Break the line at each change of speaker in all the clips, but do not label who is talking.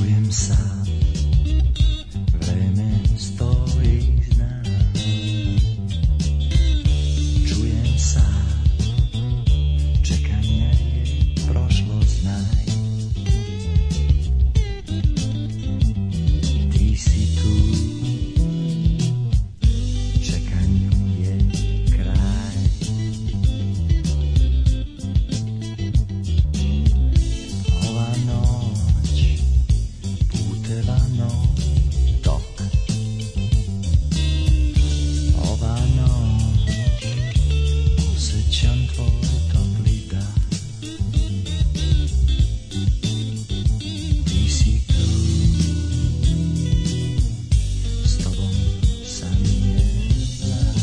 Vrem sam, vreme stoji zna. Čujem sam, čekanje je prošlo, znaj. Ti si tu, čekanju je kraj. Ova noć puteva nov tok Ova noć osjećam tvoj topli dah Ti si tu, s tobom sam je mlad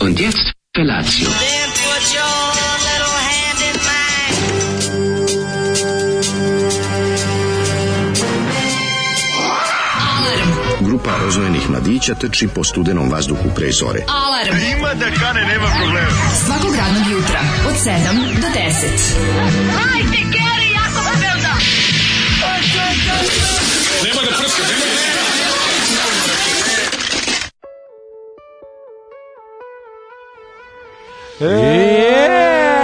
Und jetzt Felatio.
Then put your little hand in mine.
Grupa roznojenih mladića trči po studenom vazduhu pre zore.
Alarm. Ima da kane, nema problema. Svakog radnog jutra, od 7 do 10.
Hajde, Geri, jako se velda.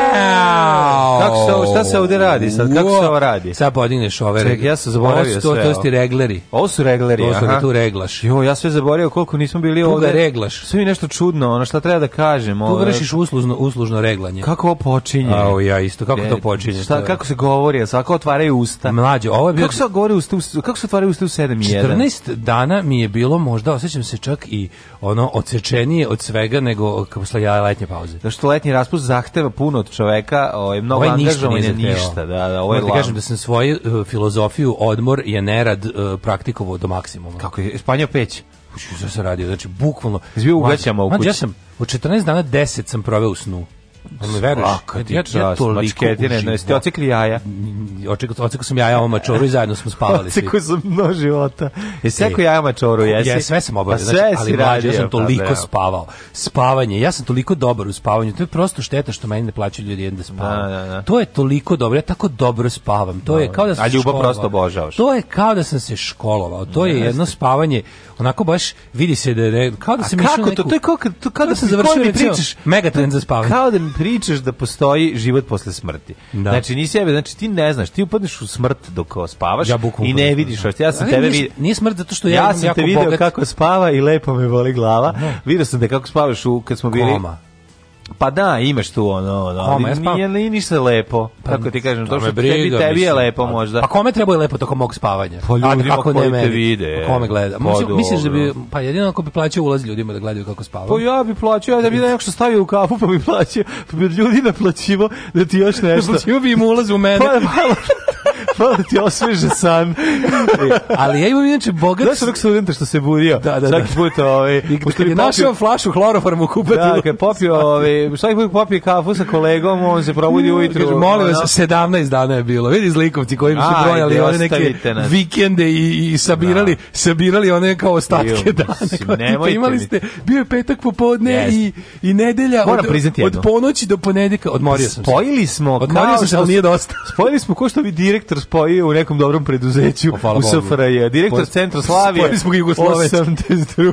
Kako
Kako
se ovo- šta se ovde radi sad? Kako se ovo radi?
Sad podigneš ove.
Ček, ja sam zaboravio
Ovo su- to,
sve
To
ovo.
su ti regleri.
Ovo su regleri,
To su
aha.
tu reglaš.
Jo, ja sve zaboravio koliko nismo bili
Tu
ovde.
ga reglaš.
Sve mi je nešto čudno, ono šta treba da kažem.
Tu
ovo-
vršiš uslužno, uslužno reglanje.
Kako ovo počinje?
Au, ja isto. Kako to počinje? To
Šta,
je-
kako se govori? a Svako otvaraju usta.
Mlađe, ovo je bio...
Kako se govori usta, u- kako se otvaraju usta u 7 i 1?
14 dana mi je bilo možda, osjećam se čak i ono odsečenije od svega nego posle ja letnje pauze.
Da što letnji raspust zahteva puno od čoveka, ovaj mnogo
Ovaj ništa
angažovanja
nije zahtevao.
ništa, da, da, ovaj
Moram ti kažem da sam svoju e, filozofiju odmor je nerad e, praktikovao do maksimuma.
kako je spanjao peć.
Uš, Šta se radio? Znači, bukvalno...
Jesi bio u
Mlađe-
gaćama u
Mlađe,
kući?
Ja sam od 14 dana 10 sam proveo u snu.
Pa
Jel me veruješ?
Svaka ti
ja,
čast,
ja toliko
mačketine,
uživao.
jesi ti ocikli jaja?
Očekao, ocekao sam ja ja ovom mačoru i zajedno smo spavali svi.
Oceku sam mnogo života. Jesi sekao
E,
jaja mačoru, jesi?
Ja sve sam obavio,
Pa
znači,
sve
ali
si
mlađe, ja
radio,
sam toliko
pa da.
spavao. Spavanje, ja sam toliko dobar u spavanju, to je prosto šteta što meni ne plaćaju ljudi jedan da spavam.
Da, da, da.
To je toliko dobro, ja tako dobro spavam. To je kao da sam
A
se
ljubav
školovao.
prosto obožavaš.
To je kao da sam se školovao. To je jedno spavanje, onako baš vidi se da je re- kao da
A
sam išao
kako
na
to?
neku-
To je kao kad, to, kao
Kao
da
da sam
mi- kao
završio
da mi
recimo
pričaš.
megatrend za spavanje.
Kao da mi pričaš da postoji život posle smrti.
Da.
Znači nisi jebe, znači ti ne znaš, ti upadneš u smrt dok spavaš
Ja bukvalno
i ne
upadnem,
vidiš
da.
što. Ja sam
Ali
tebe
nije-
vidio.
nije smrt zato što ja
ja
imam
sam
jako
te video
bogat-
kako spava i lepo me boli glava. Vidio sam da kako spavaš u kad smo bili.
Koma.
Pa da, imaš tu ono, ono
Koma, ja
ali
spavam. Pa
nije, nije ništa lepo. Kako ti kažem,
To
to
me
što
briga,
tebi, tebi je
mislim.
lepo
Pa-
možda.
Pa kome treba je lepo tokom mog spavanja?
Pa
A
ljudima
kako ne
koji te
meni?
vide,
Pa Kome gleda?
pa
Mislim- misliš da bi,
dobro.
pa jedino ako bi plaćao ulaz ljudima da gledaju kako spavam.
Pa ja bi plaćao, ja da bi nekako što stavio u kafu pa bi plaćao, pa bi od ljudi naplaćivo da ti još nešto.
Plaćao bi im ulaz u mene.
Pa da malo, malo da ti osveže san.
Ali ja imam inače bogat...
Znaš onog studenta što se budio?
Da, da, da.
Svaki put, ovaj,
I
pošto
kad
bi
je
popio-
našao flašu hloroforma u kupatilu.
Da, kad je popio, ovaj, svaki put popije kafu sa kolegom, on se probudi ujutru.
Mm, Kaže, molim
ono.
vas, 17 dana je bilo. Vidi zlikovci koji su
Ajde,
brojali one neke
ostavite nas.
vikende i, i sabirali, sabirali one kao ostatke
Ju,
dana.
mislim,
Kao, tipa,
nemojte mi.
imali ste, bio je petak popodne
Jeste.
i, i nedelja
Moram
od,
priznati
od
jedno.
ponoći do ponedjeljka. Odmorio sam se.
Spojili smo,
Odmorio
kao
sam se,
što
ali
smo-
nije dosta.
Spojili smo ko što bi direktor spojio u nekom dobrom preduzeću
O, Pa, hvala
u
Bogu.
SFRJ. Direktor
Spoj-
Centra Slavije.
spojili smo ga Jugoslovenci.
82.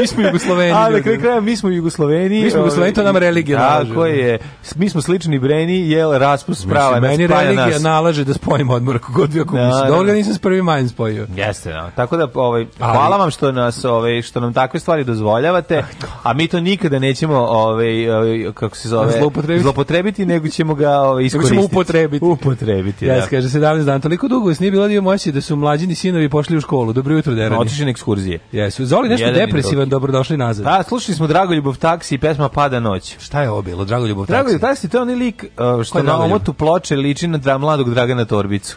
Mi smo Jugosloveni,
A na kraju
ljudi.
kraja mi smo Jugosloveni.
Mi smo Jugosloveni, to nam religija nalaže.
Tako je. Mi smo slični breni, jel raspust prava
Mislim,
nas
meni
spaja
religija
nas.
nalaže da spojim odmor kako god bio ako
Da,
mislim.
da.
Dobro ga nisam s prvim majem spojio.
Jeste, da. Tako da ovaj hvala vam što nas ovaj što nam takve stvari dozvoljavate, a mi to nikada nećemo ovaj, ovaj kako se zove
Zloupotrebiti.
zloupotrebiti, nego ćemo ga ovaj iskoristiti.
upotrebiti.
Upotrebiti,
Ja
da.
se kaže 17 dana, toliko dugo vas nije bilo da imam osjećaj da su mlađini sinovi pošli u školu. Dobro jutro, derani.
Otišli na ekskurzije.
Jesu. Zoli nešto
Jedan i
depresivan,
drugi.
dobrodošli nazad.
Da, slušali smo Dragoljubov taksi i pesma Pada noć.
Šta je ovo bilo? Drago ljubav
Dragoljubov taksi, to je onaj lik uh,
Ko
što
je
na
Dragoljub?
omotu ploče liči na dra, mladog Dragana Torbicu.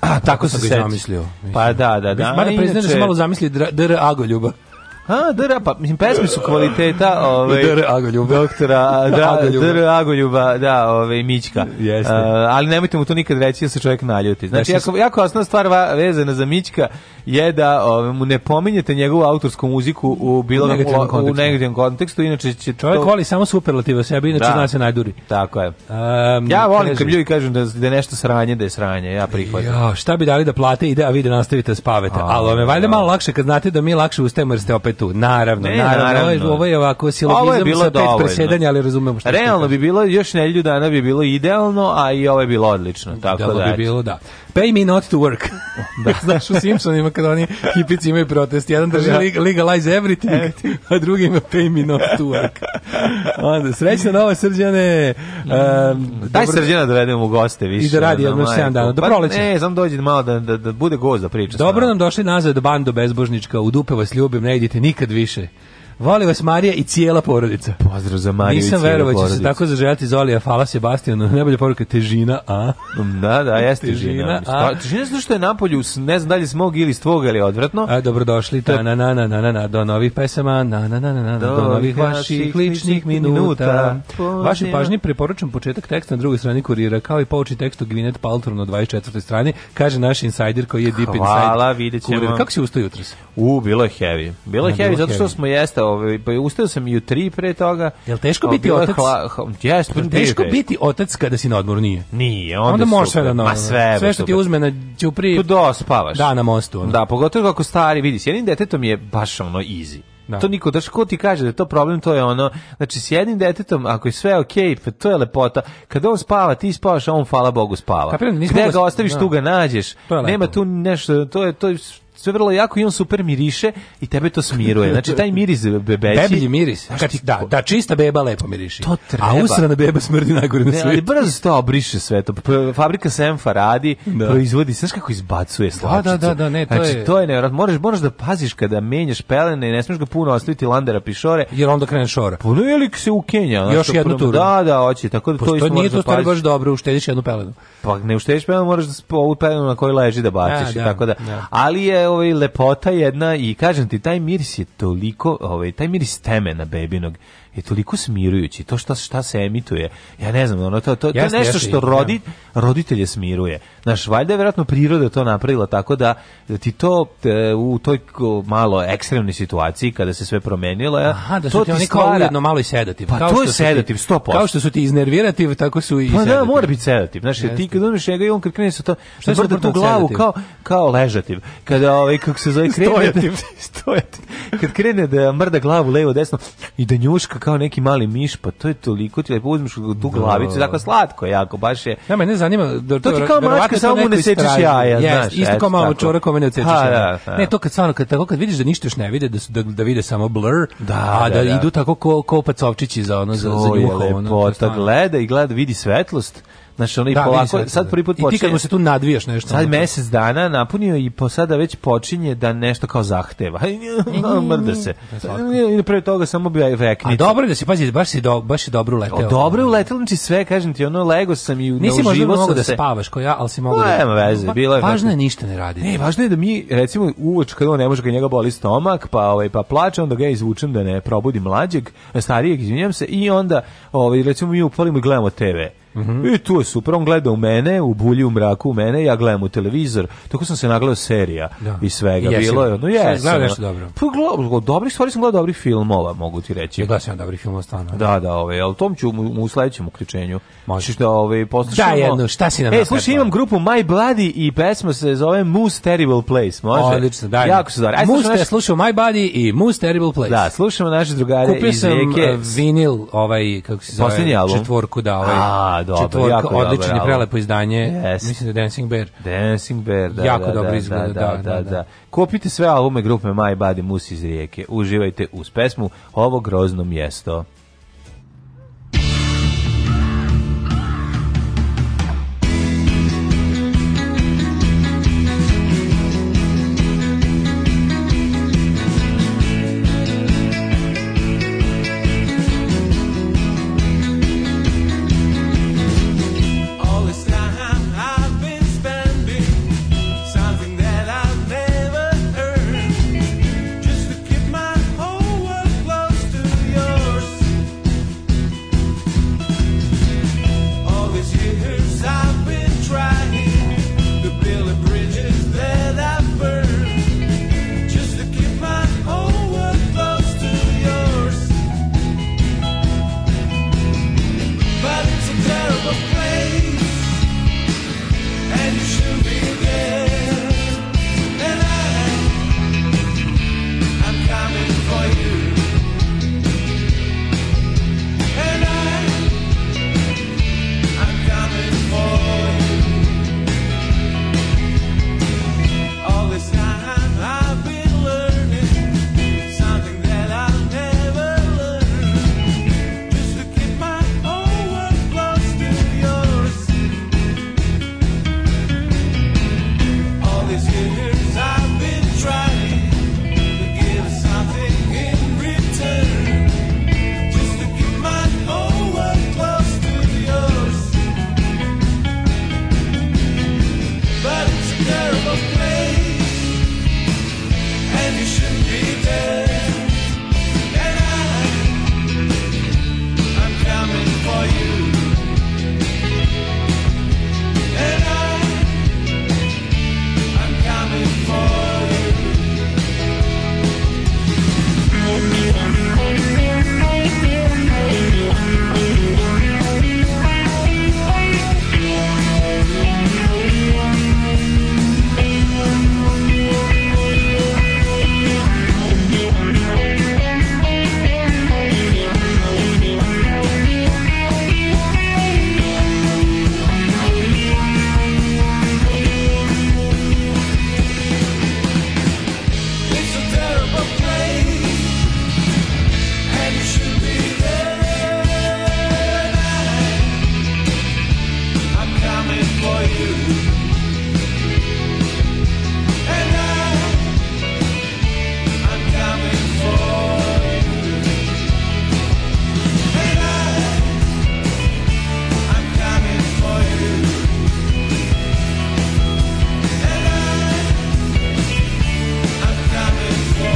A, tako,
sam ga i
seti.
zamislio.
Pa da, da, da.
Moram priznati da
Inače-
sam malo zamisli dra- dr agoljuba.
A, dr, pa, mislim, pesme su kvaliteta, ovaj,
Dr. Agoljuba.
Doktora, da,
Agoljuba.
dr, Agoljuba, da, ovaj, Mićka.
Jeste.
E, ali nemojte mu to nikad reći, jer se čovjek naljuti. Znači,
Znači,
jako, jako osnovna stvar va- vezana za Mićka je da ovaj, mu ne pominjete njegovu autorsku muziku u bilo
U negativnom
kakvom lo- u
kontekstu.
negativnom kontekstu, inače će
Čovjek
to...
voli samo superlative o sebi, inače
Da.
zna se najduri.
Tako je.
Um,
Ja volim
kaže-
kad ljudi kažu da, da je nešto sranje, da je sranje, ja prihvatam.
Ja, šta bi dali da plate ide, a vi da nastavite da spavate.
A,
Ali vam je valjda
da.
malo lakše kad znate da mi lakše ustajemo jer ste opet tu. Naravno,
Ne,
naravno.
naravno.
Ovo, je, ovo je ovako
Ovo je
silogizam
bilo
sa pet
dovoljno.
presedanja, ali razumemo šta
Realno bi bilo, još nedelju dana bi bilo idealno, a i ovo je bilo odlično. Tako
Tako
da,
da bi
eto.
bilo, da. Pay me not to work. Da. Znaš, u Simpsonima kad oni hipici imaju protest, jedan drži
Da. E.
leg- legalize everything, a drugi ima pay me not to work. Onda, srećna nova srđane. Um,
Mm. Daj Srđana da vedemo u goste više.
I da radi
ono,
jedno
majko.
7 dana, do
Pa
proleća.
Ne, znam dođi malo da, da, da bude gost da priča. s
Dobro
nama.
nam došli nazad, bando bezbožnička, u dupe vas ljubim, ne idite nikad više. Voli vas Marija i cijela porodica.
Pozdrav za Mariju i
Nisam
cijelu
verovao da će se
porodicu.
tako zaželjati Zolija, hvala Sebastijanu, najbolja poruka težina, a?
Da, da, jeste
Težina,
težina.
a-
Sta- Težina zato što je napolju, s- ne znam da li s mog ili s tvog, ali je odvratno.
A, E, dobrodošli, ta na na na na na na, do novih pesama, na na na na na, do,
Do
novih
novih
vaših
vaših
ličnih
ličnih
minuta.
minuta.
Vašoj pažnji preporučam početak teksta na drugoj strani kurira, kao i pouči tekst o Gwyneth Paltrow na 24. strani, kaže naš insider koji je deep inside.
Hvala, vidjet ćemo.
kurira. Kako si ustao jutros?
U, bilo je heavy. Bilo je
A,
heavy
bilo
zato što
heavy.
smo jeste, ovaj, pa ustao sam i u tri pre toga.
Jel teško
O,
biti
bilo je
otac?
hla- h- Jeste, bilo je
Teško biti otac kada si na odmoru, nije.
Nije, onda,
Onda, možeš sve
super.
da
Ma sve,
sve što ti uzme na
Tu
ćupri,
dospavaš.
da na mostu. ono.
Da, pogotovo ako stari, vidi, s jednim detetom je baš ono easy.
Da.
To niko, daš, ko ti kaže da je to problem, to je ono, znači s jednim detetom, ako je sve okej, pa to je lepota, kada on spava, ti spavaš, a on, hvala Bogu, spava.
Kapiram, nismo
Gde
ga-
ga ostaviš,
da.
tu ga nađeš,
To je lepo.
nema tu nešto, to je, to je sve vrlo jako i on super miriše i tebe to smiruje. Znači, taj miris bebeći...
Deblji miris. Kad ti, da, da čista beba lepo miriši.
To treba.
A usrana beba smrdi najgore na
Ne, ali
svijetu.
brzo se to obriše sve to. P- Fabrika Senfa radi,
Da.
proizvodi, znaš kako izbacuje slačicu.
da, da, da, ne, to
znači,
je-
to je nevjerojatno. Moraš, moraš da paziš kada menjaš pelene i ne smiješ ga puno ostaviti landera pišore.
Jer onda krene šora.
Puno je lik se ukenja. znaš,
Još
to
jednu
prvo-
turu.
ono Da, da, hoće. Tako da to
Pošto
isto
nije
moraš
to
da
stvari
paziš.
baš dobro, uštediš jednu pelenu.
Pa ne uštediš pelenu, moraš da sp- ovu pelenu na kojoj leži da baciš.
Da,
i
da,
tako da.
da.
Ali je ovaj, lepota jedna i kažem ti, taj miris je toliko, ovaj, taj miris temena bebinog je toliko smirujući, to šta, šta se emituje, ja ne znam, ono, to, to, to je
Jeste,
nešto
jeste,
što rodi, roditelje smiruje. Znaš, valjda je vjerojatno priroda to napravila tako da da ti to e, u toj ko- malo ekstremnoj situaciji kada se sve promenilo, ja,
Aha, da
to
su ti
ti
oni kao
stvara-
ujedno malo i sedativ.
Pa
Kao
to je
što su ti-
sedativ, 100%.
Kao što su ti iznervirativ, tako su i
Pa da,
sedativ.
mora biti sedativ. Znaš, jer ti
Jeste.
kad uzmeš njega i on kad krene sa to,
Šta je
šta mora da
suprotno
tu
od
glavu
sedativ?
kao, kao ležativ. Kada, ovaj, kako se zove, krene...
Stojativ.
stojativ. Kad krene da mrda glavu levo, desno i da njuška kao neki mali miš, pa to je toliko ti lepo uzmeš tu glavicu, tako slatko je jako, baš je...
Ja, mene zanima da
To ti kao
verovatno
mačka,
to
samo mu
neko
ne sečeš
istražuje.
jaja,
Jest,
znaš,
isto
eto,
kao malo
tako.
čora kome ne odsečeš
Pa,
jaja.
da, da.
Ne, to kad stvarno kad tako kad vidiš da ništa još ne vide, da su, da, da vide samo blur, a da,
da, da.
idu tako ko ko pacovčići za ono za za
To je
njuho, ono, to je
lepota,
stvarno.
pa gleda i gleda, vidi svetlost. Znaš, ono i
Da, vidi
polako,
se da-
sad prvi put
I ti kad mu se tu nadviješ nešto.
Sad
ono, to-
mesec dana napunio i po sada već počinje da nešto kao zahteva. Mrda se. I pre toga samo bi
A
rekniti.
dobro je da si, pazi, baš si, do, baš si dobro uleteo.
Dobro je uletelo, znači sve, kažem ti, ono, lego sam i
Nisi možda
nauživo
mogao
sam
da
se.
spavaš ko ja, ali si mogao
Pa,
da...
nema veze,
Pa,
bilo je
Važno
tako.
je ništa ne radi.
Ne, važno je da mi, recimo, uvoč kada on ne može, kad njega boli stomak, pa, ovaj, pa plače, onda ga ja izvučem da ne probudi mlađeg, starijeg, izvinjam se, i onda, ovaj, recimo, mi upalimo i gledamo TV.
Mhm.
I tu je super, on gleda u mene, u bulji, u mraku u mene, ja gledam u televizor, tako sam se nagledao serija
Da.
i svega,
I jesi
bilo je,
li?
ono,
Šta,
jesam.
gledao nešto
ono.
dobro?
Pa, gledao- dobrih stvari sam gledao dobrih filmova, mogu ti reći.
Jel da se on dobri film ostano?
Da, da, ovaj, al tom ću mu, mu u sledećem uključenju.
Može.
Možeš da ovaj poslušamo.
Daj jednu, šta si nam
E,
napravio?
slušaj, imam grupu My Bloody i pesma se zove Moose Terrible Place, može?
Odlično, daj.
Jako su dobre. Ajde,
Moose
slušamo
je
naš-
slušao My Body i Moose Terrible Place.
Da, slušamo naše drugare
Kupio
iz
sam
Rijeke.
eh, vinil, ovaj, kako se zove,
Poslednji album?
četvorku, da, ovaj,
A, dobro,
četvorka,
jako dobar
odlično i
album.
prelepo izdanje,
Yes.
mislim da je Dancing Bear.
Dancing Bear, da,
Jako
da,
dobro
da,
izgleda,
da, da,
da,
da,
da.
Kupite sve albume grupe My Bloody Moose iz Rijeke. Uživajte uz pesmu Ovo grozno mjesto.
All this time I've been spending something that I've never heard. Just to keep my whole world close to yours. All these years I've been trying to build the bridges that I've burned. Just to keep my whole world close to yours. But it's a terrible place And you should be there And I I'm coming for you And I I'm coming for you All this time I've been learning Something that I'll never learn just to keep my whole world close to yours. All these years I've been trying to give something in return, just to keep my whole world close to yours. But it's a terrible place, and you should be there. And I. I'm coming for you. And I, I'm coming for you. It's a terrible place, and you should be there. And I, I'm coming for you. And I, I'm coming for you. And I, I'm coming for you. And I. I'm coming for you.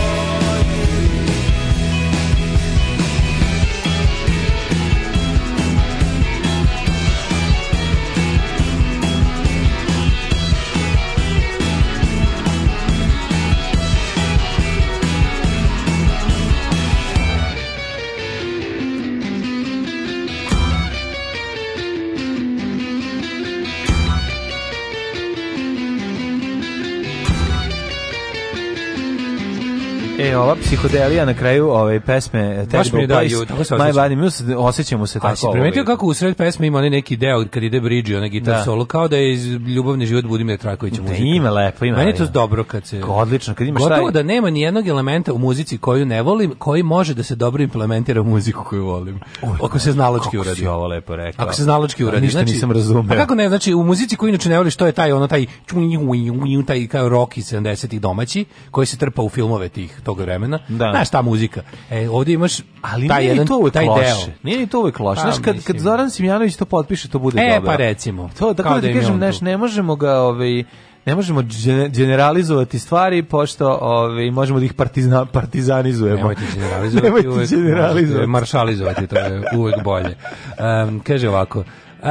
E, ova psihodelija na kraju ove pesme
Baš mi
Terrible
je da,
Place,
ju, tako se
My
osjećam.
Bloody Moose, osjećamo se tako.
A si primetio
ovaj.
kako u sred pesme ima onaj neki deo kad ide bridge, onaj gitar
Da.
solo, kao da je iz Ljubavni život Budimira Trakovića muzika.
ima lepo, ima,
Meni je to
ima.
dobro kad se...
Odlično, kad imaš
Gotovo
taj-
da nema ni jednog elementa u muzici koju ne volim, koji može da se dobro implementira u muziku koju volim. Ako se znalački
Kako si
uradi.
ovo lepo rekla.
Ako se znalački
A,
uradi.
Ništa
znači,
nisam razumeo.
A kako ne, znači u muzici koju inače ne voliš, to je taj ono taj čunj, unj, unj, taj kao rock iz 70-ih domaći, koji se trpa u filmove tih tog vremena.
Da.
Znaš ta muzika. E, ovdje imaš
Ali
taj
nije
jedan
ni to uvek
taj
loše.
deo.
Nije ni to uvek loše.
Pa,
Znaš, kad, kad
mislim.
Zoran Simjanović to potpiše, to bude
E,
dobro.
pa recimo.
To, tako
Kao
da
da
ti
im je
kažem,
on
znaš,
tu.
ne možemo ga, ovaj, ne možemo džene- generalizovati stvari, pošto ovaj, možemo da ih partizna, partizanizujemo.
Nemojte generalizovati.
Nemojte
uvek
generalizovati.
možete Maršalizovati, to je uvek bolje. Um, kaže ovako, Um,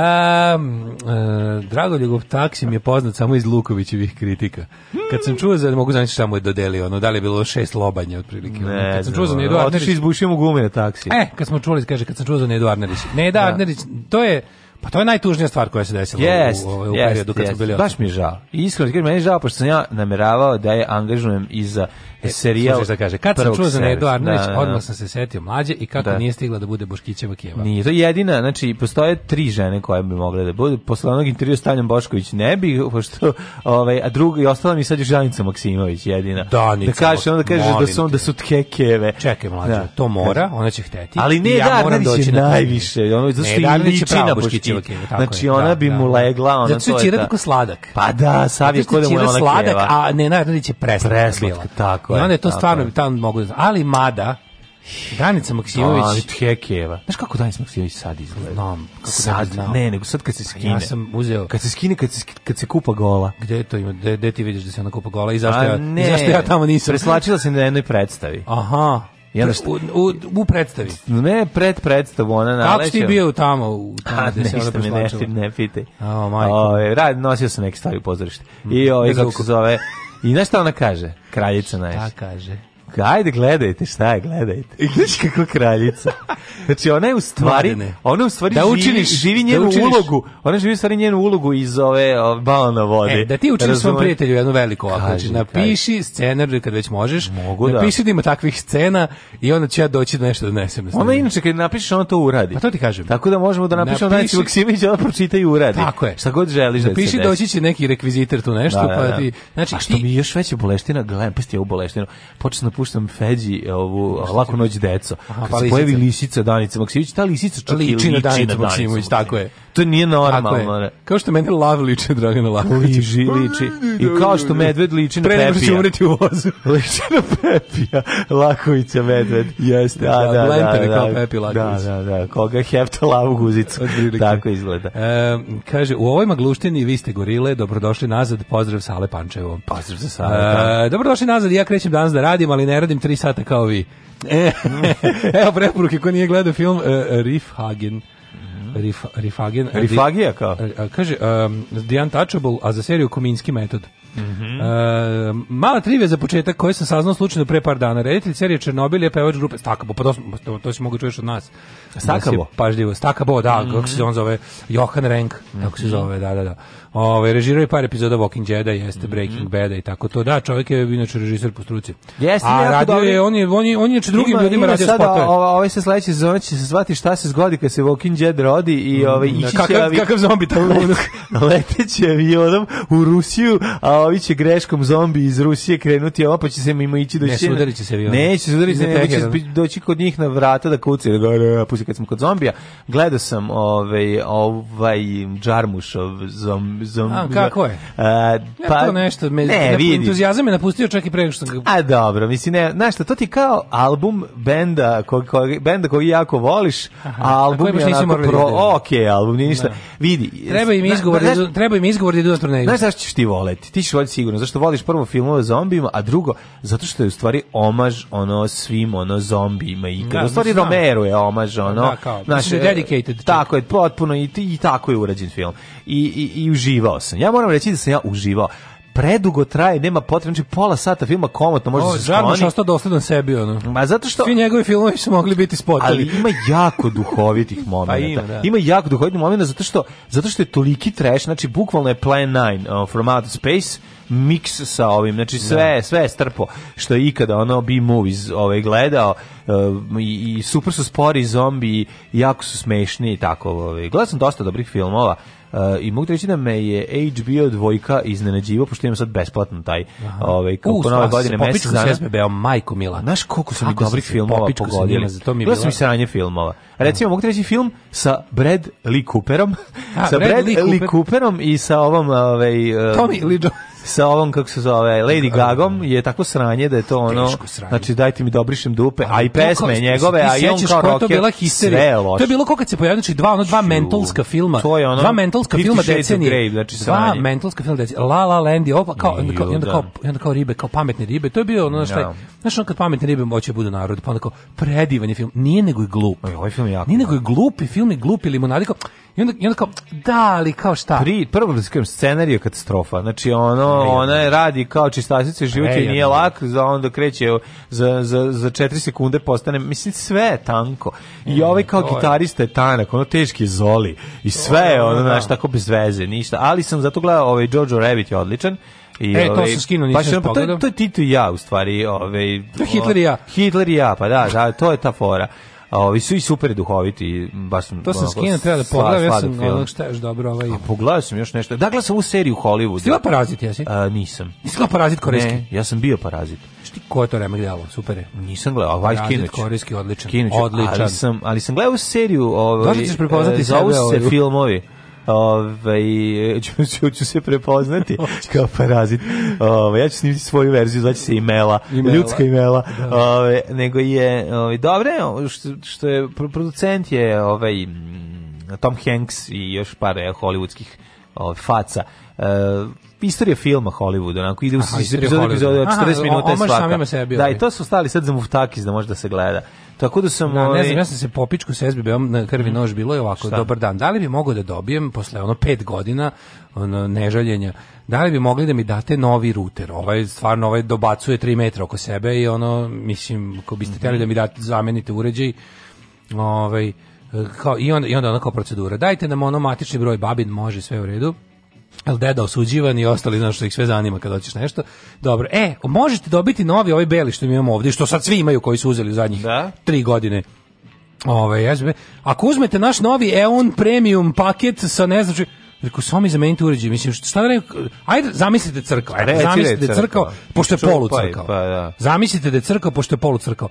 uh, Dragoljegov taksi mi je poznat samo iz Lukovićevih kritika. Kad sam čuo za, ne mogu znači šta mu je dodelio, ono, da li je bilo šest lobanja otprilike. ono.
Ne,
kad sam čuo za Nedu
Otiš
Arnerić,
izbušio mu gume na taksi.
e, kad smo čuli, kaže, kad sam čuo za Nedu Arnerić. Neda Arnerić, to je, pa to je najtužnija stvar koja se desila u-
E, Jest,
u, u, u
jest,
periodu kad smo
jest.
bili
Baš mi je žao. I Iskreno, ti kažem, meni je žao, pošto sam ja nameravao da je angažujem i za serijal.
E, Slušaj šta kaže, kad sam
Prvog
čuo za Nedu
servisa.
Arnerić,
Da, da, da.
odmah sam se setio mlađe i kako
Da.
nije stigla da bude Boškićeva keva.
Nije, to je jedina, znači, postoje tri žene koje bi mogle da budu. Posle onog intervjua Stanjan Bošković ne bi, pošto, ovaj, a druga i ostala mi sad je Žanica Maksimović jedina.
Da, Nica,
da kaže, onda kaže da
molim
su, da
te.
su tkekeve.
Čekaj mlađe,
Da.
to mora, ona će hteti.
Ali ne,
i ja
da,
moram
Arnerić
doći
je
na to.
najviše. Ono, zato
Ne,
što i
Arnerić je
liči
pravo
na
Boškićevo
Boškić.
kevo, tako
Znači,
je,
ona
da,
bi
da,
mu
da.
legla, ona
Zato što
to
je
je
Ćira
ta.
tako sladak.
Pa da, sav je
Zato što
ko da mu je
Ćira
ona
sladak,
keva.
a ne Arnerić je preslatka.
Preslatka,
bila.
tako je,
I onda je to
tako
stvarno,
je.
tamo mogu da znam. Ali mada, Danica
Ali
Maksimović,
Tkekeva. Znaš kako Danis Maksimović sad izgleda?
Znam, kako ne bi
sad,
znao. Pa
ne, nego sad kad se skine.
ja sam uzeo...
Kad se skine, kad se, sk- kad se kupa gola.
Gde to ima? Gde, gde ti vidiš da se ona kupa gola i zašto,
A
ja,
ne,
i zašto ja tamo nisam?
Preslačila se na jednoj predstavi.
Aha.
I onda šta?
U, u, u predstavi.
Ne, pred predstavu, ona naleća.
Kako si ti bio tamo? U, tamo
A,
gde se ona
ništa me ne,
preslačila?
ne pitaj.
A, majko. Mm.
Ove, rad, nosio sam neke stvari u pozorište. I ove,
Bez
kako
ruku.
se zove... I znaš šta ona kaže? Kraljica naša.
Da, kaže.
Ajde, gledajte, šta je, gledajte. Znaš kako kraljica. Znači, ona je u stvari,
Mladene.
ona u stvari
Da
živi,
učiniš,
živi
da
njenu
učiniš.
ulogu. Ona živi u stvari njenu ulogu iz ove o, balona vode.
E, da ti učiniš svom
Razumeš?
prijatelju jednu veliku ovako,
Kaži,
znači napiši scenar kad već možeš,
Mogu, da.
napiši da ima takvih scena i onda ću ja doći da nešto donesem. na
Ona
snimku.
inače kad napišeš, ona to uradi.
Pa to ti kažem.
Tako da možemo da napišemo
Napiši-
Napiši... Danici Maksimić, ona pročita i uradi.
Tako je.
Šta god želiš da se
Napiši
desi.
doći će neki rekvizitor tu nešto,
Da, da, da.
pa ti... Znači,
A što
ti-
mi je još veća boleština, gledam, pa ste ovu boleštinu, počeo napuštam Feđi ovu Laku noć deco.
Aha,
Kad
pa
se
lisica.
pojavi lisica Danica Maksimović, ta lisica čak i
Liči na Danicu Maksimović, tako je.
To nije
Tako
normalno.
je.
ne.
Kao što mene lav liče Dragana Lakovića.
Liči, liči. I kao što medved liči na
Pre nego što će
Pepija.
umreti u vozu.
Liči na Pepija. Lakovića medved.
Jeste, da, blenter je kao Pepi Laković.
Da, da, da. Koga je hefta lavu guzicu.
Otprilike.
Tako izgleda.
E, kaže, u ovoj magluštini vi ste gorile, dobrodošli nazad, pozdrav Sale Pančevo.
Pozdrav za Sale, da.
E, dobrodošli nazad, ja krećem danas da radim, ali ne radim tri sata kao vi. E, evo preporuke, ko nije gledao film, e, Rifhagen. Rif, Rifhagen.
Rifagija Mhm. kao?
E, a, kaže, um, The Untouchable, a za seriju Kominski metod.
Mhm.
E, mala trivija za početak koju sam saznao slučajno pre par dana. Reditelj serije Černobil je pevač grupe Stakabo, pa to, smo- to, to si mogu čuješ od nas.
Stakabo? Mhm.
Da si Pažljivo, Stakabo, da, kako se on zove, Johan Renk, kako se zove, da, da, da. Ove, režirao je par epizoda Walking Deada,
Mhm.
jeste Breaking Bada i tako to. Da, čovjek je inače režiser po struci.
Jeste,
A
jako
radio
dobri.
je, on je, on je, on je inače drugim ljudima radio
sada,
spotove.
ova- ovaj se sledeće sezone će se zvati šta se zgodi kad se Walking Dead rodi i ovaj
Mm, Da,
ići će
kakav,
avi-
kakav zombi tako
leteće avionom u Rusiju, a ovi će greškom zombi iz Rusije krenuti ovo, pa će se mimo ići do
Ne, sudarit će se avioni.
Neće se udariti,
Iznad
nego će
Teherana.
bi- doći kod njih na vrata da kuce. Da, da, da, pusti kad smo kod zombija, gledao sam ovaj, ovaj Džarmušov zom, zom,
A, kako je?
A,
Pa, to nešto, me,
ne, vidi.
entuzijazam je napustio čak i pre nego što sam ga...
A dobro, mislim, ne, znaš šta, to ti je kao album benda kog, kog, benda koji jako voliš, a album
koji baš
je
nisu
onako
morali
pro,
da idu.
ok, album, nije ništa. Vidi.
Treba im
zna-
izgovor, da,
znaš-
idu- treba im izgovor da idu na turneju.
Znaš zašto ćeš ti voleti? Ti ćeš voleti sigurno, zašto voliš prvo filmove o zombijima, a drugo, zato što je u stvari omaž ono svim ono zombijima i
Da,
u stvari
znam.
Romero je omaž ono.
Da, kao,
znaš,
mislim da je dedicated.
Tako je, potpuno i, i tako je urađen film. I, i, I uživao sam. Ja moram reći da sam ja uživao predugo traje, nema potrebno, znači pola sata filma komotno, može
O,
se
Žarmuš
skloni.
ostao dosledan sebi, ono.
Ma zato što
Svi njegovi filmovi su mogli biti spotovi.
ali ima jako duhovitih momenata.
Pa ima, da.
jako duhovitih momenata zato što zato što je toliki trash, znači bukvalno je Plan 9 uh, from Outer Space mix sa ovim, znači sve sve je strpo što je ikada ono B movies ovaj gledao uh, i, i super su spori zombi, jako su smešni i tako. Ovaj. Gledao sam dosta dobrih filmova. Uh, i mogu ti reći da me je HBO dvojka iznenađivao, pošto imam sad besplatno taj ovaj, kako
U,
nove
sva-
godine
popičku
mesec
se
dana.
SBB-a, majko mila.
Znaš koliko su mi
Kako sam
dobrih
se
filmova
popičku sa njima,
pogodili.
za to mi je
Gledao
bila-
sam i sranje filmova. Recimo, mogu ti reći film sa Brad Lee Cooperom.
A,
sa
Brad
Brad,
Lee
Lee,
Cooper.
Cooperom i sa ovom... Ovaj, eh,
Tommy Lee Jones.
Sa ovom, kako se zove, Lady Gagom je tako sranje da je to ono...
Teško sranje.
Znači, dajte mi dobrišem dupe, a i
To kao-
pesme njegove,
ti
a i on
sećaš
kao
koja je To
rocker,
bila
sve
histerija.
je
To
loše.
je bilo kao kad se pojavio, znači dva, ono, dva mentalska filma.
To je ono
dva mentalska filma
Fifty Shades of
decenije.
Grey, znači
dva
sranje.
mentalska filma decenije. La La Land je opa, kao, i onda kao, i onda
Ju,
kao,
da.
i onda kao ribe, kao pametne ribe. To je bio ono, znaš, taj,
Ja.
znaš, ono kad pametne ribe moće budu narod, pa onda kao, predivan je film. Nije nego je glup.
Oj, ovaj film je jako
Nije nego
dobar.
je glup i film je glup i limonadi kao, I onda, i onda kao, da, ali kao šta?
Pri, prvo da skrenem, scenarij je katastrofa. Znači, ono, ona je radi kao čistasica, život joj nije
Prejadno.
lak, za onda kreće za, za, za četiri sekunde postane, mislim, sve je tanko. I ovaj kao
Mm, to je.
gitarista je tanak, ono teški je zoli. I sve je, ono, znaš, tako bez veze, ništa. Ali sam zato gledao, ovaj, Jojo Rabbit je odličan. I,
E, to sam skinuo, nisam
baš ono, pa to, je-
pogledao.
to je Tito i ja, u stvari. Ovaj,
je Hitler i ja.
Hitler i ja, pa da, da to je ta fora. A ovi su i super duhoviti, baš sam ono,
To sam
onako,
skinuo, treba da
sla-
pogledam, ja
sladak
sam
film.
ono šta još dobro ovaj...
A pogledao sam još nešto. Dakle, sam u seriju Hollywoodu.
Stila parazit, jesi?
A, nisam.
Stila parazit korejski.
Ne, ja sam bio parazit.
Šti, ko je to remek djelo? Super je.
Nisam gledao, ovaj
Parazit
kinuć.
korejski, odličan.
Kinuć,
Odličan.
Ali sam, ali sam gledao seriju. Ovaj,
Dosta ćeš prepoznati
e, Zovu
sebe,
se
ovaj.
filmovi. Ove, ću, ću, ću se prepoznati kao parazit. Ove, ja ću snimiti svoju verziju, zvaće se imela,
Imela.
ljudska imela. Ove, nego je, ove, dobre, što, što je, pro- producent je ovaj, mm, Tom Hanks i još par e, hollywoodskih ovaj, faca. E, istorija filma Hollywooda, onako ide u
Aha, istorija
epizodu, epizodu,
Hollywooda.
40
Aha,
minuta je
omaž
svaka.
samima sebi,
da,
ovaj.
i to su stali sad za muftakis da može da se gleda. Tako da sam...
Na,
ovaj,
ne znam, ja sam se popičku s SBB-om na krvi nož bilo je ovako, dobar dan, da li bi mogao da dobijem posle ono pet godina ono, nežaljenja, da li bi mogli da mi date novi ruter, ovaj stvarno ovaj dobacuje tri metra oko sebe i ono, mislim, ako biste htjeli da mi date, zamenite uređaj, ovaj, kao, i, onda, i onda ono kao procedura, dajte nam ono matični broj babin, može sve u redu, El deda osuđivan i ostali, znaš što ih sve zanima kad hoćeš nešto. Dobro, e, možete dobiti novi ovaj beli što mi imamo ovdje, što sad svi imaju koji su uzeli u zadnjih
Da.
tri godine. Ove, SB. Ako uzmete naš novi EON premium paket sa ne znači, Rekao, samo mi zamenite uređaj. Mislim, šta- šta da ne... Ajde, zamislite crkva. Ajde,
Reci,
zamislite
reci,
da je crkva,
crkva.
pošto je
Čupaj,
polu crkva.
pa da.
Zamislite da je crkva, pošto je polu crkva.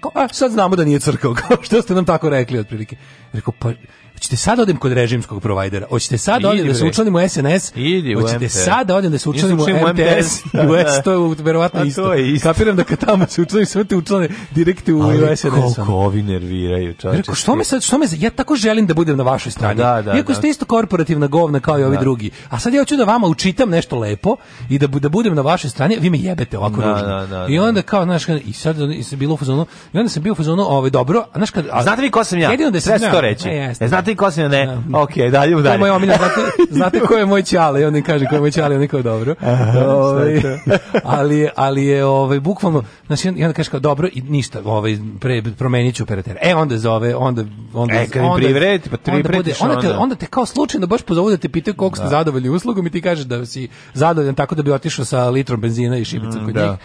Kao, a, sad znamo da nije crkva, kao što ste nam tako rekli otprilike. Rekao, pa, hoćete sad da odem kod režimskog provajdera? Hoćete sad da odem
Idi,
da se
bre.
učlanim u SNS?
Idi u
Hoćete
MTS.
sad da odem da se
Nisam
učlanim u
učlanim u
MTS?
Da,
U
da.
S, to je
A
verovatno
to
isto.
je isto.
Kapiram da kad tamo se učlanim, sve te učlane direkte u
Ali
SNS.
koliko ovi nerviraju, čovječe.
Rekao, što me sad, što me, ja tako želim da budem na vašoj strani.
Da, da,
Iako
da.
ste isto korporativna govna kao i ovi drugi. A sad ja hoću da vama učitam nešto lepo i da, bu- da budem na vašoj strani, a vi me jebete ovako
Da,
ružno.
da, da,
I
da.
onda kao, znaš, i sad i sam bilo u fazonu, i onda sam bio u fazonu, ovaj, dobro, a znaš kad... A,
Znate vi ko sam ja?
Jedino da
Sve
sam
se
ja.
to reći.
E, jeste.
E, znate vi ko sam ja? Ne.
Da.
Ok, dalje,
To je
dalje.
moj omiljen, znate, znate ko je moj ćale, i on mi kaže ko je moj ćale, on je kao dobro.
Eh,
Ovaj, ali, je- ali je ovaj, bukvalno, znači, i onda kaže kao dobro i ništa, ovaj, pre, promenit ću operatera. E, onda zove, onda... onda
E, kad mi
onda-
privredi, pa tri
onda bude-
pretiš
onda, te,
onda.
onda te kao slučajno baš pozovu da te pitaju koliko ste zadovoljni uslugom i ti kažeš da si zadovoljan tako da bi otišao sa litrom benzina i šibicom kod
Mm, da.
njih.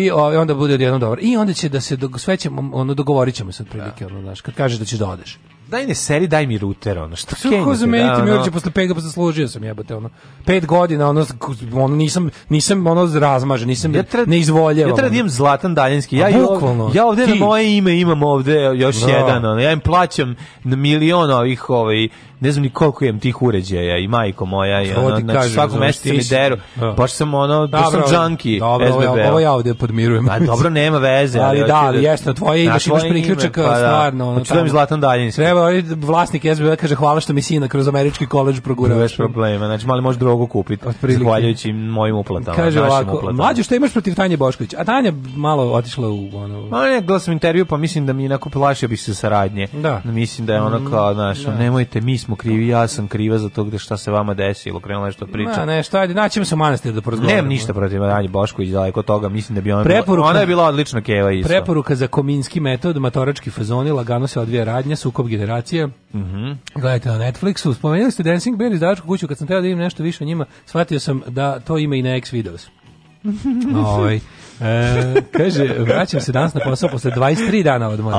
I ovaj, onda bude odjednom dobro. I onda će da se dog, sve ćemo, ono, dogovorit ćemo se otprilike, ono, znaš, kad kažeš da ćeš da odeš.
Daj ne seri, daj mi ruter, ono. Što
Sve
kenjate,
ko zamenite
da,
mi
ono?
uređaj posle pet godina zaslužio sam jebote ono. Pet godina ono, ono nisam nisam ono razmažen, nisam
Ja treba,
ne izvoljevam.
Ja treba da imam Zlatan Daljinski. Ja,
A,
i ov-
bukvalno.
ja ovde
Ti.
na moje ime imam ovde još
Da.
jedan. Ono. Ja im plaćam na milion ovih, ovaj, ne znam ni koliko imam tih uređaja i majko moja. I,
To
ono,
ti
znači,
kažem,
svakog
znaš,
meseca
ti
mi
si-
deru.
Da.
Baš sam ono, baš sam džanki
Dobro, ovo, ja- ovo ja ovde podmirujem.
Pa dobro, nema veze.
Ali da,
hoću
ali jeste, na tvoje
na
imaš, imaš
tvoje ime,
priključak,
pa da.
stvarno, ono,
Hoću da mi
tamo.
Zlatan Daljinski.
Treba ovaj vlasnik SBB kaže hvala što mi sina kroz američki koleđ progurao.
Bez problema, znači mali može drogu kupiti,
Otprilike.
zahvaljujući mojim uplatama,
Kaže
našim
ovako,
uplatama.
mlađe što imaš protiv Tanje Bošković? A Tanja malo otišla u ono...
Ma ne, gledao sam intervju, pa mislim da mi inako plašio bih se saradnje.
Da. Mm,
Mislim da je ono kao, znaš, nemojte, mi smo krivi, ja sam kriva za to gde šta se vama desilo, krenula nešto priča.
Ma, nešto, ajde, naćemo se u manastir da porazgovaramo.
Nemam ništa protiv Anje Bošković, daleko od toga, mislim da bi ona
Preporuka-
bila, ona je bila odlična keva isto.
Preporuka za kominski metod, matorački fazoni, lagano se odvija radnja, sukob generacije. Gledajte na Netflixu. Spomenuli ste Dancing Bear iz Dačku kuću, kad sam teo da vidim nešto više o njima, shvatio sam da to ima i na X videos. Ovaj, e, kaže, vraćam se danas na posao posle 23 dana odmora.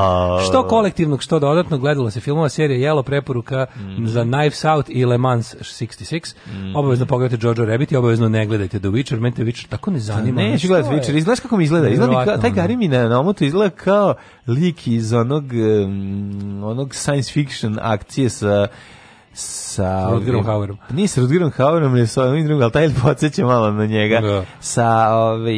Što kolektivnog, što dodatno, gledalo se filmova serija Jelo, preporuka
Mhm.
za Knives Out i Le Mans 66. Obavezno pogledajte Jojo Rabbit i obavezno ne gledajte The Witcher, meni The Witcher tako ne zanima.
Ne, ću
Što
Pa gledati
je?
Witcher, izgledaš kako mi izgleda, izgleda mi kao,
Nevjerovatno,
taj
ono.
Gary mi na, na omotu izgleda kao lik iz onog, um, onog science fiction akcije sa sa Pa
Rutgerom Hauerom.
Nije sa Rutgerom Hauerom, ne sa ovim drugim, ali taj podsjeća malo na njega.
Da.
Sa, ovaj,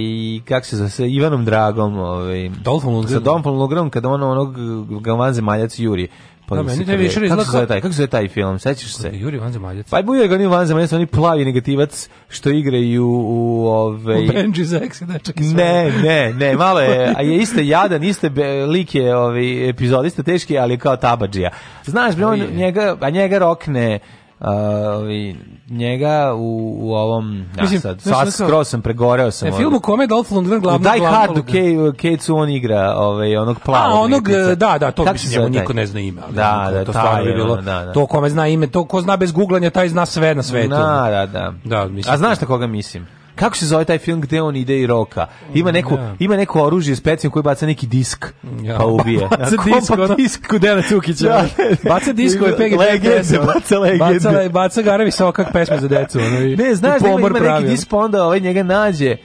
kako se zove, sa Ivanom Dragom, ovaj,
Dolphom Lundgrenom.
Sa Dolphom Lundgrenom, kada ono, onog gavan zemaljac Juri Pa
Da,
da,
meni taj večer izgleda
Kako se zove
kao-
taj, kako se zove taj film, sećaš se?
Juri Vanzemaljac.
Pa bude ga ni van zemaljca, oni plavi negativac što igraju u
U
ovaj
Benji za ex, dečak iz
Ne, ne, ne, malo je, a je iste jadan, iste be, lik je ovaj, epizodista teški, ali je kao tabadžija. Znaš, bre, on,
Ali je.
njega, a njega rokne, a, ovaj, njega u, u ovom, ja
Mislim,
sad,
znaš,
sad
ono kao-
skroz sam pregoreo sam.
E,
ono.
film u kome je Dolph Lundgren
U
glavno
Die Hard u Ke- Kecu on igra ovaj, onog plavog.
A, onog,
negativaca.
da, da, to
Kako
mislim,
se zove
njemu
taj?
niko ne zna ime. Ali
Da,
ono,
da,
to
taj
stvarno bi
je
bilo,
ono, da, da.
to kome zna ime, to ko zna bez googlanja, taj zna sve na svetu.
Na, da, da.
Da, mislim.
A znaš na koga mislim? Kako se zove taj film gde on ide i roka? Ima neko,
Da.
ima neko oružje specijalno koje baca neki disk
Mm, Ja.
pa ubije.
Baca
A
disk,
kompa
ono,
disk.
kod Dejana Cukića.
Da, ne, ne.
Baca diskove PG-13.
Legende, baca legende.
ono. Baca, baca Garavi Sokak pesme za decu. Ono, i,
Ne, znaš
i
da ima,
pomor
ima
pravi,
neki
ono.
disk pa onda ovaj njega nađe.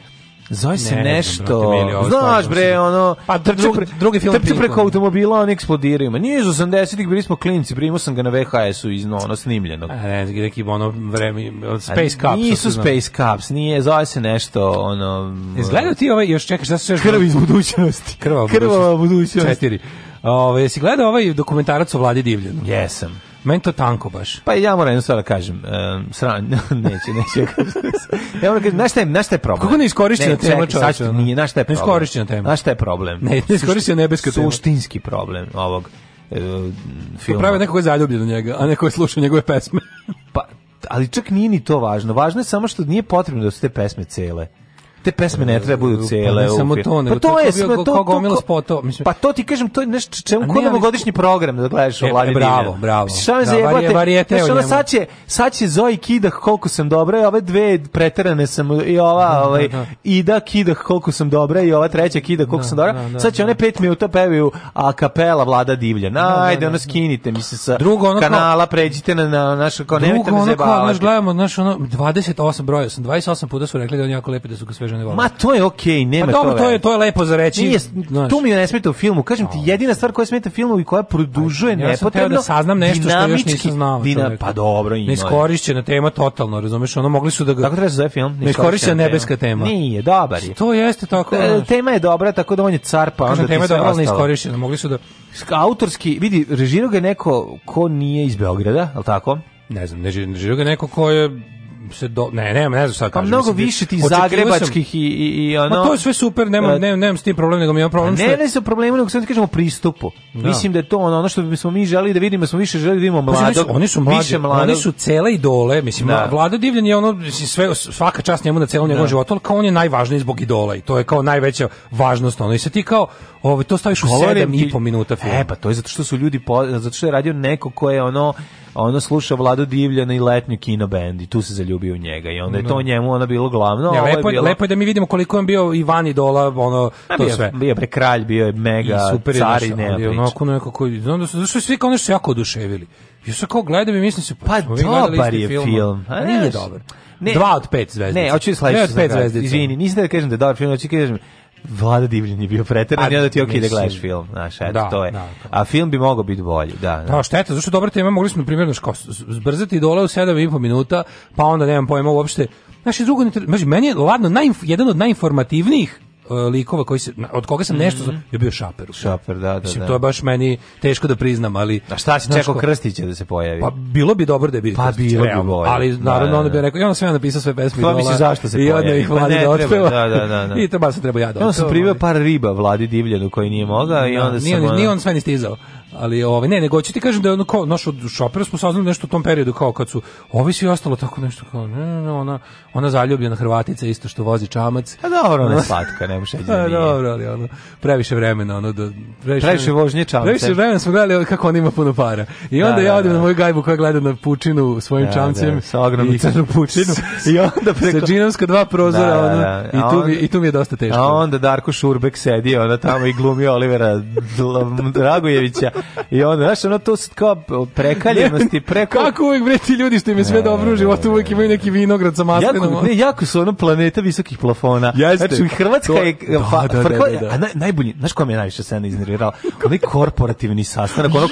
Zove se
Ne znam,
nešto.
brate, mili, ovo
Znaš
stvarno
bre,
mislim.
ono...
Pa,
trči
drug-
pre-
drugi film
Trči
Pink,
preko
ono.
automobila, on eksplodiraju. Ma nije iz 80-ih, bili smo klinci, primio sam ga na VHS-u iz no, ono snimljenog.
A, E, Ne, neki ono vreme,
A
Space Cups.
Nisu
ako znam.
Space Cups, nije, zove se nešto, ono...
Izgledao ti ovaj, još čekaj, šta su još...
Krv iz budućnosti.
Krvava
Krvava budućnost.
Četiri. Ove, jesi gledao ovaj dokumentarac o Vladi Divljanu?
Jesam.
Meni to tanko baš.
Pa ja moram jednu stvar da kažem. Um, sran, neće, neće. ja kažem. ja moram kažem, znaš šta je, znaš šta je problem?
Kako neiskorišćena
Ne, čekaj,
tema, čoveče,
sad ću-
ono?
Nije, znaš šta je problem?
Neiskorišćena tema.
Znaš šta je problem?
Ne, neiskorišćena nebeska tema.
Suštinski problem ovog e, filma.
Prave neko ko je zaljubljen u njega, a neko je slušao njegove pesme.
Pa, ali čak nije ni to važno. Važno je samo što nije potrebno da su te pesme cele. Te pesme ne treba da budu
Pa ne
cele. u
samo
filmu.
to, nego
pa
to
to,
je
je,
bio
sve-
ko-
to,
ko
to,
gomila
ko-
spotova, mislim.
Pa to ti kažem, to je nešto
A
čemu
ne,
kodamo
ali-
godišnji program da gledaš
E,
o Vladi
bravo,
Divljanu.
bravo.
Šta me
Da,
zajebate?
varije- varijete
Znaš,
o
ono,
njemu.
sad će, sad će Zoji Kidah koliko sam dobra i ove dve preterane sam i ova ovaj,
da.
Ida Kidah koliko sam dobra i ova treća Kidah koliko sam dobra.
da, da,
sad će one pet minuta pevaju a kapela Vlada Divljana. Ajde,
da,
ono
da.
skinite mi se sa
Drugo, ono kao-
kanala, pređite na, na naš, kao Pa nemojte
Drugo,
me
ono kao,
zajebavati.
znaš, gledamo, znaš, ono, 28 broja sam, 28 puta su rekli da je on jako lepi, da su ga sve žene vole.
Ma to je okej, nema
pa dobro, to je,
veze.
to je lepo za reći.
Nije,
znaš.
tu mi ne smeta u filmu. Kažem ti, jedina stvar koja smeta filmu i koja produžuje
Ja sam
nepotrebno...
teo da saznam nešto što još
dinamički-
nisam znao.
dina-
čoveče.
pa dobro, ima.
Neiskorišćena tema totalno, razumeš? Ono mogli su da ga...
Tako treba se zove film?
Neiskorišćena nebeska tema.
Nije, dobar je.
To jeste tako.
E,
znaš.
Tema je dobra, tako da on je car, pa onda
Kažem,
ti
tema je
sve
dobra, ali
ostalo.
neiskorišćena. Mogli su da...
Autorski, vidi, režirao ga je neko ko nije iz Beograda, je li tako?
Ne znam, ne živi, ne živi ga neko ko je se do... Ne, ne, ne znam šta
Pa
kažem.
mnogo
Mislim,
više tih
očekivao sam-
zagrebačkih i, i, i ono...
Ma to je sve super, nemam,
E,
nemam, nemam s tim problem, nego mi imam problem što
Ne,
je-
ne su problemi, nego sam ti kažemo pristupu. Mislim da je to ono, ono što bismo mi želeli da vidimo, smo više želeli da vidimo
Pazi,
mladog,
oni Pa su, oni su mlađi,
više mladog.
oni su cele idole, mislim,
Da.
Vlada Divljan je ono, mislim, sve, svaka čast njemu na celom njegovom životu, ali kao on je najvažniji zbog idola i to je kao najveća važnost, ono, i sad ti kao, ovo, to staviš u
Govorim
sedam
ti-
i po minuta filma.
E, pa to je zato što su ljudi, po, zato što je radio neko ko je ono, ono sluša Vladu Divljana i letnju kino band i tu se zaljubio u njega i onda je to njemu ono bilo glavno. a
ja,
ovo je
lepo, je,
bilo,
lepo je da mi vidimo koliko je on bio i van idola, ono,
A,
to
bio,
sve.
Bio je pre kralj, bio je mega,
I super je
car i
znaš,
nema
ali je
priče.
onako neko koji, znam da su, zašto svi kao nešto jako oduševili. Ja se kao gledam i mislim se,
Pa
smo mi gledali
dobar
isti
je
film.
film.
A
A,
nije
znaš,
dobar.
ne.
Dva od pet zvezdica.
Ne, hoću
Dve
sledeće.
od pet zvezdica.
Izvini, nisam da kažem da je dobar film, hoću da kažem Vlada Divljin je bio preteran
Pa,
i onda ti je okej da
mislim.
gledaš film, znaš, eto,
Da,
to je.
da, da. Pa,
A film bi mogao biti bolji, da. da.
Da, šteta, zašto dobra tema, mogli smo primjerno ško, zbrzati dole u 7,5 minuta, pa onda nemam pojma uopšte. Znaš, i drugo, ne tre- znači, meni je ladno, najinf, jedan od najinformativnijih e, likova koji se, na- od koga sam nešto mm je bio Šaper.
Šaper, da, da,
Mislim,
Mhm. da.
to je baš meni teško da priznam, ali...
A šta si
znaš
čekao
ko-
Krstića da se pojavi?
Pa bilo bi dobro da je bio
Pa
Krstić,
bilo bi
realno.
bolje.
Ali naravno
Da, da,
onda bi
da.
rekao, i onda sam ja napisao sve pesme.
Pa
idola
mislim, zašto se
I onda
pojavi?
ih
Pa
vlada
ne,
da
treba,
otpeva.
da, da, da, da.
I to baš sam trebao ja da
onda
otpevam,
sam primio
ali-
par riba Vladi Divljanu koji nije mogao i onda sam...
nije, on,
ono-
nije on sve ni stizao. Ali ovaj ne, nego hoću ti kažem da je ono kao naš od šopera smo saznali nešto u tom periodu kao kad su ovi svi ostalo tako nešto kao ne, ne, ne, ona ona zaljubljena Hrvatica isto što vozi čamac.
A Pa dobro, ona je slatka, ne može da
A,
nije.
dobro, ali ono, previše vremena, ono, da, previše,
Previše vožnje čamcem.
Previše vremena smo gledali kako on ima puno para. I onda
Da,
ja
da,
odem
da.
na moju gajbu koja gleda na pučinu svojim
Da,
čamcem.
da, sa ogromnom
i-
crnom pučinu. I onda preko-
Sa džinovska dva prozora,
Da, da,
ono,
da.
i,
A
tu
onda-
mi, i tu mi je dosta teško.
A onda Darko Šurbek sedi, ona tamo i glumi Olivera Dl- Dragojevića. I onda, znaš, ono to su kao prekaljenosti, preko...
Kako uvek bre ti ljudi što im je sve dobro u životu, uvek imaju neki vinograd sa maslinom.
Jako, ne, jako su ono planeta visokih plafona.
Jeste.
Znači, Hrvatska
To-
je...
da,
fa-
da, da,
frko-
da, da.
A naj, najbolji, znaš koja me je najviše scena iznervirala? Onaj korporativni sastanak, ono,
Ju,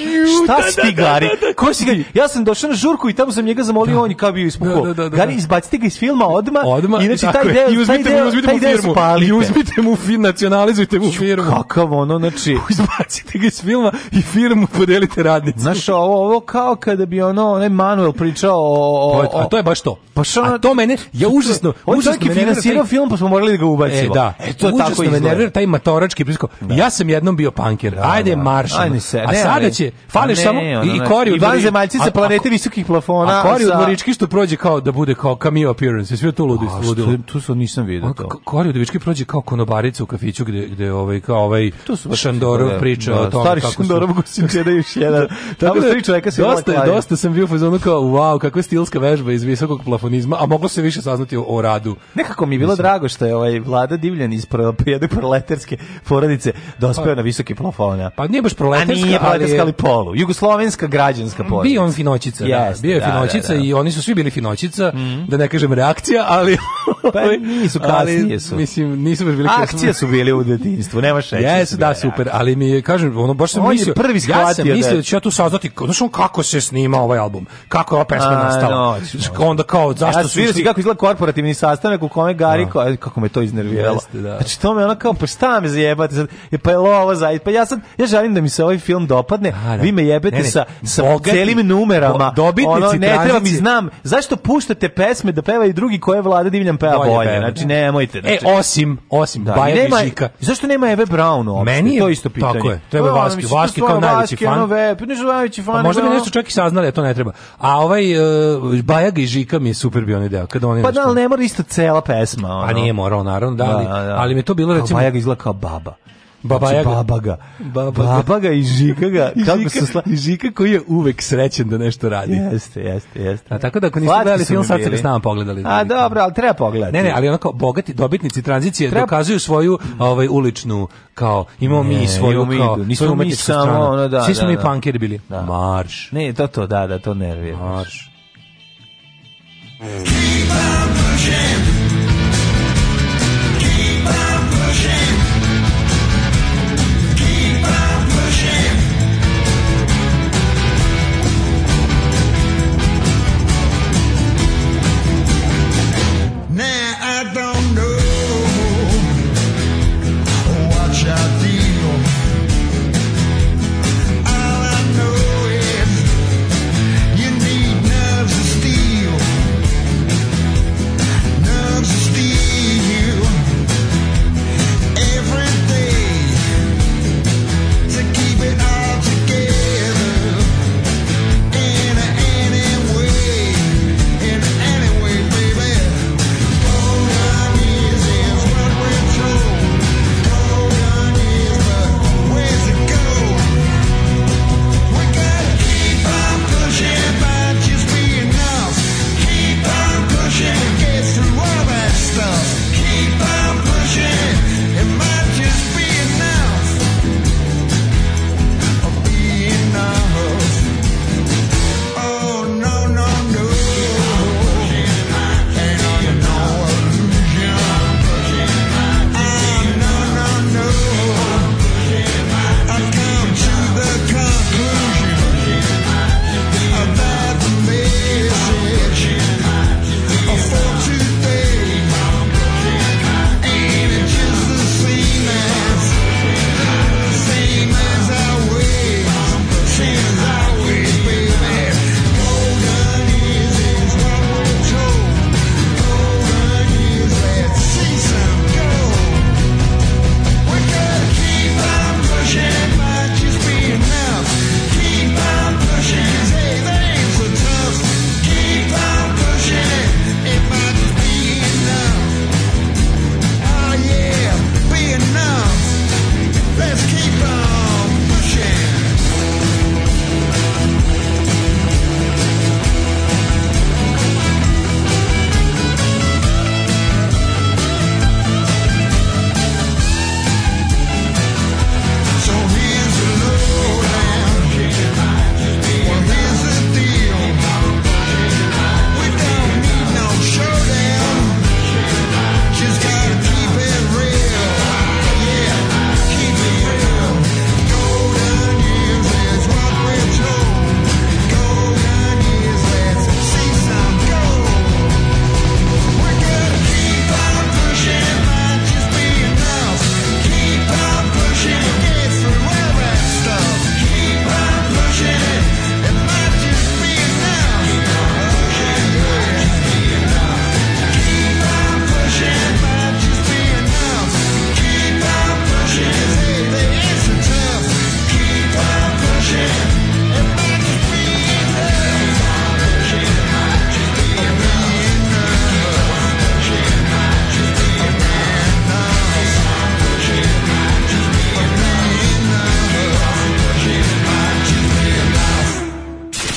da,
šta
da,
si ti, Gari?
da, da,
Ko si Gari? Ja sam došao na žurku i tamo sam njega zamolio, on je kao bio ispuhao.
Da, da, da, da.
Gari, izbacite ga iz filma odma,
Odma,
inače
tako
znači, taj
je.
deo,
i uzmite,
taj
mu-
deo,
uzmite
taj
mu
deo
firmu,
spalite.
i uzmite mu firmu, nacionalizujte mu firmu.
Kakav ono, znači...
Izbacite ga iz filma i firmu, podelite radnicu.
Znaš, ovo, ovo kao kada bi ono, onaj Manuel pričao o... o,
To je- a to je baš to.
Pa šta
a
ono-
to mene, ja užasno,
On
užasno
čovjek je
me nervira
finansirao
taj-
film, pa smo morali da ga
E,
ubacimo.
da.
E, to
Užasno
tako
me
izgleda.
nervira taj matorački prisko. Ja sam jednom bio panker. Ajde,
da.
marš.
Ajde se,
A
ne,
sada
ali-
će,
Pa
fališ
ne,
samo
ono,
i
znaš,
kori
i vanzemaljci sa planete visokih plafona,
A kori od
sa-
Morički što prođe kao da bude kao cameo appearance. Sve to ludi,
A
ludilo.
što, tu sam nisam vidio
Ono,
to.
k- Kori Udovički prođe kao konobarica u kafiću gde, gde ovaj, kao ovaj
Tu su baš-
Šandorov
da,
priča
da,
o tome
stari
kako
Šandorov
su...
Gusinčeda još jedan. Tamo
Tako da,
su tri čoveka se
dosta,
volaju.
dosta sam bio u fazonu kao, wow, kakva stilska vežba iz visokog plafonizma, a moglo se više saznati o, o radu.
Nekako mi je bilo drago što je ovaj Vlada Divljan iz pro- jedne proletarske porodice dospeo na visoki plafona.
Pa nije baš
A
proletarska,
nije proletarska,
je- Mm,
ali polu. Jugoslovenska građanska porodica.
Bio on finočica, da.
Jeste,
Bio je
da,
finočica
da, da.
i oni su svi bili finočica, da ne kažem reakcija, ali... ovaj,
Pa nisu,
ali,
kasnije su.
Mislim, nisu baš bili
Akcije su bile u detinjstvu, nema šeće.
Jesu, da, super, ali mi je, kažem, ono, baš sam
On je
mislio,
prvi
ja
shvatio
sam
da je-
mislio da ću ja tu saznati, kao, znaš on kako se snima ovaj album, kako je ova pesma
A,
nastala,
noć,
Znaš, kao onda kao, zašto
Ja
su
sam vidio si
išli-
kako izgleda korporativni sastanak u kome Gari, ko- kako me to iznerviralo.
Jeste, da.
Znači to me ono kao, pa šta me zajebate sad? Je, Pa je li ovo za... Pa ja sad, ja želim da mi se ovaj film dopadne,
A, da.
vi me jebete
Ne, ne,
sa, sa
bogati,
celim numerama.
bo- dobitnici
ono, ne treba mi
tranzicije.
znam, zašto puštate pesme da peva i drugi koje Vlada Divljan peva
Bolje
bolje?
peva,
Znači
da.
nemojte. Znači,
E, osim, osim,
Da,
da,
i
Bajer
nema,
i Žika.
zašto nema Eve Brown uopšte?
Meni je-
to je isto pitanje.
tako je, treba
Pa,
Vaski,
mislim, to
Vaski kao
stvarno
najveći
Vaski,
fan.
Ono, ve, pa nisu najveći fan.
Pa možda bi
nego ono-
nešto čak i saznali, a to ne treba. A ovaj uh, Bajaga i Žika mi je super bio onaj deo. Kada oni
Pa
nešto-
da, ali ne mora isto cela pesma. Ono.
Pa nije morao, naravno, da, ali, ali mi je to bilo,
Kao
recimo,
Bajaga izgleda kao baba.
Baba
znači,
Jaga.
babaga.
Babaga.
babaga i žikaga.
I
kako
Žika-
su sla...
i Žika koji je uvek srećen da nešto radi.
Jeste, jeste, jeste.
A tako da ako niste
Slatki
gledali
su
film,
mi
sad ste ga
bili.
s nama pogledali.
A dobro, ali treba pogledati.
Ne, ne, ali onako bogati dobitnici tranzicije
Treba-
dokazuju svoju ovaj uličnu kao imamo mi
Ne,
svoju
imamo mi,
kao
nismo
svoju
mi
umetničku
samo
stranu.
ono, da,
Svi smo
da,
mi
da.
pankeri bili.
Da.
Marš.
Ne, to to, da, da, to nervira.
Marš.
Now I don't know what I feel. All I know is you need nerves of steel. Nerves
Oh, Oh,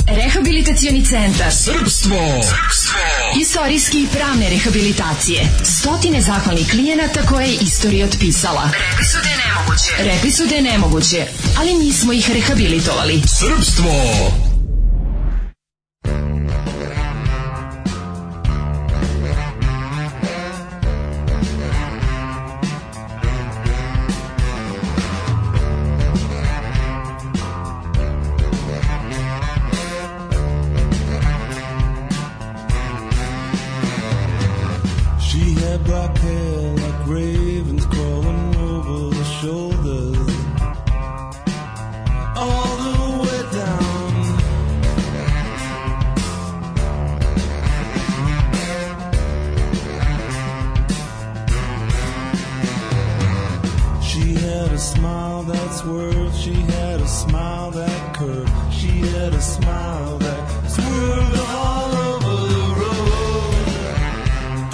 Rehabilitacioni centar Srpstvo. Istorijski i pravne rehabilitacije. Stotine zahvalnih klijenata koje je istorija otpisala. Rekli su da je nemoguće. Rekli su da je nemoguće, ali mi smo ih rehabilitovali.
She had black hair like ravens crawling over her shoulders. All the way down. She had a smile that swirled. She had a smile that curved. She had a smile that swirled all over the road.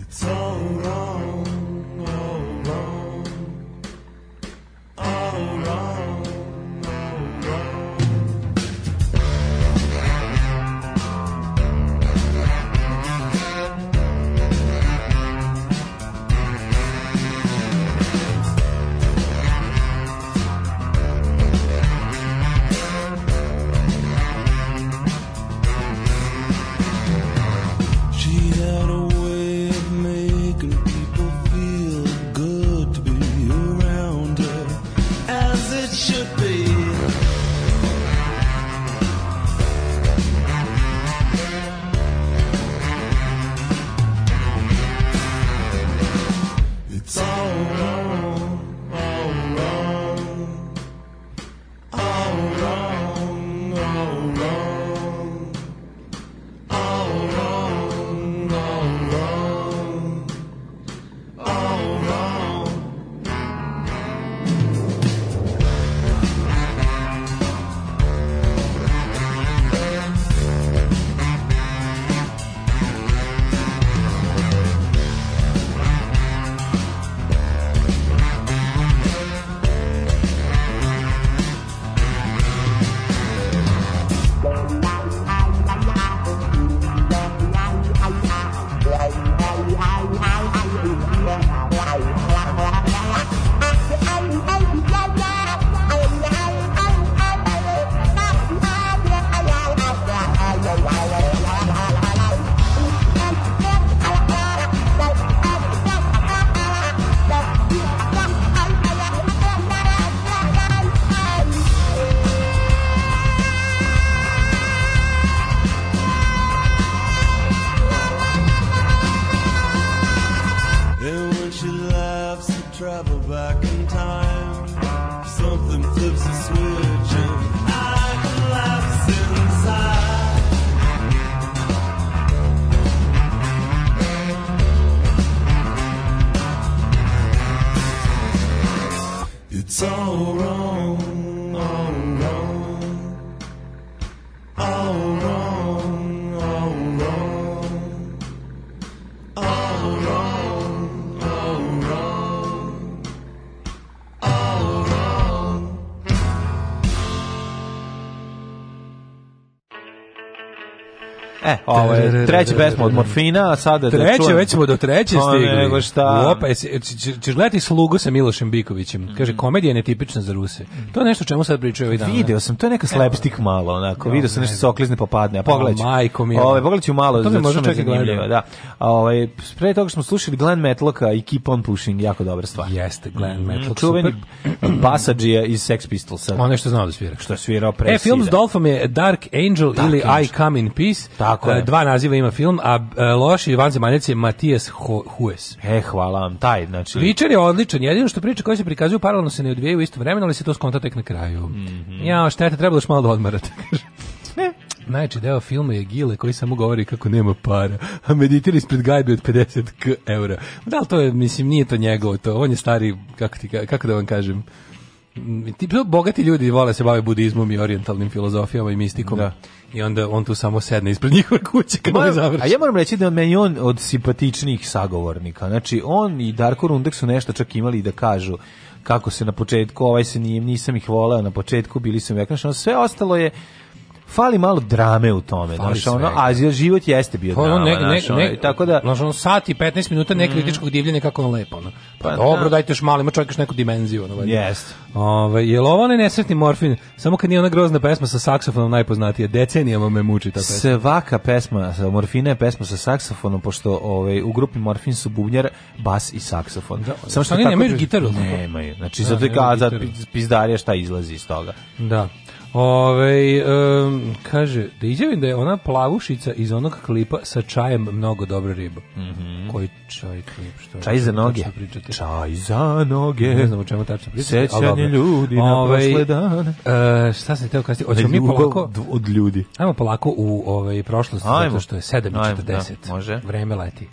It's all wrong, all wrong, all wrong. She had a way of making people feel good to be around her, as it should be. It's all wrong, all wrong, all wrong, all wrong. All wrong, all wrong, all wrong. And when she laughs, we travel back in time. Something flips a switch and I collapse inside. It's all wrong, all wrong, all wrong, all wrong, all wrong.
E, ovo je treća pesma od Morfina, a sada da
Treće,
čujem-
već smo do treće
Pa
stigli.
nego šta.
Opa, jesi, će- će- ćeš gledati slugu sa Milošem Bikovićem.
Mm.
Kaže, komedija je netipična za Ruse. To je nešto o čemu sad pričaju ovih dana.
Video sam, to je neka slapstick malo, onako, video sam nešto se oklizne pa padne, a pogledaj ću.
O, majko mila. Pa
Ovaj, pogledaj ću malo,
To bi
zato što
možda
me
čak i
zanimljivo,
gledao.
Da. A, ovaj, pre toga smo slušali Glenn Metlocka i Keep on Pushing, jako dobra stvar. Mhm,
Jeste, Glenn Matlock.
Čuveni
Čuveni.
Basadžija iz Sex Pistolsa.
Ono je što znao da svira.
što je svirao pre
E, film s
Sida.
Dolfom je Dark Angel ili
Angel.
I Come in Peace.
Tako
E,
je.
Dva naziva ima film, a e, loši vanzemanjac je Matijas Ho- Hues.
E, hvala vam, taj, znači...
Ličar je odličan, jedino što priče koje se prikazuju paralelno se ne odvijaju u isto vremenu, ali se to skonta tek na kraju.
Mhm.
Ja, šteta, trebalo još malo da odmarate, kaže. Najče deo filma je Gile koji samo govori kako nema para, a meditira ispred gajbe od 50 k eura. Da li to je, mislim, nije to njegovo to, on je stari, kako, ti, ka- kako da vam kažem, Mm, ti to bogati ljudi vole se bave budizmom i orijentalnim filozofijama i mistikom.
Da.
I onda on tu samo sedne ispred njihove kuće kad
Moram-
on završi.
a ja moram reći da meni je on od simpatičnijih sagovornika. Znači, on i Darko Rundek su nešto čak imali da kažu kako se na početku, ovaj se nije, nisam ih voleo na početku, bili sam veknaš, ono sve ostalo je fali malo drame u tome,
Fali
znaš, ono,
svega.
a život jeste bio
Pa ono
drama,
nek,
znaš,
nek,
ono,
nek,
i tako da, Mhm.
znaš, ono sat i 15 minuta nekritičkog divljenja kako on lepo. Ono. Pa,
Pa
dobro,
da.
dajte još malo, ima čovjek još neku dimenziju. Ono, valjda.
Jeste.
Ove, je li ovo onaj nesretni morfin? Samo kad nije ona grozna pesma sa saksofonom najpoznatija. Decenijama me muči ta pesma.
Svaka pesma sa Morfina je pesma sa saksofonom, pošto ovaj, u grupi Morfin su bubnjar, bas i saksofon.
Što oni
tako-
nemaju gitaru, tako?
Nemaju. Znači,
Da,
zato je
nemaju
kao za
gitaru.
pizdarija šta izlazi iz toga.
Da. Ove, em, kaže, da izjavim da je ona plavušica iz onog klipa sa čajem mnogo dobra riba. Koji čaj klip? Što
Mhm. Čaj za
što
noge.
tačno pričate?
Čaj za noge.
Ne znam o čemu tačno pričate. ali
Sećanje
dobro.
ljudi na
Ovaj,
prošle dane.
e, šta sam teo kasnije? Hoćemo mi
Ljubav
polako...
d- od ljudi.
Ajmo polako u ovaj prošlost,
Ajmo.
zato što je
Ajmo,
7.40.
da, može.
Vreme leti.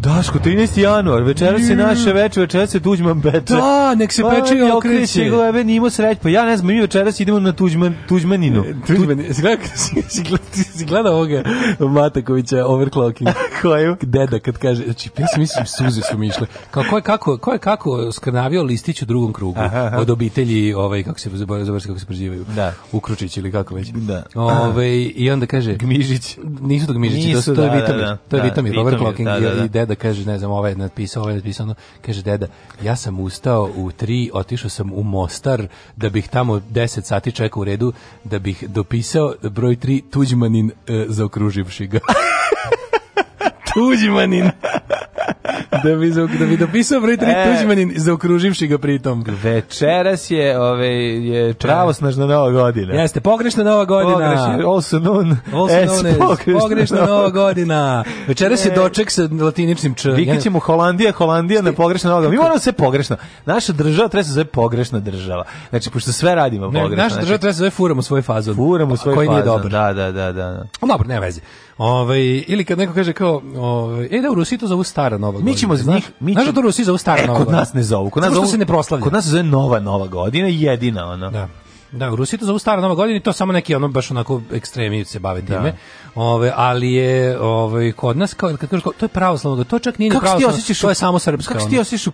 Daško, 13. januar, večeras je naše veče, večeras se Tuđman peče.
Da, nek se peče i
Pa,
okreće.
glebe, nimo sreć, pa ja ne znam, mi večeras idemo na Tuđman, Tuđmaninu.
Tuđman, si gledao, si, si, gledao- si gledao ovoga Matakovića overclocking?
Koju?
Deda kad kaže, znači ja sam mislim suze su mi išle. Kao ko je kako, ko je kako skrnavio listić u drugom krugu
Aha, aha.
od obitelji, ovaj kako se zaboravio zaboravio sam kako se prezivaju.
Da.
Ukručić ili kako već.
Da.
Ovaj i onda kaže
Gmižić.
Nisu to gmižići, to,
Nisu,
to je
da, da,
Vitomir.
da.
to je
Da,
Vitomir,
Vitomir,
overclocking
da, da,
i-
da.
i deda kaže, ne znam, ovaj je napisao, ovaj je napisao, ono, kaže deda, ja sam ustao u tri, otišao sam u Mostar, da bih tamo 10 sati čekao u redu, da bih dopisao broj 3 Tuđmanin e, zaokruživši ga. Tuđmanin. da, bi, zaok- da bi dopisao broj 3
E.
Tuđmanin zaokruživši ga pritom.
Večeras je, ove, je pravosnažna nova godina.
Jeste, pogrešna nova godina.
Pogrešna, also known
Also
as
known as
pogrešna E.
pogrešna nova godina. Večeras je doček sa latiničnim č.
Vikit ćemo Holandija, Holandija na pogrešna noga. Mi moramo sve pogrešno. Naša država treba se zove pogrešna država. Znači, pošto sve radimo
Ne,
pogrešno.
naša država treba se zove furamo svoj fazon.
Furamo
Pa,
svoj
koji nije
fazon.
dobar.
Da, da, da, da.
A Dobro, nema veze. Ovaj ili kad neko kaže kao, ovaj e da u Rusiji to zovu stara nova godina.
Mi ćemo za
Znaš-
njih, mi
Znaš
ćemo-
da to u Rusiji zovu stara
E,
nova
kod
godina?
nas ne zovu. Kod nas
Zato što
zovu-
se ne proslavlja.
Kod nas se zove nova nova godina, jedina ono. ona.
Da. Da, u Rusiji to zovu stara nova godina i to samo neki ono baš onako ekstremi se bave time. Ove, ali je ove, kod nas kao, kad kažeš kao, to je pravoslavno, to čak nije ni
Kako se ti
pravoslavno,
osjećaš?
to
u-
je samo srpska.
Kako se ti
ono.
osjećaš u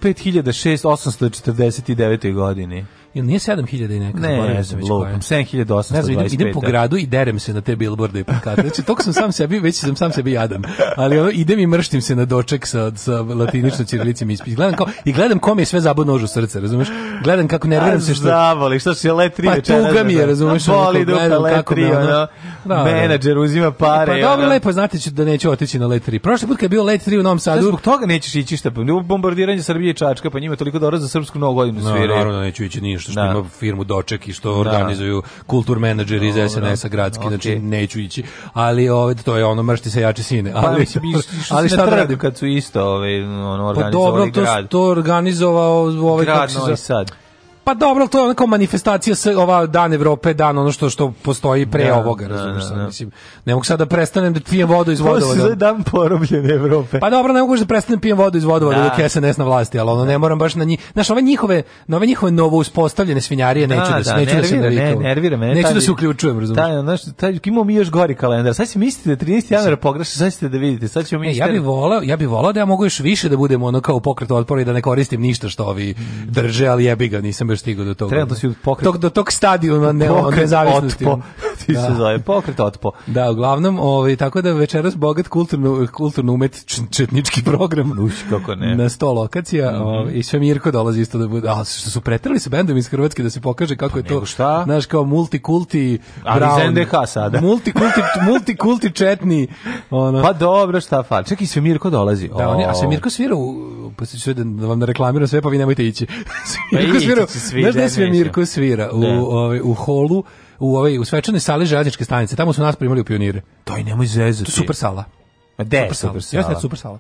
5649. godini?
Jel nije 7000 i neka?
Ne,
Zaboravio
znam,
već koja je.
lupam. 7825.
Ne znam, idem, idem po gradu i derem se na te billboarde i plakate. Znači, toliko sam sam sebi, već sam sam sebi jadan. Ali ono, idem i mrštim se na doček sa, sa latinično ćirilicom ispis. Gledam kao, I gledam kom je sve zabodno nož u srce, razumeš? Gledam kako nerviram se
se
što...
Zavoli, što se le tri
Pa
večeras.
tuga mi je,
da-
razumeš,
Da,
ono,
Boli
kao
dupe
gledam
le
kako
tri,
me ono-
ono,
Da, da.
menadžer uzima pare.
Pa dobro,
ono.
lepo, znate ću da neću otići na let 3. Prošli put kad je bio let 3 u Novom
Sad
Sadu,
zbog toga nećeš ići šta, pa u bombardiranje Srbije i Čačka, pa njima je toliko dobro za srpsku novu godinu
No,
sviraju.
naravno neću ići ništa što
Da.
ima firmu Doček i što organizuju kultur menadžeri iz SNS-a gradski, znači
Okej.
neću ići. Ali ovaj to je ono mršti se jače sine.
Pa,
Ali,
mislim, išli su
ali
na
šta da
trg
radim?
Kad su isto ovaj, ono,
Pa
organizovali
dobro, to,
grad.
to organizovao ovaj kako
grad
se
Novi
zove-
Sad.
Pa dobro, to je onako manifestacija sa ova Dan Evrope, dan ono što što postoji pre
Da,
ovoga,
da,
razumiješ
da,
sad,
da.
mislim. Ne mogu sad da prestanem da pijem vodu iz
To se zove
vodovoda.
dan porobljene Evrope.
Pa dobro, ne mogu još da prestanem pijem vodu iz vodovoda
Da.
dok je SNS na vlasti, ali ono ne moram baš na njih. Znaš, ove njihove, na ove njihove novo uspostavljene svinjarije neću da, se- neću da se
nervira, ne,
navikavam.
nervira me.
Neću
taj-
da se uključujem, razumiješ.
Taj, znaš, taj, imamo mi još gori kalendar. Sad si mislite da 13. januara pogreša, sad ćete da vidite. Sad ćemo mi...
E, ja bih voleo, ja bih voleo da ja mogu još više da budem ono kao u pokretu otpora i da ne koristim ništa što ovi drže, ali jebi ga, nisam još stigao do toga.
Mm. Trenutno si u pokret-
Tog, do tog stadiona ne, ono, nezavisnosti.
Otpo. Ti se
Da.
zove pokret otpo.
Da, uglavnom, ovaj, tako da večeras bogat kulturno, kulturno umetnički program.
Uš, kako ne. Mhm.
Na sto lokacija ovaj, i sve Mirko dolazi isto da bude. A što su pretrali sa bendom iz Hrvatske da se pokaže kako je to.
Pa nego šta?
Znaš, kao multikulti
Ali
brown.
iz NDH sada.
Multikulti, multikulti četni. Ono.
Pa dobro, šta fali. Čekaj, sve Mirko dolazi.
Da, on je, a se
O.
Mirko svira u, pa se sve da da vam ne reklamiram sve, pa vi nemojte ići. Mirko
Pa ići
svira,
će svi,
znaš
da,
da sve
neće.
Mirko svira u,
Da.
ovaj, u holu, u, ovaj, u svečanoj sali željezničke stanice, tamo su nas primali u pionire.
Daj, nemoj zezati.
To je super sala.
Ma de,
Super sala.
super
Ja sam
sala.
super sala.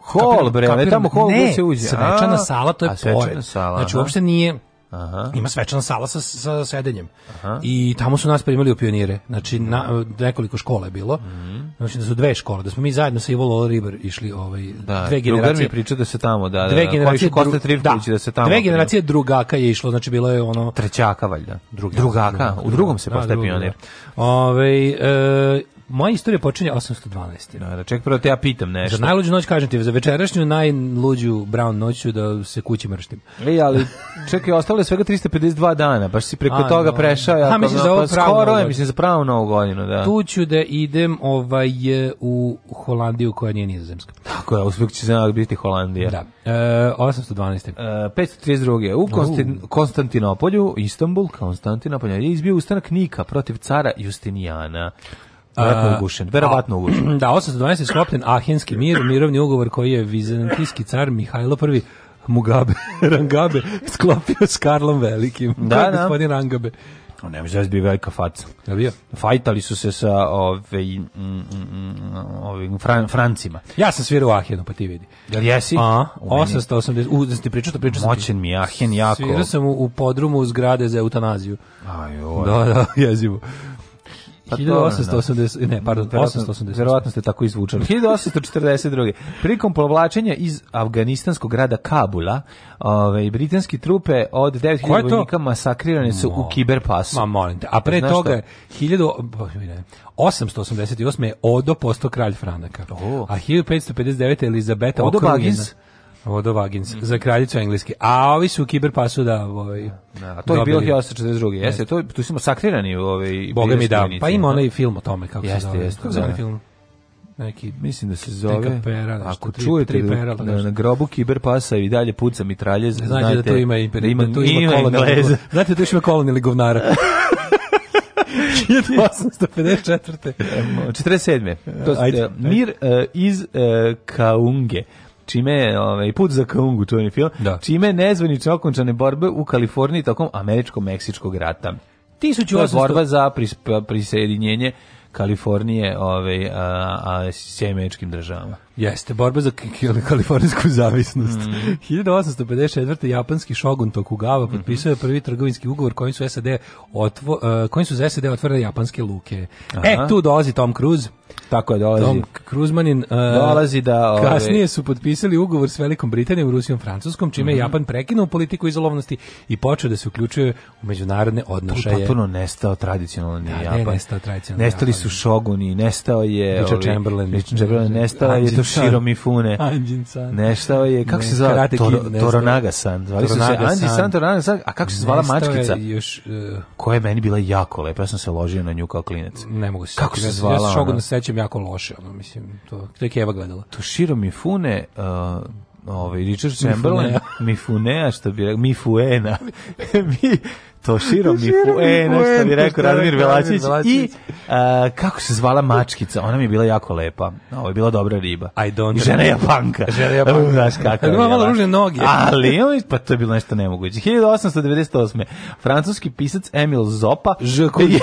Hol, bre,
Kapiram?
ne tamo hol
ne,
gde se uđe.
svečana
A,
sala, to je
a, svečana
pored.
sala,
znači,
aha.
uopšte nije Ima svečana sala sa, sa sedenjem. I tamo su nas primili u pionire. Znači, na, nekoliko škola je bilo.
Mhm.
Znači, da su dve škole. Da smo mi zajedno sa Ivo Lolo Ribar išli ovaj,
Da,
dve generacije.
mi priča da se tamo, da, da,
Dve generacije,
Kosta
dru-
Trivković da. se tamo.
dve generacije drugaka je išlo, znači bilo je ono
trećaka valjda. Drugaka, u drugom se
Da,
postaje
drugo,
pionir.
da. Ovaj, e, moja istorija počinje 812.
Da, da, ček, prvo te ja pitam
Za
nešto.
najluđu noć kažem ti, za večerašnju najluđu brown noću da se kući mrštim.
Ej, E, ali čekaj, ostalo je svega 352 dana, baš si preko
A,
toga
dobro.
prešao.
A,
jako
misliš za
mnogo,
ovu pravu
Skoro
novu
je,
godinu.
mislim, za pravu novu godinu, da.
Tu ću da idem ovaj, e, u Holandiju koja nije nizozemska.
Tako je, uspjeh će za biti Holandija.
Da. E, 812.
E, 532. U Konstin- Konstantinopolju, Istanbul, Konstantinopolja, je izbio ustanak Nika protiv cara Justinijana.
E,
Verovatno ugušen, verovatno ugušen.
Da, 812 je sklopljen Ahenski mir, mirovni ugovor koji je vizantijski car Mihajlo I Mugabe, Rangabe, sklopio s Karlom Velikim.
Da,
Ko je
da.
Gospodin Rangabe.
O, Ne može da bi velika faca.
Je bio?
Fajtali su se sa ove, mm, mm, mm, ovim Fran- Francima.
Ja sam svirao u Ahenu, pa ti vidi.
Jel jesi?
A,
U meni-
880, u, da sam ti pričao, to pričao sam ti.
Moćan mi je Ahen jako.
Svirao sam u, u podrumu zgrade za eutanaziju.
Ajoj.
Da, da, jezivo.
Pa to,
1880, ne, pardon, 880.
Verovatno ste tako izvučeni. 1842. Prilikom povlačenja iz afganistanskog grada Kabula, ove, britanski trupe od 9000
Ko je to?
vojnika masakrirane su u kiberpasu.
Ma molim te. A pre
Znaš
toga
šta?
je 1000 ne, 888 je Odo postao kralj Franaka.
O.
A 1559 je Elizabeta
Odo
okrunjena-
Vagins.
Odo Vagins, za kraljicu engleske. A ovi su u kiberpasu da... Ovaj,
Da, a to je bilo
dobili.
1842. Jeste, to, tu smo masakrirani ovaj,
Boga mi da.
britanski
Pa ima
vojnici,
onaj film o tome kako se
Jeste,
zove.
jeste,
Kako se zove
da.
onaj film? Neki
Mislim da se zove...
Neka pera, nešto,
ako
tri-
čujete
tri
da-
pera, da
da
nešto.
na grobu kiberpasa i dalje puca mitralje,
Znate, da tu ima imperi, da,
ima,
tu ima,
ima
kolonel-
Engleza.
Znate da tu još ima kolonel i govnara. 1854.
47. To
Ajde,
je
ajde.
Mir e, iz e, Kaunge čime je ovaj, put za Kaungu čuveni film,
Da.
čime je nezvanično okončane borbe u Kaliforniji tokom američko-meksičkog rata. To je
1800
borba za pris, pa- prisjedinjenje Kalifornije ovaj, a, a, s sjemeničkim državama.
Jeste, borba za k- k- kalifornijsku zavisnost.
Mhm.
1854. japanski šogun Tokugawa potpisao je prvi trgovinski ugovor kojim su SAD otvo, eh, kojim su za SAD otvorene japanske luke. E, tu dolazi Tom Cruise.
Tako Pa je, dolazi.
Tom Kruzmanin e,
Dolazi da, ovaj, ove-
kasnije su potpisali ugovor s Velikom Britanijom, Rusijom, Francuskom, čime
Mhm.
je Japan prekinuo politiku izolovnosti i počeo da se uključuje u međunarodne odnošaje.
Potpuno nestao tradicionalni
Da, ne
Japan.
nestao tradicionalni
Nestali su
Japan.
šoguni, nestao je... ovi-
Richard Chamberlain.
Richard Chamberlain, nestao je
Anjin San.
Toshiro Mifune.
Anjin San.
Nestao je, kako
Ne,
se zvala?
Karate Kid
Toro,
nestao.
Toronaga-san. Zvali su se
Toronaga-san.
Anji-san, Toronaga-san, a kako se zvala
Nestao je
mačkica?
Još, eh,
Koja je meni bila jako lepa, ja sam se ložio na nju kao klinac.
ne mogu se
Kako
setiti.
se
Ja sam-
zvala
Ja se šoguna
ona?
sećam jako loše, ono, mislim, to, to je Keva gledala.
Toshiro Mifune, uh, ovaj Richard Chamberlain, Mifunea, što bi rekao, Mifuena. Mi, Toshiro Mifuena, što bi
Mifuen,
rekao
što je
Radomir
rekao
Velačić.
Radomir
I
Velačić.
uh, kako se zvala mačkica, ona mi je bila jako lepa. Ovo je bila dobra riba.
I don't
I žena
remember.
Japanka.
Žena Japanka.
U, Znaš kako
Ima malo ružne noge.
Ali, on je- pa to je bilo nešto nemoguće. 1898. Francuski pisac Emil Zopa je,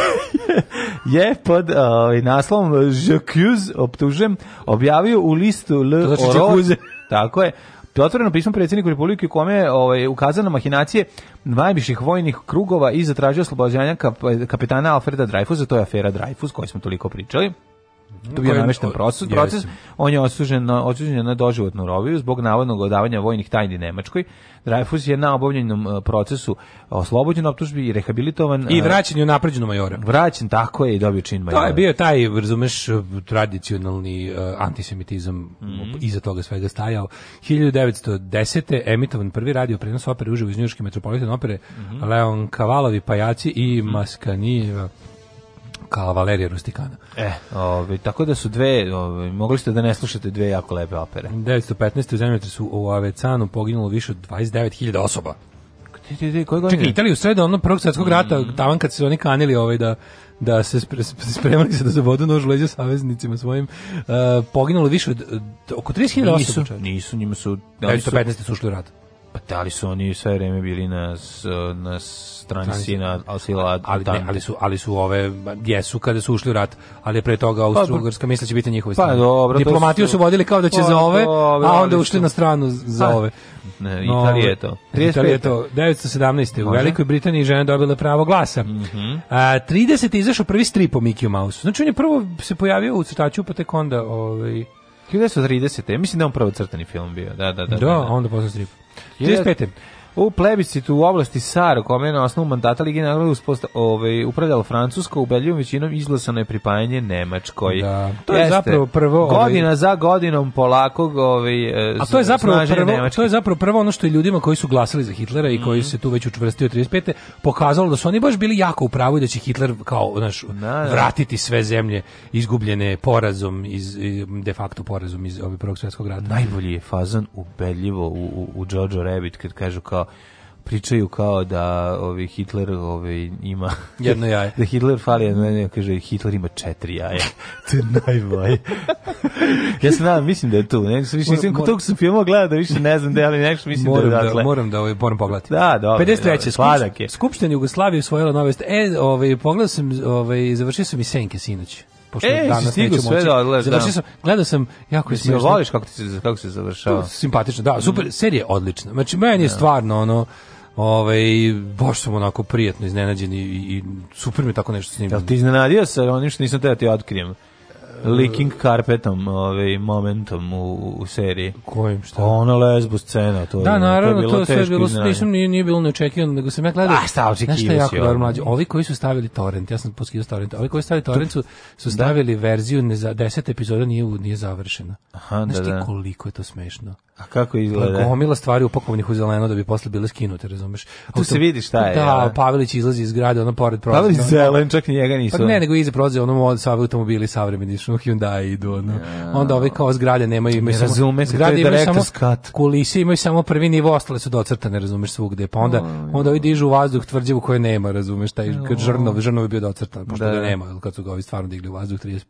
je pod ovaj, naslovom J'accuse, optužujem, objavio u listu L.
To znači
Oro-
J'accuse.
Tako je. To je Otvoreno pismo predsjedniku Republike u kome je ovaj, ukazano na mahinacije najviših vojnih krugova i zatražio oslobođenja kap- kapetana Alfreda Dreyfusa, to je afera Dreyfus koju smo toliko pričali. To bio
Koji-
namešten
o-
proces,
jeste.
proces. On je osuđen na, osuđen je na doživotnu robiju zbog navodnog odavanja vojnih tajni Nemačkoj. Dreyfus je na obavljenom e, procesu oslobođen optužbi i rehabilitovan.
I
e,
vraćanje u napređenu majora.
vraćen, tako je i dobio čin majora.
To je bio taj, razumeš, tradicionalni uh, antisemitizam
Mhm.
iza toga svega stajao. 1910. emitovan prvi radio prenos opere uživo iz Njuške metropolitan opere
Mhm.
Leon Kavalovi, Pajaci i Maskanijeva kao Valerija Rustikana.
E, ovaj, tako da su dve, ovaj, mogli ste da ne slušate dve jako lepe opere.
1915. u zemljotresu u Avecanu poginulo više od 29.000 osoba.
Ti, ti, ti, koje godine?
Čekaj, Italija u sredo ono prvog svjetskog rata,
Mm.
tavan kad su oni kanili ovaj da da se spre- spre- spremali se da zabodu nož u leđa saveznicima svojim, e, poginulo više od, od oko 30.000 osoba.
Nisu,
čovječe.
nisu, njima su... oni su-
1915. su ušli u rad.
Pa da li su oni sve vreme bili na, s- na strani
Strani-
sina Asila
ali, ne, ali su ali su ove jesu kada su ušli u rat, ali je pre toga Austrougarska misle će biti njihova strana.
Pa, dobro, to
Diplomatiju
su-
su vodili kao da će
Pa
za ove,
dobro,
a
ali
onda
su-
ušli na stranu za
Pa,
ove.
Ne,
No,
Italija je to.
Italija je to. 917. U
Može. Mhm.
Velikoj Britaniji žene dobile pravo glasa. A, 30. je izašao prvi strip o Mickey Mouse. Znači on je prvo se pojavio u crtaču, pa tek onda... Ovaj,
1930. Mislim da je on prvo crtani film bio. Da, da, da.
da, a onda posle strip. 35.
U plebiscitu u oblasti Sar, kome je na osnovu mandata Ligi naroda usposta- ovaj, upravljala Francuska, ubedljivom većinom izglasano je pripajanje Nemačkoj.
Da, to je zapravo prvo, ovaj-
Godina za godinom polakog ovaj, e,
A to je zapravo
snaženje
prvo,
Nemačke. Mhm.
to je zapravo prvo ono što je ljudima koji su glasali za Hitlera i koji su se tu već učvrstili od 35. pokazalo da su oni baš bili jako u pravu i da će Hitler kao znaš,
Da, da.
vratiti sve zemlje izgubljene porazom iz i de facto porazom iz ovog prvog svjetskog rata.
najbolji je fazan ubedljivo u, u, u Jojo Rabbit kad kažu kao pričaju kao da ovi Hitler ovi ima
Jedno jaje.
da Hitler fali jedno jaje, kaže Hitler ima četiri jaja to je najbolje ja se nadam mislim da je tu ne više
Moram-
mislim
moram-
koliko sam filmova gledao da više ne znam da je, ali nešto mislim
Moram
da je
da,
odatle.
moram da ovaj moram pogledati.
Da, dobro,
53.
dobro, sladak
Skup,
je.
Skupština Jugoslavije usvojila nove st- E, ovaj pogledao sam, ovaj završio sam i Senke sinoć. Pošto
E, si
danas
stigao
neću
sve
moći.
da odgledaš, da.
Završio sam, gledao sam jako je
mislim
smiješno.
voliš kako se kako se završava Mm.
simpatično, da, super, serija je odlična. Znači, meni je stvarno ono, ovaj, baš sam onako prijetno iznenađen i, i super mi je tako nešto snimljeno.
Jel ti iznenadio sa onim što nisam teo da ti otkrijem Leaking carpetom, ovaj momentom u, u seriji.
Kojim, šta?
Pa ona lesbo scena, to je.
Da, naravno,
je
to, je sve
teško
bilo,
iznenadjenje.
nisam, nije, nije bilo neočekivano, nego sam ja gledao.
A, šta, očekivao
Znaš šta je jako
si ovo.
dobro, mlađe? Ovi koji su stavili torrent, ja sam poskidao torrent, ovi koji su stavili torrent su, su stavili verziju, ne, za, deset epizoda nije, u- nije završena.
Aha,
Znaš
da,
ti
da.
koliko je to smešno?
A kako
Pa
izgleda?
gomila stvari upakovanih u zeleno da bi posle bile skinute, razumeš? Auto-
se vidi šta je,
Da,
jel?
Pavelić izlazi iz grada, ono pored prolaza.
Paveli
ono-
zelen, čak ni njega nisu.
Pa ne, nego iza prolaze ono od sva automobili savremeni, što Hyundai idu, ono. Onda ove kao zgrade nemaju, imaju
Ne
samo...
razume se, to
zgrade
je
imaju samo
director's cut.
Kulise imaju samo prvi nivo, ostale su docrtane, razumeš, svugde. Pa onda, onda ovi dižu u vazduh tvrđavu koje nema, razumeš, taj kad žrnov, žrnov je bio docrtan, pošto
Da.
ga nema, jel, kad su ga ovi stvarno digli u vazduh 35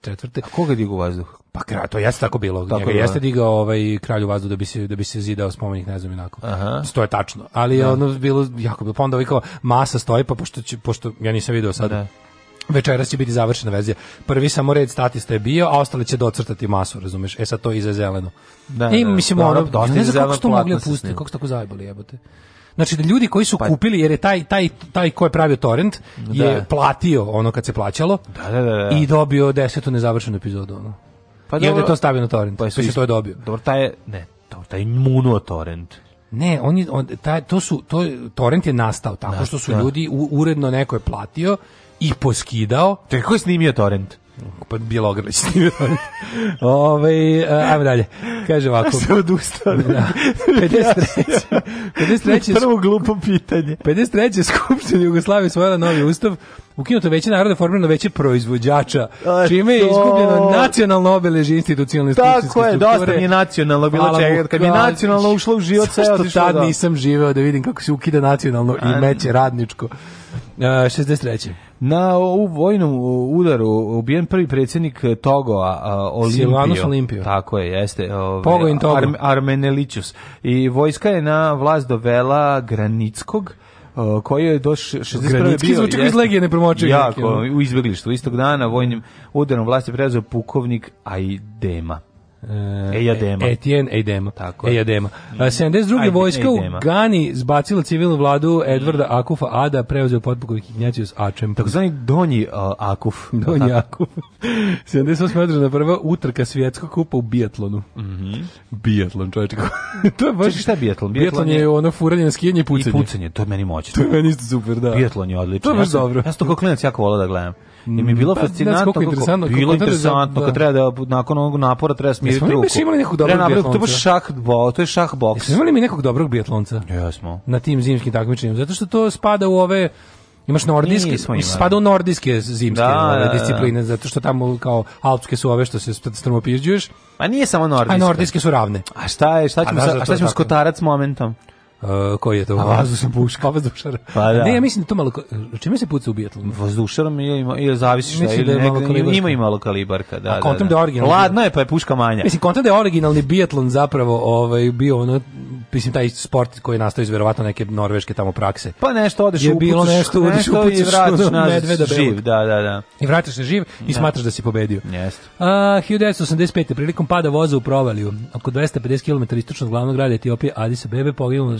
četvrte.
Koga digu u vazduh?
Pa kraj, to jeste tako bilo. Tako
Tako je bilo.
jeste digao ovaj kralj u vazduh da bi se da bi se zidao spomenik, ne znam inako.
Aha.
To je tačno. Ali je ono bilo jako bilo. Pa onda ovaj kao masa stoji pa pošto će, pošto ja nisam video sad.
Da.
Večeras će biti završena verzija. Prvi samo red statista je bio, a ostali će docrtati masu, razumeš? E sad to je iza zeleno.
Da,
I
da,
mislim
da,
ono,
dosta
ja ne
iza
znam
zelenog
kako su to mogli
platna se
opustiti,
snima.
kako su tako zajebali, jebote. Znači da ljudi koji su kupili jer je taj taj taj ko je pravio torrent je
Pa- Da.
platio ono kad se plaćalo
Da, da, da, da.
i dobio desetu nezavršenu epizodu ono. Pa je to stavio na torrent, pa se to je dobio.
Dobro, taj je, ne, dobro, taj je munuo torrent.
Ne, on je, on, taj, to su, to, je- torrent je nastao tako što su
da.
ljudi u, uredno neko je platio i poskidao,
Čekaj, ko je snimio torrent?
pa Bjelogrlić snimio torrent. Ovaj, e, ajmo dalje, kaže ovako.
odustao.
Da, 53. 53.
Prvo glupo pitanje.
53. skupština Jugoslavije svojila novi ustav, ukinuto veće naroda, formirano veće proizvođača,
A
čime je
to-
izgubljeno nacionalno obeležje institucionalne skupštinske
Tako je, dosta
strukture.
mi je nacionalno bilo
Hvala
čega.
mu,
Kad mi je
hvala.
nacionalno ušlo u život, sve je
Zašto
otišlo.
tad
da.
nisam živeo da vidim kako se ukida nacionalno i meće radničko. E, 63.
Na u vojnom udaru ubijen prvi predsjednik Togoa a, Olimpio.
Silvanus Olimpio.
Tako je, jeste. Ove,
Pogojin Togo.
Armenelićus. I vojska je na vlast dovela Granickog, a, koji je do š- 61.
Granicki
bio...
zvuči kao iz
jeste,
Legije nepremočivih neki,
Jako,
ono.
u izbjeglištu. Istog dana vojnim udarom vlasti preuzeo pukovnik Aidema. Ejadema.
E, Etienne Ejdema.
Tako je. Mm.
Ejadema. A, 72.
Ajde,
E, vojska u
Ejdema.
Gani zbacila civilnu vladu Edvarda Akufa Ada, preuzeo potpukovih Ignjacius Ačem.
Takozvani Donji a, Akuf.
Don Jakub. 78. održana prva utrka svjetskog kupa u bijatlonu. Bijatlon, čovječe. kako- to je baš...
Mhm. Čekaj, šta je bijatlon?
Bijatlon
Bijatlon
je
je-
ono furanje na skijanje i
I
pucanje.
pucanje, to je meni moćno.
To je meni isto super, da.
Biatlon je odličan.
To je baš
ja sam,
dobro.
Ja sam to kao klinac jako volao da gledam. I mi je bilo
Pa, znaš
fascinantno.
koliko je interesantno,
bilo
koliko
je
treba
interesantno,
da-
kad treba da, nakon ovog napora treba smiriti
Jesmo mi
ruku.
baš imali nekog dobrog
Treba napraviti- To je baš
biatlonca?
šah, bo, to je šah boks.
Jesmo imali mi nekog dobrog bijatlonca?
Jesmo.
na tim zimskim takmičenjima, zato što to spada u ove Imaš nordijske,
Nismo
mislim,
imali.
spada u nordijske zimske
Da,
ove,
da, da.
discipline, zato što tamo kao alpske su ove što se st- strmopirđuješ,
A nije samo
a
nordijska.
nordijske su ravne.
A šta je, šta ćemo,
A znaš
sa,
da
a
to
šta ćemo
tako?
skotarac momentom?
E, koji je to?
A vazdušna
puška. vazdušara.
Pa da.
Ne, ja mislim da to malo... ko- Čime se puca u bijatlonu?
Vazdušarom ili, ima- ili zavisi šta,
Mislim
ili
da je
negde-
malo kalibarka.
ima i malo kalibarka, da,
A kontam da je
da, da.
originalno.
Ladno je, pa je puška manja.
Mislim, konta da je originalni bijatlon zapravo ovaj, bio ono mislim, taj sport koji je nastao iz verovatno neke norveške tamo prakse.
Pa nešto odeš
Je
upucaš,
bilo nešto, odeš
i
upucaš ono
vratiš nazad
medveda
živ,
belog.
da, da, da.
I vraćaš se živ i smatraš da si pobedio.
Jeste.
A, 1985. prilikom pada voza u provaliju, oko 250 km istočnog glavnog grada Etiopije, Addis Abebe poginulo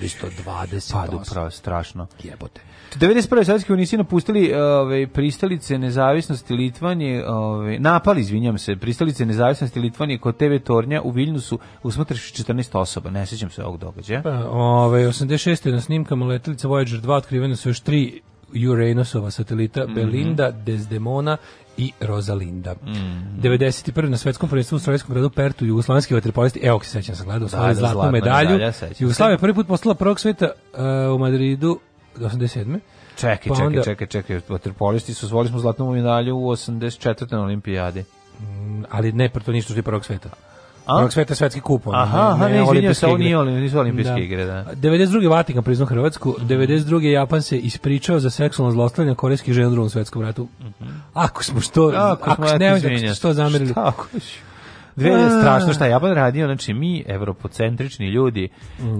420
Padu pravo, strašno.
Jebote.
91. Sovjetski unisi napustili e, ove, pristalice nezavisnosti Litvanije, ove, napali, izvinjam se, pristalice nezavisnosti Litvanije kod TV Tornja u Viljnusu usmatraš 14 osoba, ne sjećam se ovog događaja.
Pa, Ove, 86. na snimkama letelica Voyager 2 otkrivene su još tri Uranusova satelita
Mhm.
Belinda, Desdemona i Rosalinda.
Mhm.
91. na svetskom prvenstvu u strojskom gradu Pertu jugoslovenski vaterpolisti, evo se sećam sam gledao, osvojili
da,
zlatnu
zlatna
medalju.
medalja, sećam se.
Jugoslavija je prvi put postala prvog sveta e, u Madridu 87.
Čekaj,
pa
čekaj,
onda-
čekaj, čekaj, vaterpolisti su osvojili smo zlatnu medalju u 84. na olimpijadi.
Mm, ali ne, pa to nisu šli prvog sveta.
A?
Prvog sveta je svetski kup. ono,
Aha, aha, ne, izvinjam se,
olimpijske
ovo
igre.
nije olim- nisu olimpijske igre, da. Mhm.
92. Vatikan priznao Hrvatsku, 92. Japan se ispričao za seksualno zlostavljanje korejskih žena u drugom svetskom ratu. Ako smo što, ako,
Mhm. eto,
smo, nemojte,
izvinjam se.
što zamerili.
Šta ako ću? Dve je strašno šta je Japan radio, znači mi evropocentrični ljudi,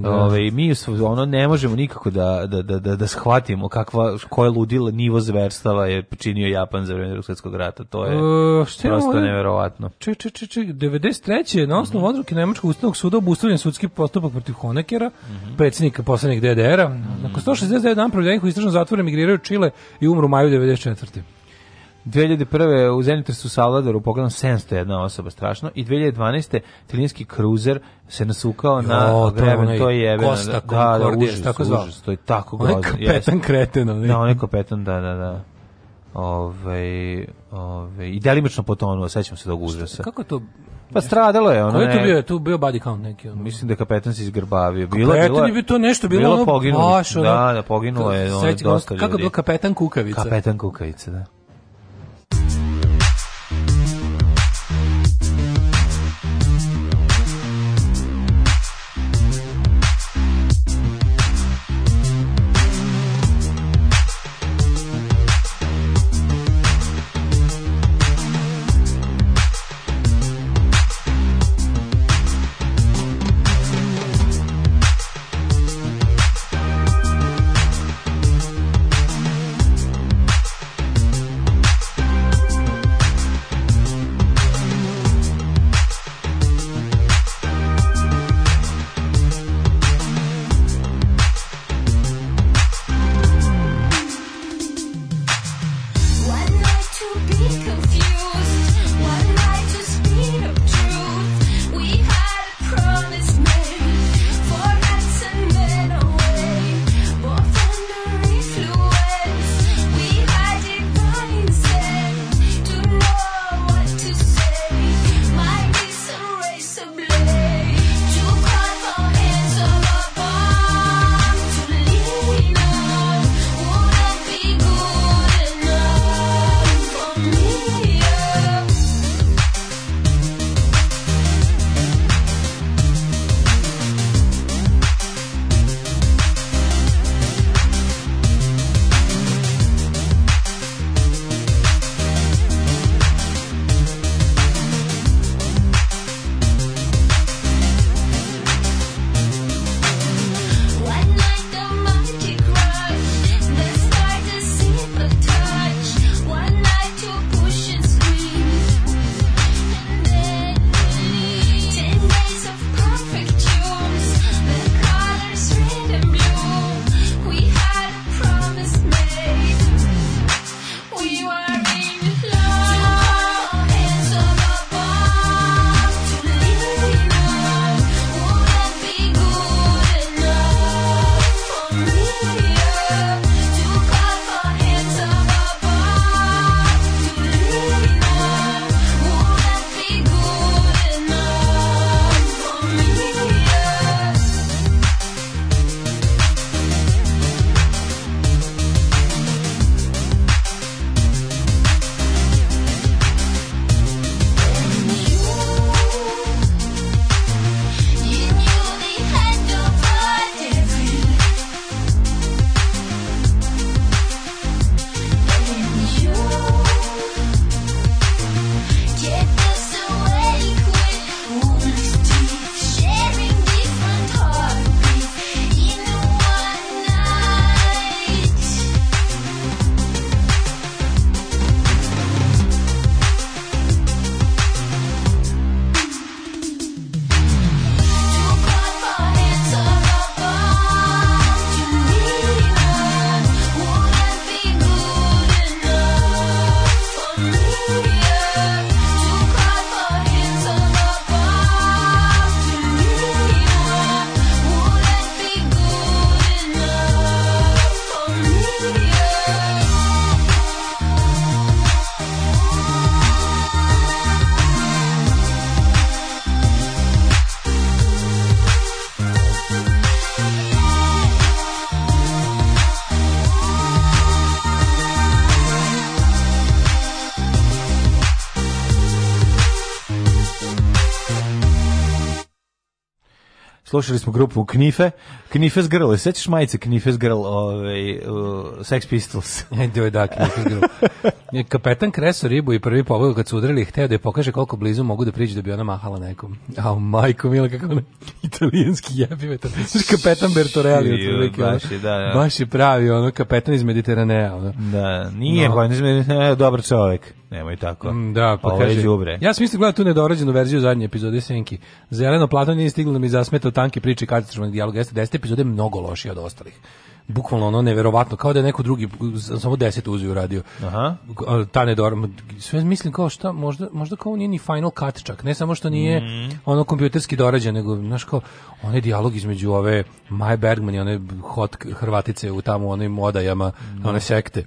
ovaj mi su- ono ne možemo nikako da da da da, da shvatimo kakva koje ludilo nivo zverstava je počinio Japan za vreme Drugog svetskog rata. To je
E, šta je
prosto
ovo?
neverovatno.
Ček, ček, ček, ček, 93. na
Mhm.
osnovu odluke Nemačkog ustavnog suda obustavljen sudski postupak protiv Honekera,
Mhm.
predsjednika poslednjeg DDR-a. Nakon 169 dana provedenih u istražnom zatvoru migriraju u Čile i umru u maju 94.
2001. u Zenitresu Salvadoru pogledano 701 osoba strašno i 2012. italijanski kruzer se nasukao
Jo,
na
to je
greven,
onaj
to je jebeno.
Costa
da, da, da,
Concordia,
užas,
tako zvao.
užas, to je tako
Onaj
grozno. jeste.
kapetan kreten, onaj.
Da, on je kapetan, da, da, da. Ove, ove, I delimično potonuo, sećam se tog užasa.
Kako je to?
Pa stradalo je ono.
Ko je
ne-
to bio? Tu bio body count neki. Ono.
Mislim da je kapetan se izgrbavio. Bilo,
Kapetan
bilo,
je bio to nešto, bilo, ono
poginulo.
baš ono-
da, da, poginulo je ono,
Sećam,
dosta
Kako je
ljudi.
bilo kapetan kukavica?
Kapetan kukavica, da.
Thank
Slušali smo grupu Knife, Knife's Girl, sećaš majice Knife's Girl, ovaj, uh, Sex Pistols.
Dio je da, knjižni grob. Je Kapetan kreso ribu i prvi pobog kad su udrili, hteo da je pokaže koliko blizu mogu da priđu da bi ona mahala nekom. A majko mila kako ona italijanski jebi me to. Znaš, kapetan Bertorelli
Joj,
otprilike. ono.
baš je, da, da.
Baš je pravi ono kapetan iz Mediteranea. Ono.
Da, nije,
No.
no. ne, e, dobar čovjek. Nemoj tako.
Mm, Da, pa
Ovo je
kaže.
đubre.
Ja sam mislio gledati tu nedorađenu verziju zadnje epizode Senki. Zeleno platno nije stiglo da mi zasmeta od tanke priče katastrofalnog dijaloga. Jeste desete epizode je mnogo lošije od ostalih. Bukvalno ono neverovatno, kao da je neko drugi z- samo deset uzeo i uradio.
Aha.
A, Ta nedorma. Sve mislim kao šta, možda, možda kao nije ni final cut čak. Ne samo što nije
Mhm. Mm.
ono kompjuterski dorađen, nego, znaš kao, onaj dijalog između ove Maje Bergman i one hot k- Hrvatice u tamo onim odajama, one sekte.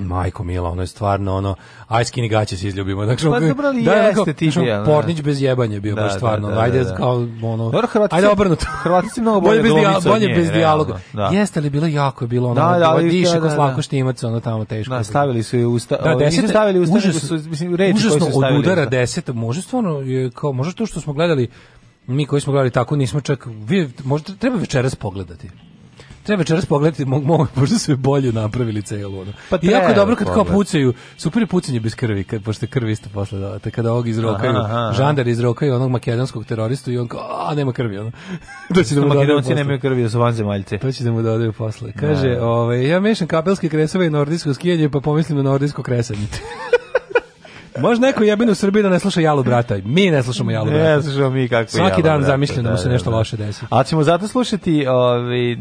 Majko Mila, ono je stvarno ono aj skini gaće se izljubimo. Dakle,
Pa
ono-
dobro, ali
ono
jeste
kao,
ti
znaš, ono,
bio, da.
Pornić bez jebanja je bio
Da,
baš
da,
stvarno.
da, da,
ajde
da.
kao ono.
Dobro, Hrvatice-
ajde obrnuto.
Hrvatice mnogo bolje
bez,
glumice od
bolje
nje,
bez dijaloga.
realno, da.
Jeste li bilo jako je bilo ono.
Da,
ono,
da, ali-
diše
da,
ko
da,
slatko
da.
štimac, ono tamo teško.
Da, stavili su je u usta,
Da,
ovaj, nisu
deseta,
stavili u usta, nego
užasno-
su, mislim, reči koje
užasno
su stavili.
od
u
udara
usta.
deseta, možda stvarno je kao, možda to što smo gledali, mi koji smo gledali tako, nismo čak, vi, možda treba večeras pogledati. Treba večeras pogledati, mo, mo, možda su je bolje napravili celo ono.
Pa
I jako je
treba
dobro kad kao
pogledati.
pucaju, super je pucanje bez krvi, kad, pošto je krv isto posle dodate, kada ovog izrokaju,
Aha, aha.
žandar izrokaju onog makedonskog teroristu i on kao, a, nema krvi, ono. da će da mu dodaju
Makedonci
posle.
nemaju krvi, da su vanzemaljci.
To će da mu dodaju posle. Kaže, ovaj, ja mešam kapelske kresove i nordijsko skijanje, pa pomislim na nordijsko kresanje. Možda neko jebin u Srbiji da ne sluša jalu brata. Mi ne slušamo jalu brata.
Ne slušamo mi kako
Svaki dan zamišljeno mu se nešto loše desi.
Ali ćemo zato slušati, ovaj,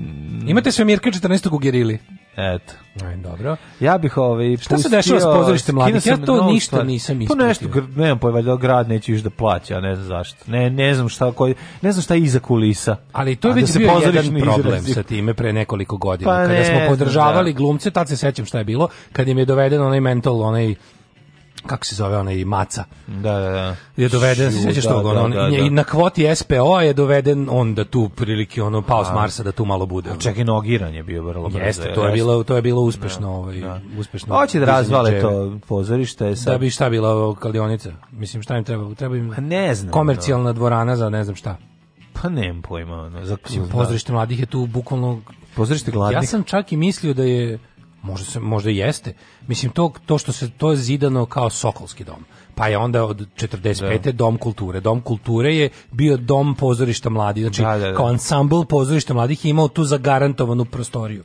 Imate sve Mirka 14. u Gerili.
eto.
Aj, dobro.
Ja bih ovaj
Šta se
pustio-
dešava s pozorištem mladih?
skinuo
Ja
sam
to
novu
ništa
stvar.
nisam
Pa
ispratio.
nešto, gr- nemam pojma, da grad neće još da plaća, ne znam zašto. Ne, ne znam šta, koji, ne znam šta je iza kulisa.
Ali to je
A
već
da se
bio jedan
pozorišni
problem
izrazi-
sa time pre nekoliko godina.
Pa
kada
ne
smo
znam,
podržavali
da.
glumce, tad se sećam šta je bilo, kad im je doveden onaj mental, onaj kako se zove onaj maca.
Da, da, da.
je doveden, se
Ju,
sećaš
da,
toga,
da,
ono,
da,
i-
da.
i na kvoti SPO je doveden onda tu prilike, ono, pao s Marsa da tu malo bude. ono.
Čak i nogiran je bio vrlo brzo.
Jeste, to je bilo, to je bilo uspešno, ovaj, uspešno.
Hoće da
dizanje
razvale
dževe.
to pozorište sad.
Da bi šta bila ovo, kladionica? Mislim, šta im treba? Treba im
Pa ne znam.
komercijalna dvorana za ne znam šta.
Pa nemam pojma. Ono, za,
Mislim, pozorište mladih je tu bukvalno...
Pozorište gladnih.
Ja sam čak i mislio da je, možda, se, možda i jeste, mislim, to, to što se to je zidano kao Sokolski dom. Pa je onda od 45. dom kulture. Dom kulture je bio dom pozorišta mladih. Znači,
Da, da, da.
kao ansambl pozorišta mladih je imao tu zagarantovanu prostoriju.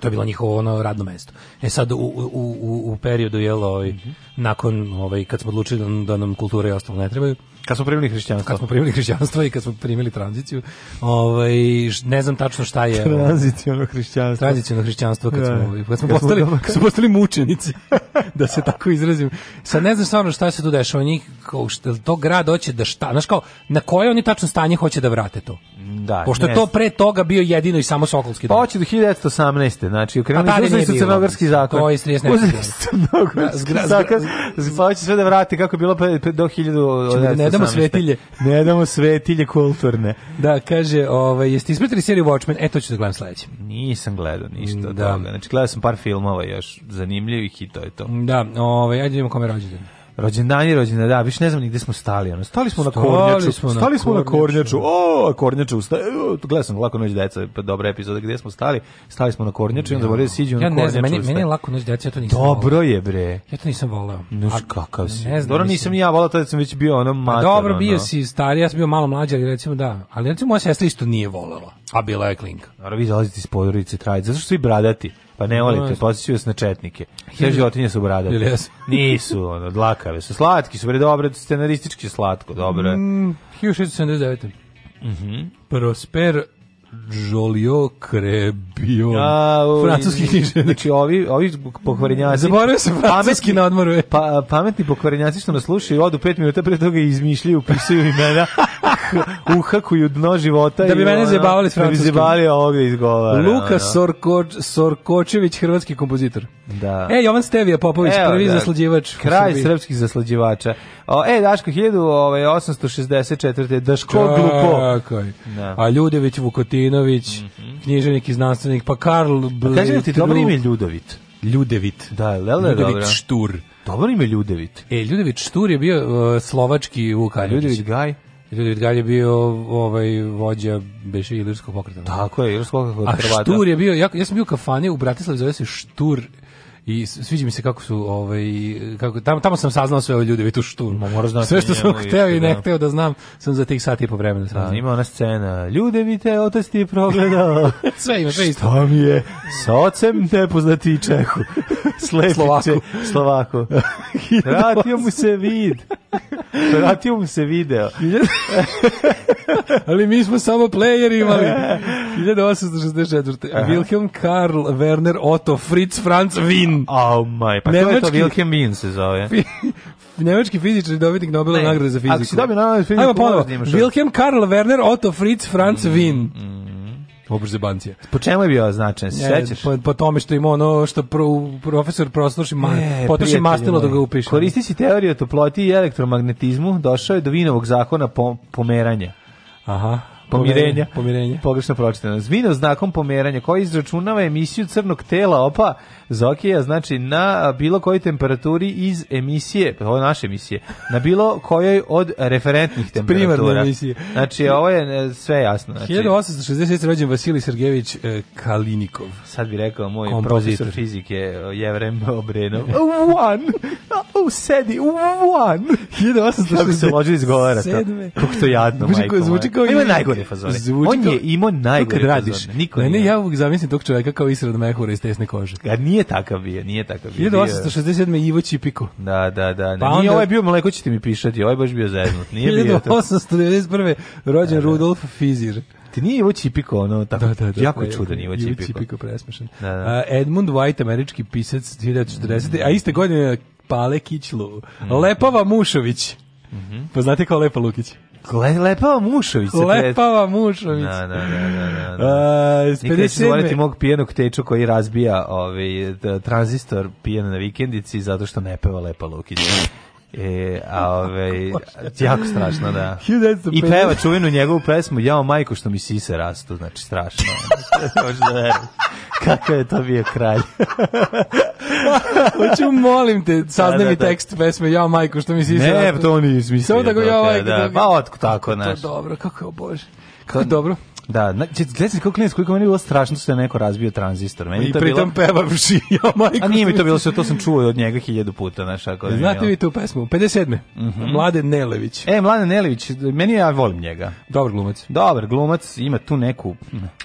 To je bilo njihovo ono radno mesto. E sad u, u, u, u periodu jel, ovaj,
Mhm.
nakon ovaj, kad smo odlučili da, da nam kultura i ostalo ne trebaju,
Kad smo primili hrišćanstvo.
kad smo primili hrišćanstvo i kad smo primili tranziciju, ovaj, š- ne znam tačno šta je... ovaj,
Tranziciono hrišćanstvo.
tradicionalno hrišćanstvo kad smo, ovaj,
Da.
kad smo
Kad smo
postali,
dobro-
kad smo postali mučenici, da se tako izrazim. Sad ne znam stvarno šta se tu dešava njih, kao šta, to grad hoće da šta, znaš kao, na koje oni tačno stanje hoće da vrate to?
Da,
Pošto je
ne
to
znam.
pre toga bio jedino i samo Sokolski
Pa
dom.
hoće do 1918. Znači,
A
okrenuli
tada
uzeli
nije
su
bilo.
crnogorski zakon.
To je iz 39.
Uzeli su crnogorski
Zgra-
zakon. Pa hoće sve da vrati kako je bilo pre, pre, do 1918.
Ćemo da Znači, ne damo svetilje.
Ne damo svetilje kulturne.
Da, kaže, ovaj, jeste ispratili seriju Watchmen? E, to ću da gledam sledeće.
Nisam gledao ništa od
Da.
toga. Znači, gledao sam par filmova još zanimljivih i to je to.
Da, ovaj, ajde vidimo kome je rođendan.
Rođendani, rođendani, da, više ne znam ni gde smo stali. Ono. Stali smo
Stali
na Kornjaču.
smo na
stali smo na
Kornjaču.
Kornjaču. O, Kornjaču. Sta, o, gledao sam Lako noć deca, pa dobra epizoda. Gde smo stali? Stali smo na Kornjaču i onda zaboravio da ono, siđemo
Ja
na
ne
Kornjaču.
znam, meni,
usta.
meni je lako noć djeca, ja to nisam voleo.
Dobro je, bre.
Ja to nisam voleo.
Znaš
A-
kakav si.
Ne znam,
Dobro,
mislim-
nisam ni ja volao, tada sam već bio ono
Pa
mater.
dobro, bio
ono.
si stariji, ja sam bio malo mlađi, ali recimo da. Ali recimo moja sestra isto nije volela, a bila je klinka.
Dobro, vi dolazite iz podorice trajite, zato što svi bradati. Pa ne volite,
jasno.
posjećaju vas na četnike. Sve životinje su bradati.
Ili jesu?
Nisu, ono, dlakave su. Slatki su, bre, dobro, scenaristički je slatko, dobro je.
Mm, 1679.
Mhm.
Prosper Joliot Crebion.
Au,
francuski književnik.
Znači, ovi, ovi pokvarenjaci...
Zaboravio sam francuski na odmoru. e. je.
Pa, pametni pokvarenjaci što nas slušaju, odu pet minuta pre toga i izmišljaju, upisuju imena, uhakuju dno života.
Da bi
i
mene
ono,
zajebavali s
Da bi
francuskim.
zjebali ovog da izgovara.
Luka
ono.
Sorkoč, Sorkočević, hrvatski kompozitor.
Da.
E, Jovan Stevija Popović,
Evo
prvi
ga,
zaslađivač. u
Kraj
Srbiji.
srpskih zaslađivača. O, e, Daško, 1864. Daško glupo.
Tako je.
Da.
A Ljudević, Vukotinović, književnik i znanstvenik, Mhm. pa Karl...
Pa Kaži li ti
Bretru-
dobro ime Ljudovit?
Ljudevit.
Da, je li da je dobro?
Ljudevit Štur.
Dobro ime Ljudovit.
E, Ljudević Štur je bio uh, slovački Vuk Karadžić.
Ljudovit Gaj.
Ljudi Galj je bio ovaj vođa beše ilirskog pokreta.
Tako je, Irsko kako
A
od Hrvata.
Štur je bio, ja, ja sam bio u kafani u Bratislavi, zove se Štur i s- sviđa mi se kako su ovaj kako tamo tamo sam saznao sve ove ljude vi tu Štur.
Ma, moraš znati
sve što sam
Znači, njemu
hteo
isto,
i ne
da.
hteo da znam, sam za tih sati i po vremena
Da,
saznao.
ima ona scena. Ljude vi te otac ti je progledao.
sve ima sve isto.
Šta mi je? Sa ocem nepoznati Čehu. Slepi
Slovaku.
Čeh- Slovaku. Vratio mu se vid. Vratio mu se video.
Ali mi smo samo playeri imali. 1864. Wilhelm Karl Werner Otto Fritz Franz Wien.
Au maj, pa to je to
Nemački-
Wilhelm Wien se zove.
Nemački fizičar i dobitnik Nobelove
Ne.
nagrade za fiziku.
Ako si dobio Nobelove fiziku,
Ajmo ponovo.
moraš da imaš ovo.
Wilhelm Karl Werner Otto Fritz
Mm,
Franz Wien. Obrzbancija.
Po čemu je bio značajan? Se sećaš?
Po, po tome što ima ono što pro, profesor prosluši, ma,
E,
potroši
prijatelju
mastilo
moj.
da ga upiše.
Koristeći teoriju o toploti i elektromagnetizmu, došao je do Vinovog zakona po, pomeranja.
Aha.
Pomirenja.
Pomirenja.
Pogrešno pročitano. Zvinov znakom pomeranja koji izračunava emisiju crnog tela opa Zokija, znači na bilo kojoj temperaturi iz emisije, ovo je naše emisije, na bilo kojoj od referentnih temperatura.
Primarne emisije.
Znači, ovo je e, sve jasno. Znači,
1860 rođen Vasilij Sergejević e, Kalinikov.
sad bi rekao moj
Kompozitor.
profesor fizike e, Jevrem Obrenov. One! Oh, sedi, one!
1860.
Kako se loži izgovara to?
Sedme.
Kako to jadno,
Zvuči
majko
kao- zvuči kao
moja. Ima
i-
najgore fazone.
zvuči
On
kao-
je imao najgore
Kad radiš.
fazone. Niko
ne, ne,
nije.
ja uvijek zamislim tog čoveka kao Israel Mehura iz tesne kože.
A nije takav bio, nije takav bio.
1867. Ivo Čipiko.
Da, da, da. Ne.
Pa
nije
onda-
ovaj bio mleko ćete mi pišati, ovaj je baš bio zeznut. Nije bio to.
1891. rođen Rudolf Fizir.
Ti nije Ivo Čipiko, ono, tako, jako je čudan Ivo Čipiko.
Čipiko presmešan.
Da, da. Mm.
A, Edmund White, američki pisac 1940. A iste godine Pale Kićlu.
Mm-hmm.
Lepava Mušović. Pa Poznate kao Lepa Lukić.
Gle- Mm-hmm. Lepava Mušović. se pre-
Lepava Mušović.
Da, da, da, da, da. da.
A, s
Nikad neću zaboraviti
57.
mog pijenog teču koji razbija ovaj, t- tranzistor pijen na vikendici zato što ne peva Lepa Lukić. E, a ovaj, jako strašno, da.
1950.
I peva čuvenu njegovu pesmu Jao majko što mi sise rastu, znači strašno. Možeš da veruješ. Kakav je to bio kralj.
Hoću, molim te, saznaj
Da, da,
mi
da.
tekst pesme, ja majko, što mi si
ne, pa to on nije smislio.
Samo tako ja ovaj...
Da,
kako-
pa otko tako,
kako je to
znaš.
Dobro, kako je, o Bože. Kako je dobro.
Da, znači, gledajte kako klinac, koliko meni je bilo strašno što je neko razbio tranzistor. Meni
I
to je bilo...
pritom peva vši, ja majko.
A nije mi
što
to bilo sve, to sam čuo od njega hiljadu puta, znaš, ako... mi je
Znate
ono-
vi tu pesmu? 57.
Mhm.
Mlade Nelević.
E, Mladen Nelević, meni je- ja volim njega.
Dobar glumac.
Dobar glumac, ima tu neku...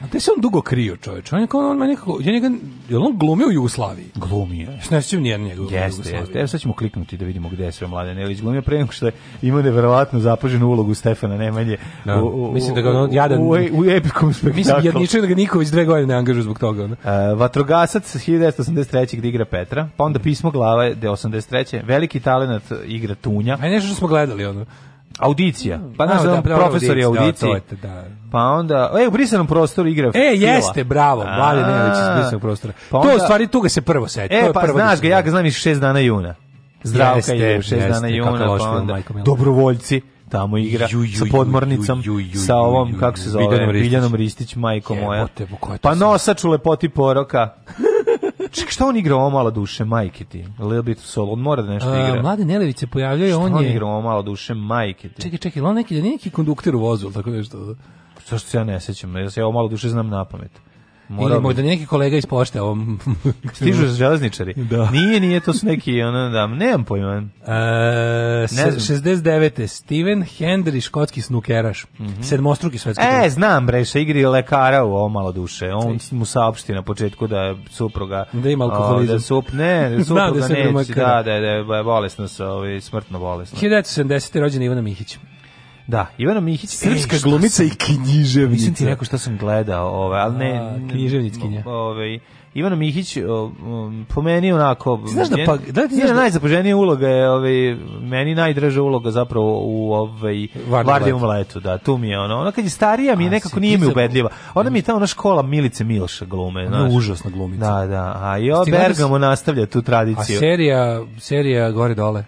A te se on dugo krio, čoveč. On je kao on me nekako, ja njega, je li on glumio u Jugoslaviji?
Glumije.
Što ne sjećam nijedan njegov u
Jeste,
Jugoslaviji.
jeste. Evo sad ćemo kliknuti da vidimo gde je sve Mladen Nelić glumio pre nego što je imao neverovatno zapaženu ulogu Stefana Nemanje
Da. Mislim da ga ono jadan-
u, e- u epikom spektaklu.
Mislim, jedničak da ga Niković dve godine ne angažuje zbog toga. ono.
E, vatrogasac 1983. gde igra Petra, pa
Mhm.
onda pismo glave de 83. Veliki talenat igra Tunja.
A je nešto što smo gledali, ono. Mm.
Audicija. Pa
A,
znaš da
da,
on
da,
profesor je
audicija, da,
audicije.
to je to, da.
Pa onda, e, u brisanom prostoru igra
E,
Fila.
jeste, bravo, Mlade
A,
Nelević iz Blisanog prostora.
pa
to
onda-
u stvari, tu ga se prvo seti. to
E,
je
pa
prvo
znaš
se
ga, ja ga
seti.
znam iz 6 dana juna. Zdravka
Jeste,
je u 6 dana
jeste, kako
juna,
loš
pa
film,
onda
Majko Milanović.
Dobrovoljci tamo igra
Ju, ju,
sa
ju,
podmornicom,
ju, ju, ju,
sa
ju,
ovom,
ju,
kako se
ju,
zove,
Biljanom Ristić.
Biljanom Ristić, majko
Jebote,
moja.
bo, ko je to
Pa
sad?
nosač u lepoti poroka. Ček, šta on igra ovo malo duše, majke ti? Little bit soul, on mora da nešto
A,
igra.
Mlade Nelević se pojavljaju,
Šta
on
on
je...
igra ovo malo duše, majke ti?
Čekaj, čekaj, on neki, da nije neki kondukter u vozu, ili tako nešto?
Zašto se ja ne sećam? Ja se ovo malo duše znam na pamet.
Ili
Morao bi-
možda neki kolega iz pošte ovom...
Stižu železničari.
Da.
Nije, nije, to su neki, ono, da, nemam pojma.
E,
Ne
se- 69. Steven Hendry, škotski snukeraš. Sedmostruki svetski.
E,
prvak.
znam bre, sa igri lekara u ovo malo duše. On mu saopšti na početku da je supruga...
Da ima alkoholizam.
O, Da sup, ne, da
Zna
supruga
da se
neće.
premakne.
Da, da, je- da, je- da je bolesna sa, ovaj, smrtno bolesna.
1970. rođena Ivana Mihić. E,
Da, Ivana Mihić, srpska
šta
glumica
sam-
i književnica. Nisam ti rekao šta sam gledao, ovaj, ali ne...
A,
ne-
književnickinja.
Ovaj, Ivana Mihić, o, um, po meni onako...
Znaš da
njen-
pa- da ti znaš
njena
da-
najzapoženija uloga je, ovaj, meni najdraža uloga zapravo u ovaj,
Vardijevom
Vardijevom letu, da, tu mi je ono. Ona kad je starija mi
A,
nekako
si
nije
ti
mi
za-
ubedljiva. Ona mi je ta ona škola Milice Milša glume,
Ona je
znaš.
užasna glumica.
Da, da, a jo,
Jesi gledao
Bergamo nastavlja tu
A
tradiciju.
serija, serija gore dole.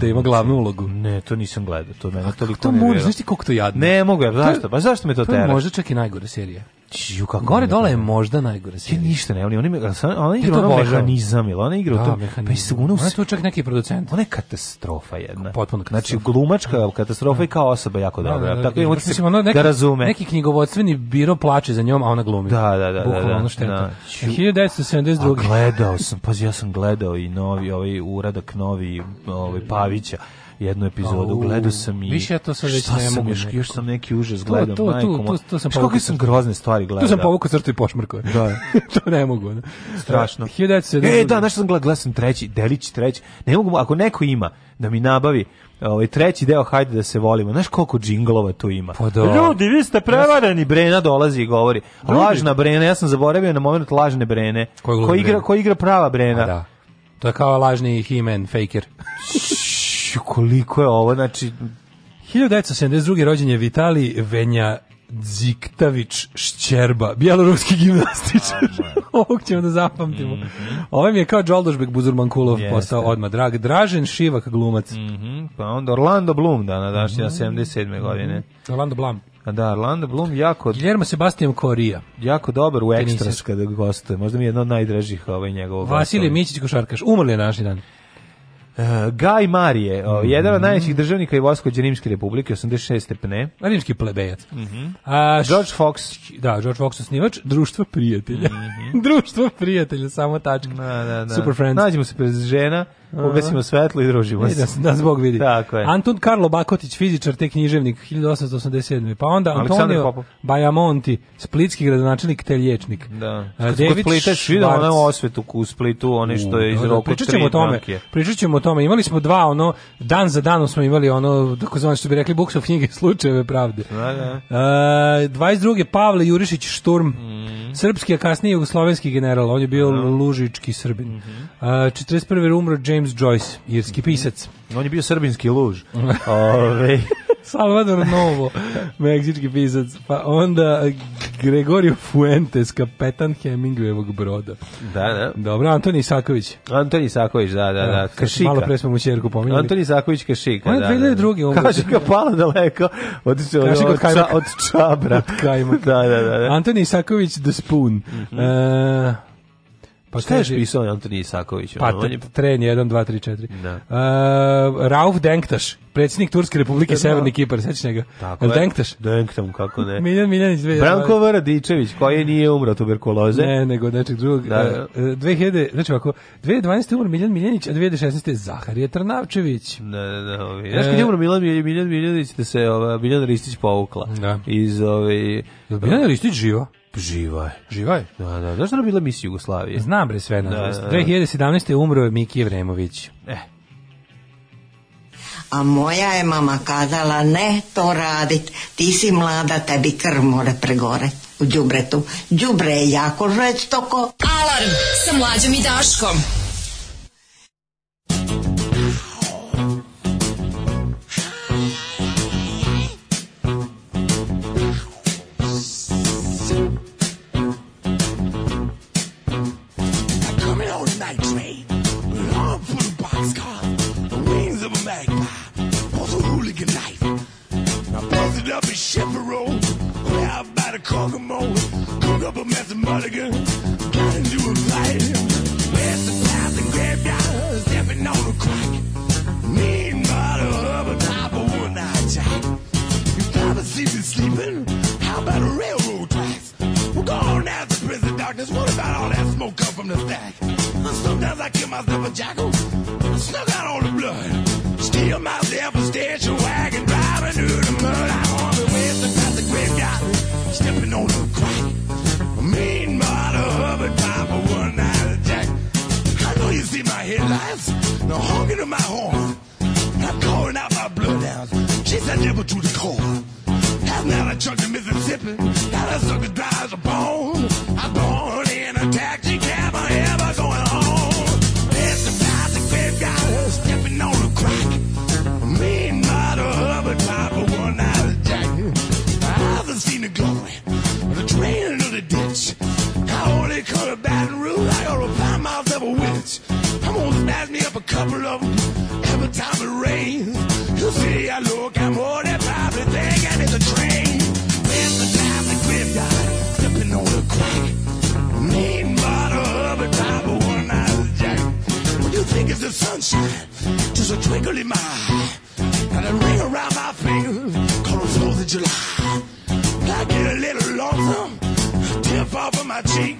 Da ima glavnu ulogu.
Ne, to nisam gledao, to mene toliko
To
nervira.
mora, znaš ti koliko to jadno?
Ne mogu, ja,
To je-
zašto? Pa zašto me to
To je
tera?
možda čak i najgore serija.
Čiju, kako
Gore
mi
dole je
to-
možda najgore.
Ja
serija.
ništa ne, oni oni me- ona- ona
to
igra ono
obožavam.
mehanizam, ili ona igra u
Da,
to, pa
mehanizam.
i se ona u
Ona je
s-
tu čak neki producent.
ona je katastrofa jedna.
Potpuno
Znači,
katastrofa.
glumačka katastrofa i kao osoba jako dobra. tako imamo
baš mislim, ono neki,
da razume.
Neki knjigovodstveni biro plače za njom, a ona glumi.
Da, da, da, da,
Bukvalno
da.
ono šteta.
Da. Ću-
1972.
A gledao sam, pazi, ja sam gledao i novi, ovaj uradak novi ovaj, Pavića jednu epizodu,
Au,
gledao sam i...
više ja to sad već
Šta
ne
sam
mogu
Još,
nekako.
još sam neki užas gledao,
to- tu-
majko
tu-
moja.
tu sam
Znaš
povukao
Kakve sam
crtu.
grozne stvari gledao.
Tu sam
da.
povukao crtu i pošmrkao.
Da.
to ne mogu. ono. Ne?
Strašno.
1972.
E, da, znaš što sam gledao, gledao sam treći, delić treći. Ne mogu, ako neko ima da mi nabavi ovaj treći deo, hajde da se volimo. Znaš koliko džinglova tu ima?
Pa da.
Ljudi, vi ste prevareni, Brena dolazi i govori. Lažna Brena, ja sam zaboravio na moment lažne Brene.
Koju glumi
Ko igra,
Brenu?
ko igra prava Brena?
Da. To je kao lažni He-Man, faker.
Ću, koliko je ovo, znači,
1972. rođen je Vitali Venja Dziktavić Šćerba, bjeloruski gimnastičar. Ovog ćemo da zapamtimo.
Mhm.
Ovaj mi je kao Đoldošbek Buzurmankulov
Jeste.
postao odmah drag. Dražen Šivak glumac. Mhm.
pa onda Orlando Bloom dana, dašnja, 77. godine.
Orlando Blam.
A da, Orlando Bloom jako,
Guillermo Sebastian Korija.
jako dobar u
Tenisar.
ekstras kada gostuje. Možda mi je jedno od najdražih ovaj njegovog.
Vasilije Mićić Košarkaš. Umrli je naši dan.
Uh, Gaj Marije, o,
Mhm.
jedan od najvećih državnika i vojskovođa Rimske republike, 86. pne.
Rimski plebejac.
Mhm.
A, š-
George Fox.
da, George Fox osnivač, društvo prijatelja. društvo prijatelja, samo tačka.
Da, da, Mhm. da.
Super friends.
Nađemo se pred žena, obesimo svetlo i družimo
E, da,
se.
se- da zbog vidi.
Tako je.
Anton Karlo Bakotić, fizičar te književnik 1887. Pa onda
Aleksandar
Antonio
Popov.
Bajamonti, splitski gradonačelnik te liječnik.
Da.
A,
Kad
David
Splita
Schwartz.
vidio ono osvetu u Splitu, one Ono što je iz
Mm, Da, da,
roku
pričat ćemo o
tri
tome.
banke.
Pričat ćemo o tome. Imali smo dva ono dan za danom smo imali ono takozvano što bi rekli buksov knjige slučajeve pravde.
Da, da.
E, 22. Pavle Jurišić Šturm,
Mhm.
srpski, a kasnije jugoslovenski general, on je bio lužički srbin.
Mhm.
E, 41. umro James Joyce, irski pisac.
On je bio srbinski luž. Ove,
Salvador Novo, meksički pisac. Pa onda Gregorio Fuentes, kapetan Hemingwayevog broda.
da, da.
Dobro, Antoni Isaković.
Antoni Saković, da, da, da. Kašika.
Malo pre smo mu čerku pominjali.
Antoni Isaković Kašika.
On je 2002. umro.
Kašika pala daleko od, od,
Kašika od
od, ča,
Kajmaka.
od čabra.
Od Kajmaka.
da, da, da. da.
Antoni Isaković The Spoon. E, pa
Šta je još
kaže-
pisao Antoni Isaković?
Pa,
on je
t- tren 1, 2, 3, 4.
Da.
E, Rauf Denktaš, predsjednik Turske republike, Severni Kipar, sećaš njega?
Tako
Jel
je.
Denktaš?
Denktam, kako ne.
Miljan Miljanić. dve-
Branko Varadičević, koji nije umro od tuberkuloze.
Ne, nego nečeg drugog.
Da, da.
E, e, 2000, znači ovako, 2012. umro Miljan Miljanić, a 2016. Zaharije Trnavčević.
Da, da, da.
E,
Ovi. Znaš kad je umro Milan Miljan Miljan Miljanić, da se ova, Miljan Ristić povukla.
Da.
Iz ove...
Miljan Ristić živa?
Živa je.
Živa je.
Da, da. Znaš da je bila misija Jugoslavije?
Znam bre sve na
Da,
zvijest.
da, da.
2017. umro je Miki Evremović.
Eh,
A moja je mama kazala ne to radit, ti si mlada, tebi krv more pregore u đubretu. Đubre je jako žestoko.
Alarm sa mlađom i Daškom.
I come in on a night train, long for the boxcar, the wings of a magpie, pulls a hooligan knife. I busted up in Chevrolet, grabbed by the Kokomo, cook up a mess of mulligan, got into a fight. Where's the past and graveyard, stepping on a crack. Mean bottle of a top of one night jack. You probably see me sleeping, how about a railroad tracks? We're going out to prison darkness, what about all that smoke come from the stack? Sometimes I kill myself a jackal, snuck out all the blood. Steal myself a station wagon, driving through the mud. I on the way to past the graveyard, stepping on the crack. A mean mother of a time for one night attack. I know you see my headlights, the honking of my horn. I'm calling out my bloodhounds. She's a devil to the core. That's not a chunk of Mississippi. Now that sucker drives a bone. I'm born in a taxi cab. I ever going home. It's about the graveyard stepping on a crack. Mean mother of a type of one night attack. I haven't seen the glory. The train into the ditch. I only come to Baton Rouge. I gotta find myself a witch. I'm gonna smash me up a couple of 'em every time it rains. You see, I look, I'm more than probably thinking it's a train. Where's the time the graveyard? Stepping the sunshine, just a twinkle in my eye. Got a ring around my finger, called the 4th of July. I get a little lonesome, tip off of my cheek.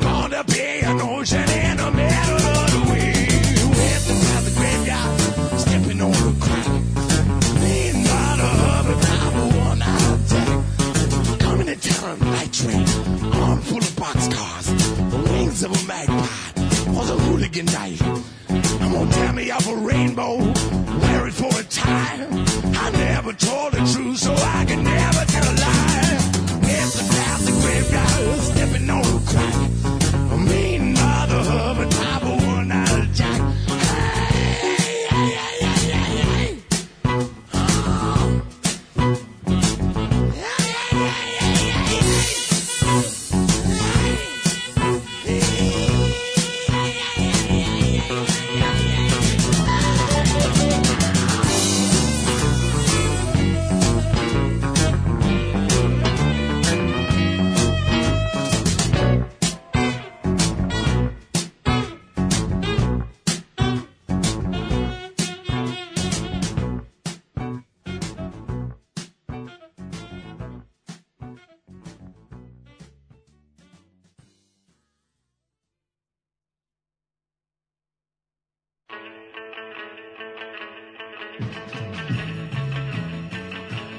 Gonna be an ocean in the middle of the week. Whipping out the graveyard, stepping on the crack. Laying down a hubby, power one out attack. Coming to town, night train, arm full of boxcars. The wings of a magpie, was a hooligan night. I'm gonna tear me up a rainbow, wear it for a time. I never told the truth, so I can never tell a lie. It's the past the graveyard, stepping on the crack. A mean mother of a type of one out of jack. Hey, hey, hey, hey, hey, hey. Oh. Hey, hey, hey, hey, hey, hey.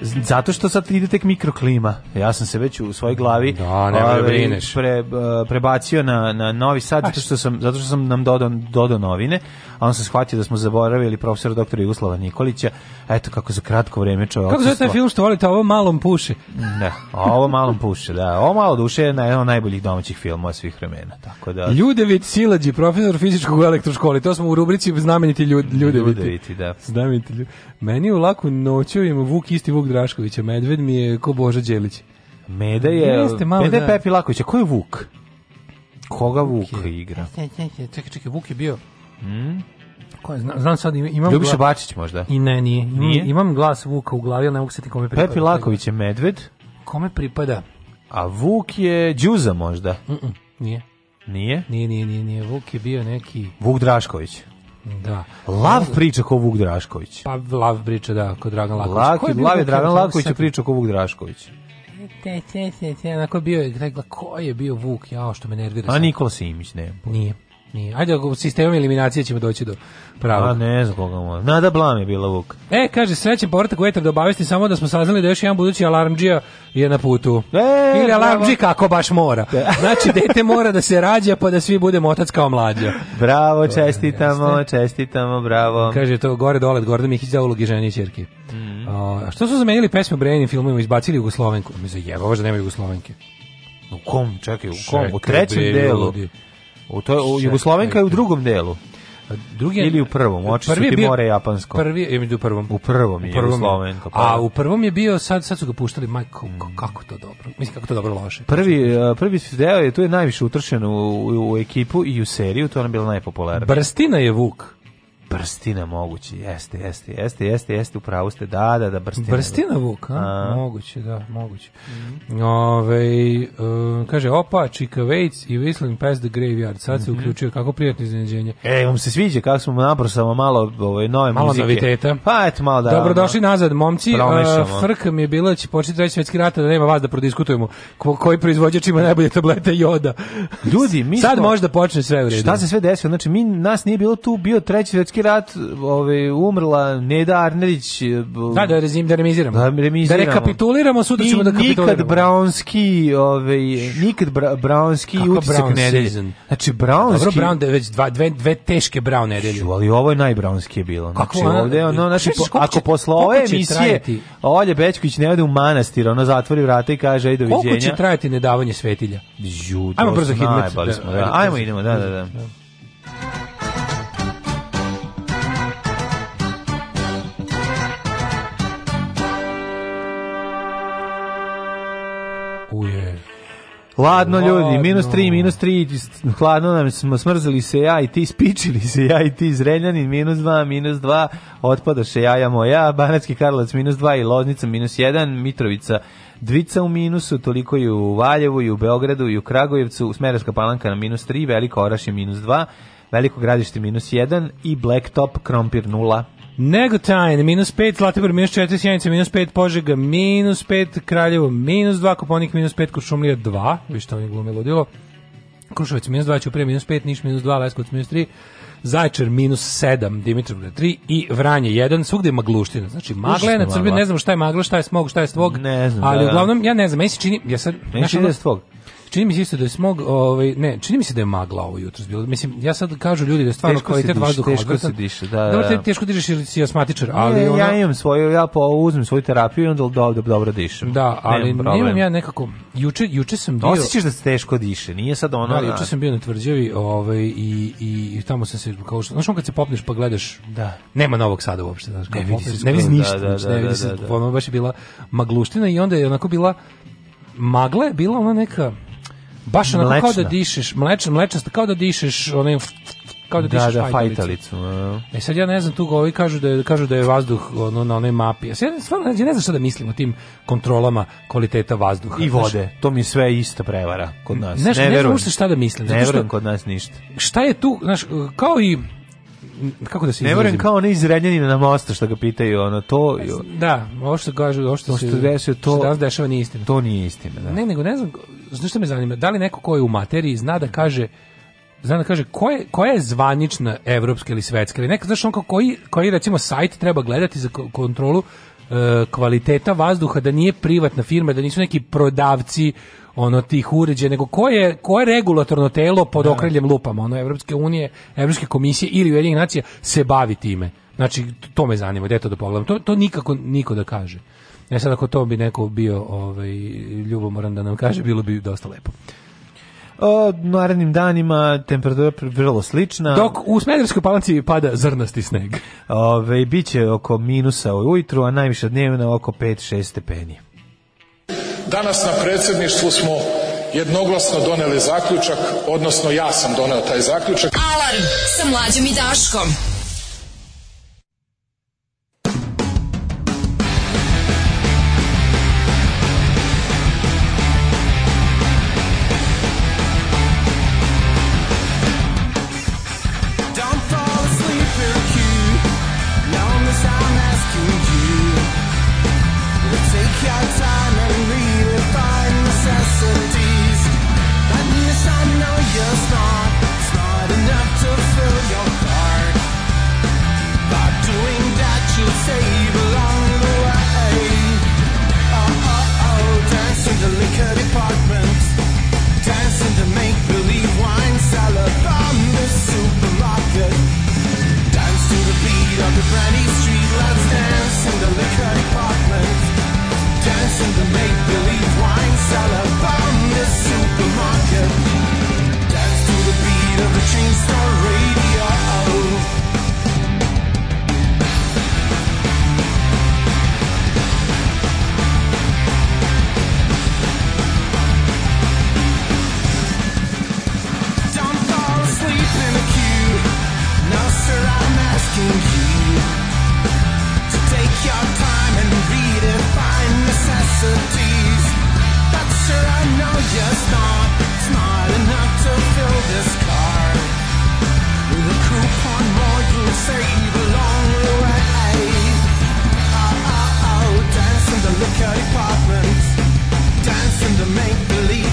Zato što sad ide tek mikroklima. Ja sam se već u svojoj glavi
Da, nemoj da
ovaj,
brineš.
pre, b- prebacio na, na Novi Sad zato što sam zato što sam nam dodao dodao novine, a on se shvatio da smo zaboravili profesora doktora Jugoslava Nikolića. Eto kako za kratko vreme čovjek.
Kako zove taj film što volite, ovo malom puši?
Da, a ovo malo puše, da. Ovo malo duše je jedan od najboljih domaćih filmova svih vremena. Tako da
Ljudevit Silađi, profesor fizičkog u elektroškoli. To smo u rubrici znameniti ljud, ljudeviti.
Ljudeviti, da.
Znameniti ljud. Meni je u laku noću ima Vuk isti Vuk Draškovića. Medved mi je ko Boža Đelić.
Meda je
Jeste, malo
Meda je
da.
Pepi Laković, a ko je Vuk? Koga Vuk igra?
Čekaj, čekaj, Vuk je bio... Ko je, znam, znam sad, imam...
Hmm? Ljubiša
gla-
Bačić možda.
I ne, nije. Imam,
Nije?
imam glas Vuka u glavi, ali ne mogu se ti kome pripada.
Pepi Laković je Medved,
Kome pripada?
a Vuk je Đuza možda.
Nije.
Nije?
Nije, nije, nije, nije. Vuk je bio neki...
Vuk Drašković.
Da.
Lav priča ko Vuk Drašković.
Pa Lav priča, da, kod Dragan Laković.
Lak,
Ko je bio
Lav je
Vuk?
Dragan
Kako se
Laković je
sad-
priča ko Vuk Drašković.
Te, te, te, te, onako je bio je, rekla, ko je bio Vuk, jao, što me nervira.
A
sad.
Nikola Simić, ne.
Nije, nije. Ajde, ako sistemom eliminacije ćemo doći do
A
pravog.
ne znam koga može. Nada Blam je bila Vuk.
E, kaže, srećen povratak u etar da obavesti samo da smo saznali da još jedan budući alarmđija je na putu.
E,
Ili alarmđi
bravo. E.
kako baš mora. Znači, dete mora da se rađa pa da svi budemo otac kao mlađa.
Bravo, čestitamo, čestitamo, bravo. Mhm.
Kaže to gore dole Gordon Mihić za ulogi žene i ćerke. A, a što su zamenili pesme u Brejanim filmovima, izbacili Jugoslovenku? Mi za jebavaš da nema Jugoslovenke.
U kom, čekaj, u kom? U
Čekaj,
trećem
bre,
delu.
ljudi.
U to, u Jugoslovenka je u drugom delu.
A Drugi je-
Ili u prvom, oči su
Prvi je
ti
bio-
more japansko.
Prvi je među u prvom.
U prvom je Jugoslovenka. pa. Mm.
A u prvom je bio sad sad su ga puštali majko k- kako to dobro. Mislim kako to dobro loše.
Prvi, e, prvi deo je tu je najviše utršen u, u, u ekipu i u seriju, to je ona bila najpopularnija.
Brstina je Vuk.
Brstina mogući, jeste, jeste, jeste, jeste, jeste, upravo ste, da, da, da, Brstina.
Brstina Vuk, a?
A. Mhm.
Moguće, da, moguće. Ovej, um, kaže, opa, Chica Waits i Whistling Past the Graveyard. Sad
Mhm.
se uključio, kako prijatno iznenađenje.
E, vam se sviđa kako smo naprosamo malo ove, nove
Malo
muzike.
noviteta.
Pa, eto, malo da.
Dobrodošli
ono,
nazad, momci.
Promešamo.
Uh, Frk mi je bilo da će početi treći svetski rat, a da nema vas da prodiskutujemo ko, koji proizvođač ima najbolje tablete joda.
Ljudi, mi
Sad
smo-
možda počne sve u redu.
Šta se sve desilo? Znači, mi, nas nije bilo tu, bio treći svjetski rat, ove, umrla Neda Arnerić. e, b-
Da, da, rezim, da remiziramo.
Da remiziramo.
Da rekapituliramo, sutra
I
ćemo da
nikad
kapituliramo.
Brownski, ovaj, nikad bra, Brownski
Kako
utisak
Brown
nedelje.
season?
Znači, Brownski...
Pa Dobro, Brown, da je već dva, dve, dve teške Brown nedelje.
Ju, ali ovo je najbranski je bilo. Znači,
Kako ona-
ovde, ono, znači,
Kažeš,
po-
koliko će-
ako posle
koliko
ove
će
emisije
trajati?
Olje Bećković ne ode u manastir, ono zatvori vrata i kaže, aj doviđenja.
Koliko će trajati nedavanje svetilja?
Ju,
Ajmo
to
brzo
smo
hitmet.
najbali smo,
Da,
da.
ajde,
Ajmo
brzo.
idemo, da, da, da.
Uje.
Hladno ljudi,
Hladno.
minus 3, minus 3, hladno nam smo smrzli se ja i ti, spičili se ja i ti, Zrenjanin minus 2, minus 2, otpadoše jaja moja, Banatski Karlovac minus 2 i Loznica minus 1, Mitrovica Dvica u minusu, toliko i u Valjevu, i u Beogradu, i u Kragujevcu, Smerovska palanka na minus 3, Veliko Oraš je minus 2, Veliko gradište minus 1 i Blacktop Krompir 0.
Negotajn, minus 5, Zlatibor, minus 4, Sjenica, minus 5, Požega, minus 5, Kraljevo, minus 2, Koponik, minus 5, Košumlija, 2, vi što oni glume ludilo, Kruševac, minus 2, Ćuprije, minus 5, Niš, minus 2, Leskovac, minus 3, Zaječar minus 7, Dimitrovgrad 3 i Vranje 1, svugdje je magluština. Znači, magla je na
Užasno
crbi,
magla.
ne znam šta je magla, šta je smog, šta je svog,
Ne znam,
ali
da, da.
uglavnom, ja ne znam, meni se čini, ja sad,
Meni
znaš,
se
ono-
ide s tvog.
Čini mi se isto da je smog, ovaj, ne, čini mi se da je magla ovo jutro bilo. Mislim, ja sad kažu ljudi da je stvarno
Teško se
kvalitet
diše,
vazduha
teško
odvratan.
se diše, da, da,
Dobro, te,
da.
teško dižeš ili si asmatičar, ali
Ali
ono,
ja imam svoju, ja pa uzmem svoju terapiju i onda dobro, dobro dišem.
da, ali
Nemam problem.
nemam ja nekako, juče, juče sam bio...
Osjećaš da se teško diše, nije sad ono...
Da, juče sam bio na tvrđavi ovaj, i, i, i tamo sam se, kao što, znaš on kad se popneš pa gledaš,
Da.
nema novog sada uopšte, znaš, kao
Ne vidi
popneš,
se
ne vidi se
skoro,
ništa,
da, da,
znači,
da,
ne vidi
da,
se,
da, da.
ono baš je bila magluština i onda je onako bila, magla je bila ona neka, baš onako kao
Mlečna.
da dišeš, mlečna, mlečasta, kao da dišeš, onaj, kao da
da,
dišeš
da,
fajtalicu.
fajtalicu. a.
E sad ja ne znam, tu ga ovi kažu da je, kažu da je vazduh ono, na onoj mapi. Ja, sad, ja stvarno ja ne znam šta da mislim o tim kontrolama kvaliteta vazduha.
I
Znaš,
vode, to mi je sve ista prevara kod nas.
Znaš, ne
ne
znam
verujem.
uopšte šta da mislim.
Ne
zato što-
verujem kod nas ništa.
šta je tu, znaš, kao i kako da se
Ne verujem
izrazim?
kao oni iz Renjanina na mostu što ga pitaju, ono, to,
Da, ovo što kažu, ovo što,
Ovo što desi, to-
što danas dešava nije istina.
to nije istina. Da.
Ne, nego ne znam, znaš što me zanima, da li neko ko je u materiji zna da kaže zna da kaže koje, koja je zvanična evropska ili svetska ili neka, znaš on kao koji, koji recimo sajt treba gledati za ko- kontrolu e, kvaliteta vazduha, da nije privatna firma, da nisu neki prodavci ono tih uređaja, nego koje, koje regulatorno telo pod okriljem lupama, ono Evropske unije, Evropske komisije ili Ujedinjenih nacija se bavi time. Znači, to me zanima, gde to da pogledam. To, to nikako niko da kaže. E sad, ako to bi neko bio ovaj, ljubomoran da nam kaže, bilo bi dosta lepo.
O, narednim danima temperatura pr- vrlo slična.
Dok u Smederskoj palanci pada zrnasti sneg.
Ove, biće oko minusa ujutru, a najviše dnevno oko 5-6 stepeni.
Pa Danas na predsjedništvu smo jednoglasno doneli zaključak, odnosno ja sam doneo taj zaključak.
Alarm sa mlađom i Daškom.
Don't fall asleep here, Q. Long as I'm asking you. We'll take your time and redefine necessities. At least I know you're smart, smart enough to fill your part. By doing that, you save along the way. Oh, oh, oh, dance in the liquor department. Dancing to make believe wine salad from the supermarket. Dance to the beat of the brandy street. Let's dance in the liquor department. Dancing to make believe wine salad from the supermarket. Dance to the beat of the chain store radio. Don't fall asleep in the queue. No, sir, I'm asking you to take your time and redefine necessities. But, sir, I know you're smart, smart enough to fill this car. Oh,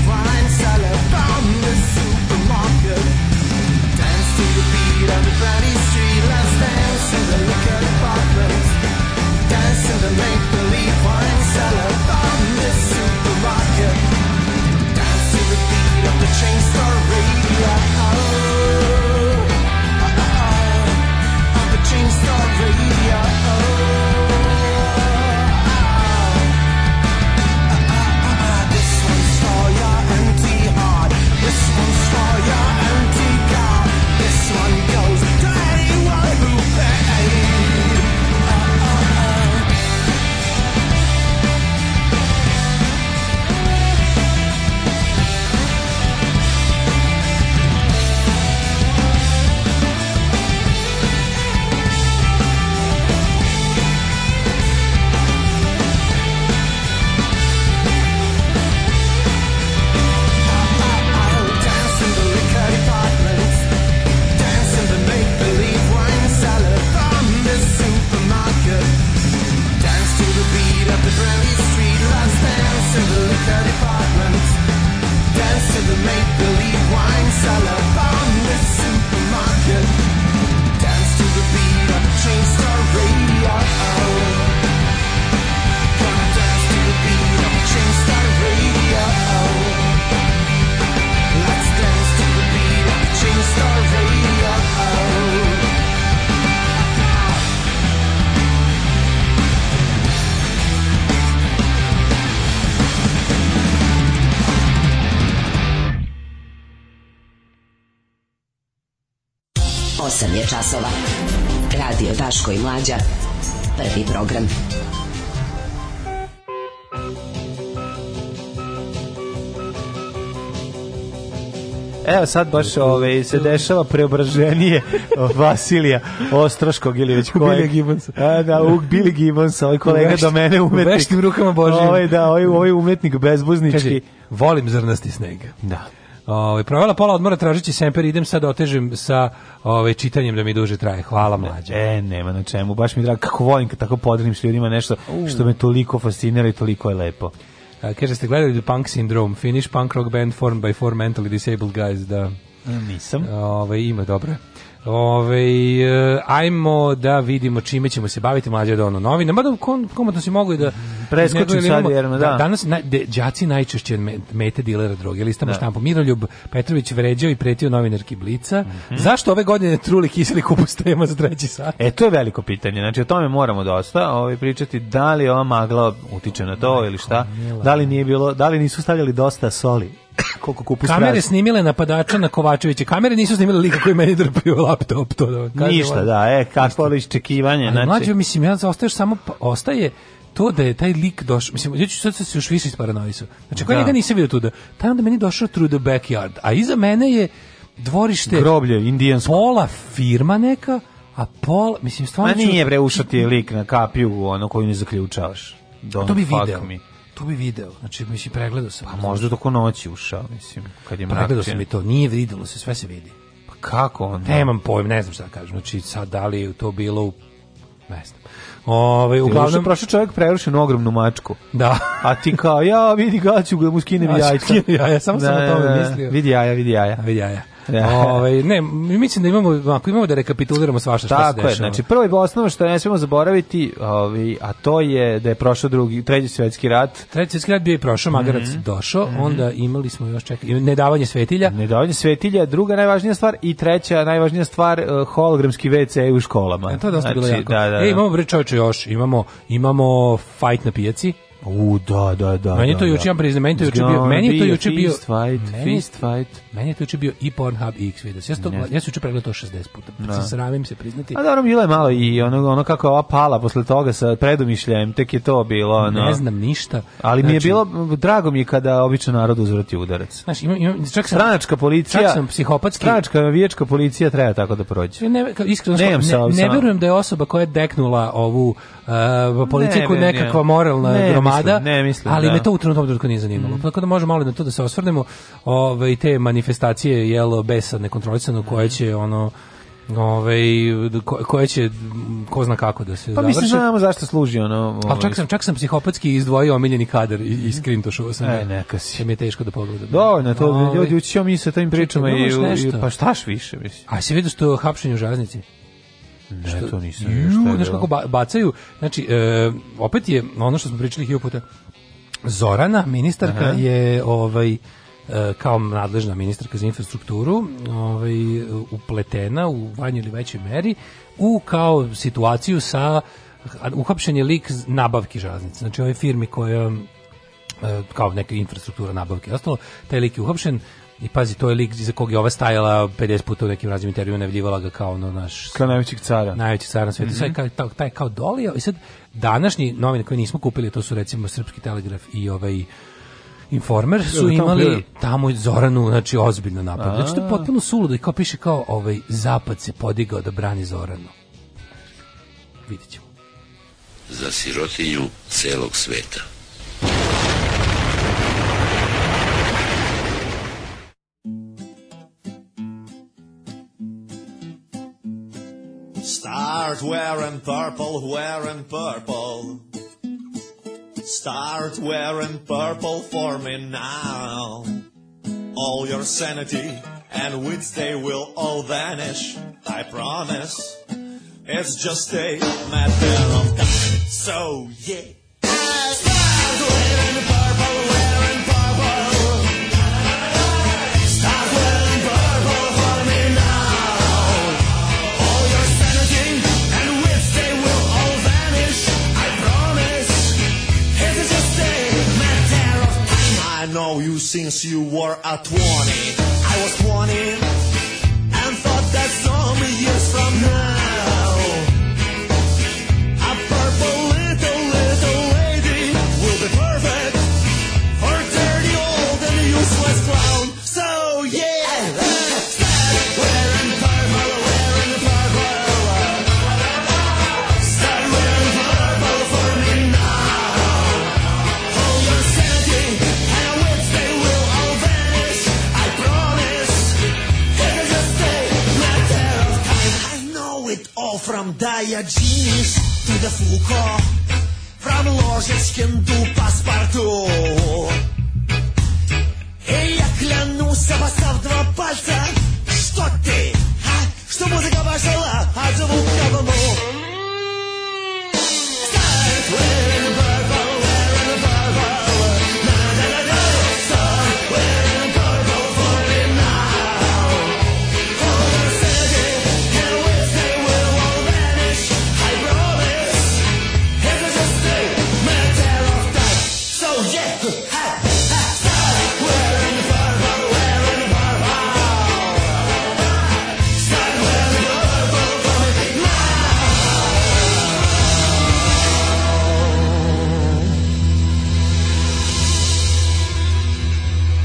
8 je časova. Radio Daško i Mlađa. Prvi program.
Evo sad baš ove, se dešava preobraženje Vasilija Ostroškog ili već kojeg.
Billy Gibbonsa.
A, da, u Billy Gibbonsa, ovaj kolega
vešt-
do mene
u
umetnik.
veštim rukama Božijim.
Ovaj, da, ovaj, ovaj umetnik bezbuznički.
Kaže, volim zrnasti sneg.
da.
Ovaj provela pola odmora tražeći semper, idem sad otežem sa ovaj čitanjem da mi duže traje. Hvala mlađe.
E, nema na čemu, baš mi je drago, kako volim kad tako podrelim s ljudima nešto što me toliko fascinira i toliko je lepo.
A, Kaže ste gledali The Punk Syndrome, Finnish punk rock band formed by four mentally disabled guys, da.
E, Nisam.
Ove, ima dobro. Ove, e, ajmo da vidimo čime ćemo se baviti mlađe da ono novine. Mada kom, komotno si mogu i da...
Preskočim
nego, ili
sad,
imamo-
jer, da.
danas naj, de, đaci najčešće me- mete dilera droge. Listamo da. štampu. Miroljub Petrović vređao i pretio novinarki Blica. Zašto ove godine truli kiseli kupus tema za treći sat?
E, to je veliko pitanje. Znači, o tome moramo dosta ovaj, pričati. Da li ova magla utiče na to ili šta? Da li, nije bilo, da li nisu stavljali dosta soli? Koliko kupu
Kamere snimile napadača na Kovačevića. Kamere nisu snimile lika koji meni drpio laptop. To da vam kažem.
Ništa, da, e, kakvo li iščekivanje.
Ali mlađe,
Znači,
mislim, ja ostaješ samo, pa- ostaje to da je taj lik došao, mislim, ja ću sad se još više isparanoisao. Znači, ako ja
Da.
njega nisam vidio tuda, taj onda meni došao through the backyard, a iza mene je dvorište
groblje, indijansko.
pola firma neka, a pola, mislim,
Ma
stvarno ću-
nije, bre, ušao ti je lik na kapiju, ono koju ne zaključavaš. Don't
to bi
fuck
video.
me.
To bi video. Znači, mislim, pregledao sam.
A možda dok u noći ušao, mislim, kad je mrak.
Pregledao sam i to, nije videlo se, sve se vidi.
Pa kako onda?
Nemam pojma, ne znam šta da kažem. Znači, sad da li je to bilo u... Ne znam. Ove,
Uglavnom,
Ovaj, uglavnom...
prošao čovjek prerušenu ogromnu mačku.
Da.
A ti kao, ja vidi gaću, da mu skinem
Ja ću
jajca.
skinem jaja, Znači, samo sam
Da,
o tome
da, da.
mislio.
Vidi jaja, vidi jaja.
Vidi jaja.
Da.
Ove, ne, mislim da imamo, ako imamo da rekapituliramo svašta što se
Tako je,
dešava.
znači prvo i osnovno što ne smemo zaboraviti, ovi, a to je da je prošao drugi, treći svjetski rat,
Treći svjetski rat bio je prošao, Magarac
Mhm.
došao, onda imali smo još čekaj, nedavanje svetilja.
nedavanje svetilja, druga najvažnija stvar i treća najvažnija stvar, eh, hologramski WC u školama. Znači,
E, to je dosta bilo jako.
Da, da, da.
E, imamo bre čovječe još, imamo, imamo fight na pijaci.
U, da, da, da.
Meni je
da,
to
da.
juče, ja priznam, meni je to juče bio-
Gonna
meni je to
be a
juče bio-
Fist fight,
Meni-
fist fight.
Meni je to juče bio i Pornhub i X videos. Ja sam, to, ja sam juče pregledao to 60 puta. Da. Sramim se priznati.
A dobro, bilo je malo i ono, ono kako je ova pala posle toga sa predumišljajem, tek je to bilo, ono.
Ne znam ništa.
Ali mi je
Znači,
bilo, drago mi je kada obično narod uzvrati udarac.
Znaš, imam, imam, čak sam,
Stranačka policija,
čak sam psihopatski.
stranačka navijačka policija treba tako da prođe.
Ne, kao, iskreno,
Nemam
ne,
sa-
ne
sa-
verujem da je osoba koja je deknula ovu uh, politiku
Ne, ne, ne.
nekakva moralna
Ne,
gromada,
mislim, ne, mislim,
ali
da. Mm.
me to u trenutnom trenutku nije zanimalo. Tako da možemo malo i na to da se osvrnemo. Ove, te manifestacije jelo besa
Mm.
nekontrolisano koje će ono Ove, ko, koje će m, ko zna kako da se
Pa
završe.
mislim, znamo zašto služi ono...
ali
ovaj,
čak sam, čak sam psihopatski izdvojio omiljeni kadar i, i skrintošao sam.
E,
ga.
neka si.
Jer mi je teško da pogledam.
Dovoljno, je to
Ovaj,
ljudi ući ćemo mi sa tim pričama
čekaj,
i,
imaš
i-
nešto?
pa štaš više, mislim.
A si vidio što hapšenje u železnici?
Ne, to nisam.
Ju,
Šta je
znaš
bilo?
kako ba- bacaju, znači, e, opet je ono što smo pričali hiljadu puta, Zorana, ministarka, je ovaj, e, kao nadležna ministarka za infrastrukturu ovaj, upletena u vanjoj ili većoj meri u kao situaciju sa uhapšen je lik z- nabavki železnice. Znači ove firmi koja e, kao neka infrastruktura nabavke i ostalo, taj lik je uhapšen i pazi, to je lik za kog je ova stajala 50 puta u nekim raznim intervjuima, najavljivala ga kao ono naš
Kao najvećeg cara. Mhm.
najveći car na svetu. Sad kao, taj, taj kao dolio i sad današnji novine koje nismo kupili, to su recimo Srpski telegraf i ovaj Informer su
tamo
imali
pljuje.
tamo Zoranu, znači ozbiljno napad. Znači to je potpuno suludo i kao piše kao ovaj zapad se podigao da brani Zoranu. Vidjet ćemo.
Za sirotinju celog sveta.
Start wearing purple, wearing purple. Start wearing purple for me now. All your sanity and wits, they will all vanish, I promise. It's just a matter of time. So, yeah. Start wearing purple, wearing purple. Start wearing purple for me now. All your sanity and wits, they will all vanish. I promise. It's just a matter of time. I know you since you were a 20. I was 20 and thought that some years
from Diogenes to the Foucault, from Ложечкин до Паспорту. И я клянусь, обоссав два пальца, что ты, а? Что музыка пошла от звука в мух.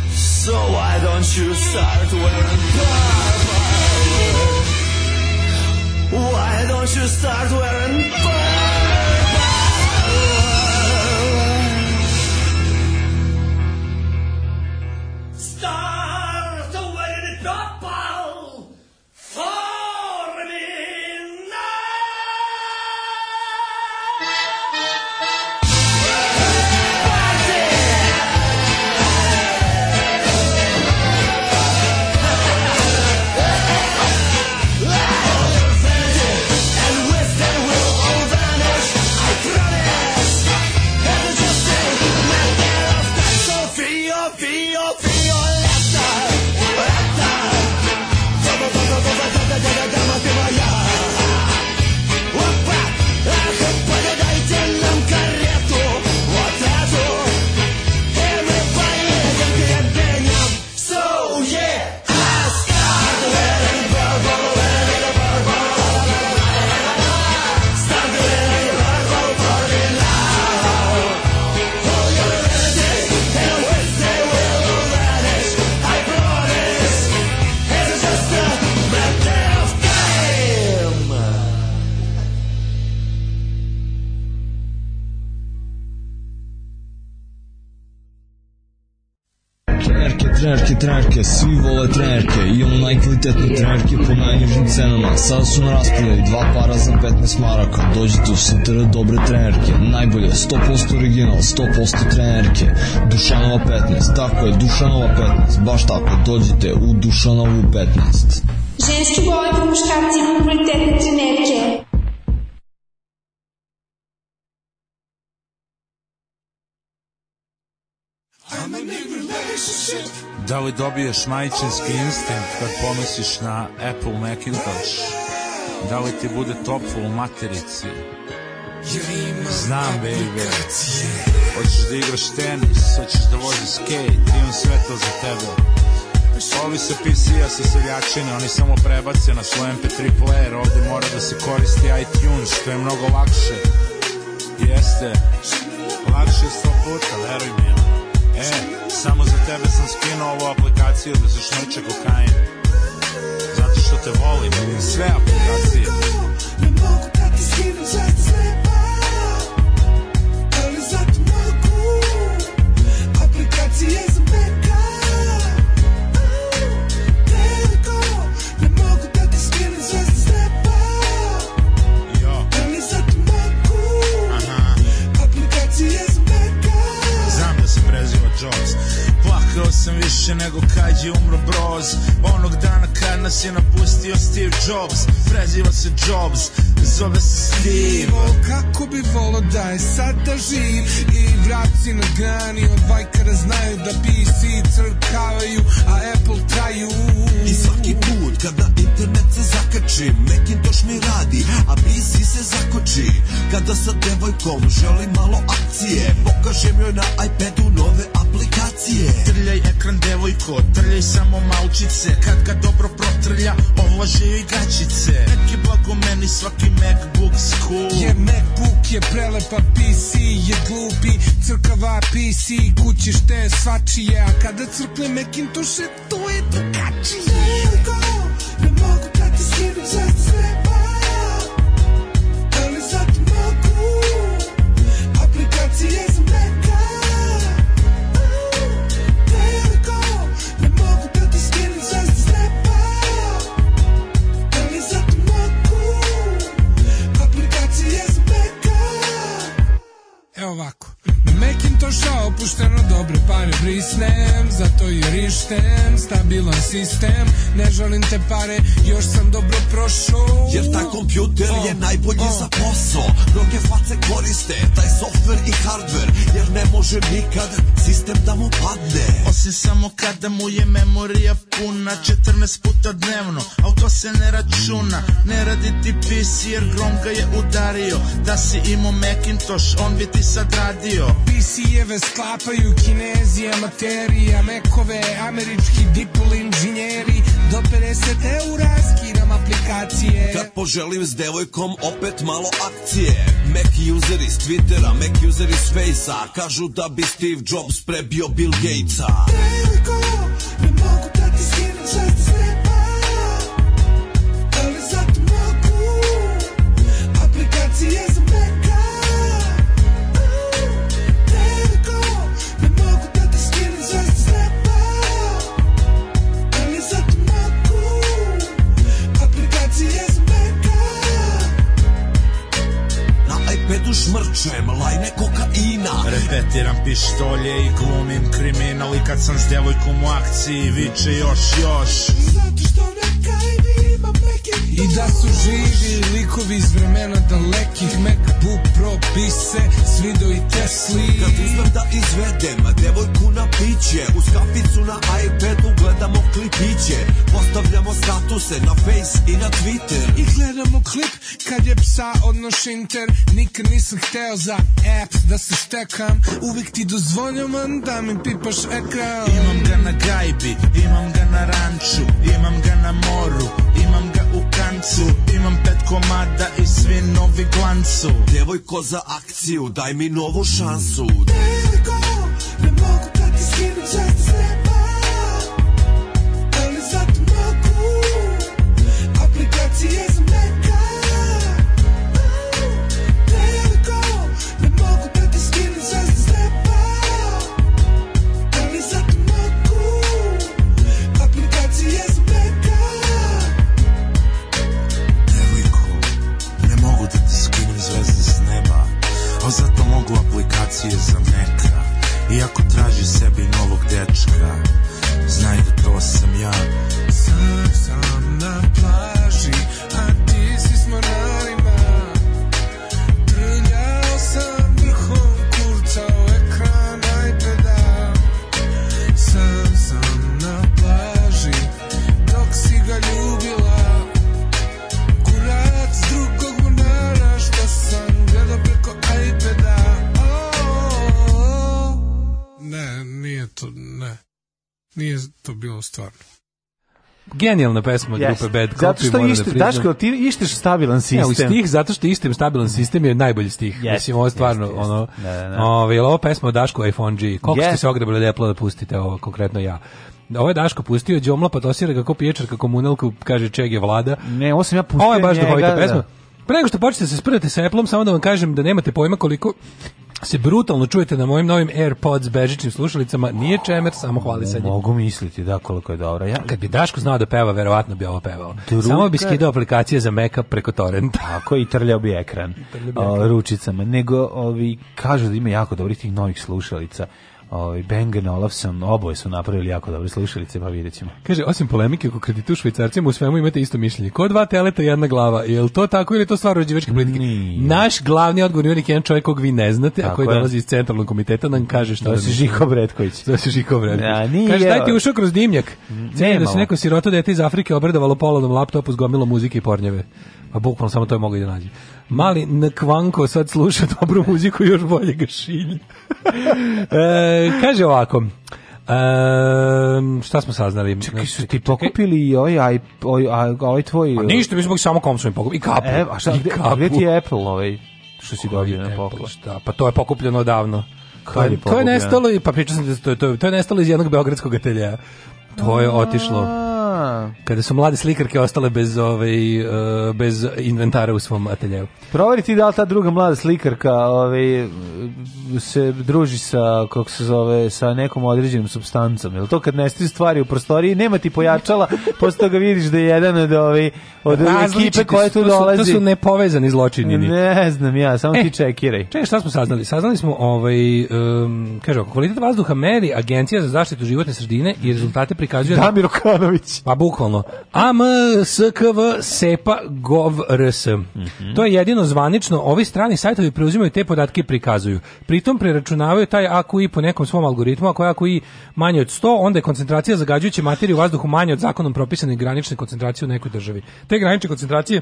So why don't you start wearing purple? Why don't you start wearing purple? Start wearing purple for me now! So yeah, I start wearing purple, wearing purple, start wearing purple for me now. For your vanity and which they will vanish, I promise. It's just a matter of time.
Trenerke, trenerke, trenerke, svi vole trenerke, imamo najkvalitetne trenerke po najnižim cenama. Sada su na raspodaju dva para za 15 maraka. Dođite u sutra dobre trenerke, najbolje, 100% original, 100% trenerke. Dušanova 15, tako je, Dušanova 15, baš tako, dođite u Dušanovu 15.
Ženski vole po muškarci imaju kvalitetne trenerke.
Da li dobiješ majčinski instinkt kad pomisliš na Apple Macintosh? Da li ti bude toplo u materici? Znam, baby. Hoćeš da igraš tenis, hoćeš da voziš skate, imam sve to za tebe. Ovi sa PC-a su seljačine, oni samo prebace na svoj MP3 player, ovde mora da se koristi iTunes, što je mnogo lakše. Jeste, lakše je sto puta, veruj mi. E, samo za tebe sam skinuo ovu aplikaciju da se šmrče kokain. Zato što te volim, sve aplikacije. Znam da se preziva Jaws Plakao sam više nego kad je umro Broz Onog dana kad nas je napustio Steve Jobs Preziva se Jobs, zove se Steve
O, kako bi volo da je sada živ I vraci na grani od vajkara znaju da PC crkavaju, a Apple traju
I svaki put kada internet se zakači Macintosh mi radi, a PC se zakoči Kada sa devojkom želim malo akcije Pokažem joj na iPadu nove aplikacije
Trljaj ekran devojko, trljaj samo malčice Kad ga dobro protrlja, ovlaže joj gačice Neki blago meni svaki Macbook school
Je MacBook je prelepa, PC je glupi Crkava PC, kući šte svačije A kada crkne Macintosh to je drugačije
Thank
sistem, stabilan sistem Ne želim te pare, još sam dobro prošao
Jer taj kompjuter je najbolji za posao Mnoge face koriste, taj softver i hardver Jer ne može nikad sistem da mu padne
Osim samo kada mu je memorija puna 14 puta dnevno, al to se ne računa Ne radi ti PC jer grom ga je udario Da si imao Macintosh, on bi ti sad radio
PC-eve sklapaju kinezi, amateri, amekove, američki dipl inženjeri Do 50 eura skinam aplikacije
Kad poželim s devojkom opet malo akcije Mac user iz Twittera, Mac user iz Facea Kažu da bi Steve Jobs prebio Bill Gatesa
Veliko, ne mogu da ti skinem šta ste slepa Ali zato mogu Aplikacije za Maca Veliko, ne mogu da ti skinem šta ste slepa Ali zato mogu Aplikacije za Maca
Na iPadu šmrčem lajne kokaina
Repetiram pištolje i glumim kriminal I kad sam s djevojkom u akciji viče još, još
I da su živi likovi iz vremena dalekih Macbook Pro pise, svido i Tesli
Kad uzmem da izvedem devojku na piće Uz kaficu na iPadu gledamo klipiće Postavljamo statuse na Face i na Twitter
I gledamo klip kad je psa odnoš inter Nikad nisam hteo za app da se stekam Uvijek ti dozvoljavam da mi pipaš ekran
Imam ga na gajbi, imam ga na ranču Imam ga na moru, imam ga u kancu Imam pet komada i svi novi glancu
Devojko za akciju, daj mi novu šansu
Veliko, ne mogu da ti skinem šta ste slepa Ali zato mogu Aplikacije za Maca Oh, Veliko, ne mogu da ti skinem šta ste slepa Ali zato mogu Aplikacije za Maca
Devojko, ne mogu da ti skinem zvezde s neba, a zato mogu aplikacije za meka. Iako traži sebi novog dečka, znaj da to sam ja.
Sam sam na plaži, a ti si s moralima Trljao sam vrhom kurca u ekran iPada Sam sam na plaži, dok si ga ljubila Kurac drugog bunara što sam gledao preko iPada Oh, Ne, nije to, ne Nije to bilo stvarno
Genijalna pesma od
Jeste.
grupe Bad Copy.
Zato što
moram da
ište,
priznam.
Daško, ti išteš stabilan
Ne,
sistem.
u stih, zato što istim stabilan sistem je najbolji stih.
Jeste,
Mislim, ovo je stvarno,
jeste, jeste.
ono,
Da, da, da.
Ove, jel ovo pesma o Dašku iPhone G? Koliko
Jeste.
ste se ogrebali deplo da pustite ovo, konkretno ja? Ovo je Daško pustio, Đomla pa dosira ga ko piječarka komunalku, kaže čeg je vlada.
Ne, ovo sam ja pustio
Ovo je baš
njega,
duhovita
da.
pesma. Pre nego što počnete da se sprvate sa Apple-om, samo da vam kažem da nemate pojma koliko se brutalno čujete na mojim novim AirPods bežičnim slušalicama. Nije čemer, samo hvalisanje.
Mogu misliti, da, koliko je dobro. Ja,
Kad bi Daško znao da peva, verovatno bi ovo pevao.
Druga-
Samo bi skidao aplikacije za Maca preko torrenta.
Tako i trljao bi ekran
bi
o,
ekran.
ručicama. Nego ovi, kažu da ima jako dobrih tih novih slušalica. Ovi, Bang Olufsen, oboje su napravili jako dobre slušalice, pa vidjet ćemo.
Kaže, osim polemike oko kreditu u švajcarcima, u svemu imate isto mišljenje. Ko dva teleta, jedna glava. Je li to tako ili je to stvar uređivačke politike? Naš glavni odgovorni unik je jedan čovjek kog vi ne znate, a
Tako
koji
je.
dolazi iz centralnog komiteta, nam kaže šta
To
da
si
mislimo.
Žiko Bretković.
To si Žiko Bretković.
Da, nije.
Kaže, daj ti ušao kroz dimnjak. Cijeli da
nemalo.
se neko siroto dete iz Afrike obradovalo polovnom laptopu s gomilom muzike i pornjeve. Pa bukvalno samo to je mogo i da nađe. Mali Nkvanko sad sluša dobru muziku i još bolje ga šilje. e, kaže ovako, e, šta smo saznali? Čekaj,
Su ti pokupili i ovaj, i, ovaj, a- ovaj tvoj...
Pa ništa, mi smo ih samo komsom i pokup- I kapu.
E, a šta,
I
gde-
kapu.
gde ti je Apple ovaj, što si dobio na
Apple,
poklon?
Šta, pa to je pokupljeno davno. To
je
je, to je
pokupljeno?
nestalo, i, pa pričao sam ti, da to, je- to, je- to je nestalo iz jednog beogradskog ateljeja. To je otišlo.
A,
Kada su mlade slikarke ostale bez, ovaj, e, bez inventara u svom ateljevu.
Proveri ti da li ta druga mlada slikarka ovaj, se druži sa, kako se zove, sa nekom određenim substancom. Jel to kad nestaju stvari u prostoriji, nema ti pojačala, posle toga vidiš da je jedan od, ovi, od ekipe koje tu dolazi.
To su, to su nepovezani zločinjeni. E,
Ne znam ja, samo ti čekiraj.
Čekaj, šta smo saznali? Saznali smo, ovaj, um, kaže ovako, kvalitet vazduha meri Agencija za zaštitu životne sredine i rezultate prikazuje... na-
Damir Okanović.
Pa bukvalno. AMSKV SEPA GOVRS.
Mhm.
To je jedino zvanično. Ovi strani sajtovi preuzimaju te podatke i prikazuju. Pritom preračunavaju taj AQI po nekom svom algoritmu. Ako je AQI manje od 100, onda je koncentracija zagađujuće materije u vazduhu manje od zakonom propisane granične koncentracije u nekoj državi. Te granične koncentracije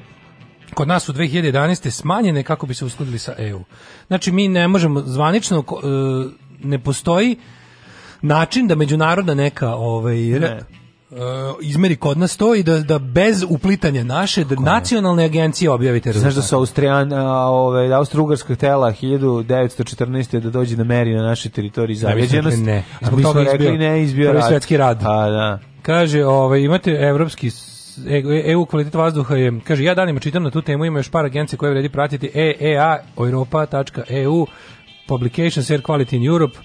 kod nas u 2011. smanjene kako bi se uskladili sa EU. Znači, mi ne možemo zvanično, ko- e, ne postoji način da međunarodna neka ovaj, re- e, izmeri kod nas to i da, da bez uplitanja naše, da nacionalne agencije objavite
Znaš
rezultate.
da su Austrijan, a, ove, Austro-Ugarska htela 1914. da dođe da meri na našoj teritoriji
A mi smo
zavljeđenost.
rekli ne.
A mi smo rekli ne, izbio
Prvi
rat.
svetski rad.
A, da.
Kaže, ovaj, imate evropski s- e- EU kvalitet vazduha je, kaže, ja danima čitam na tu temu, ima još par agencije koje vredi pratiti, EEA, europa.eu, Publications Air Quality in Europe,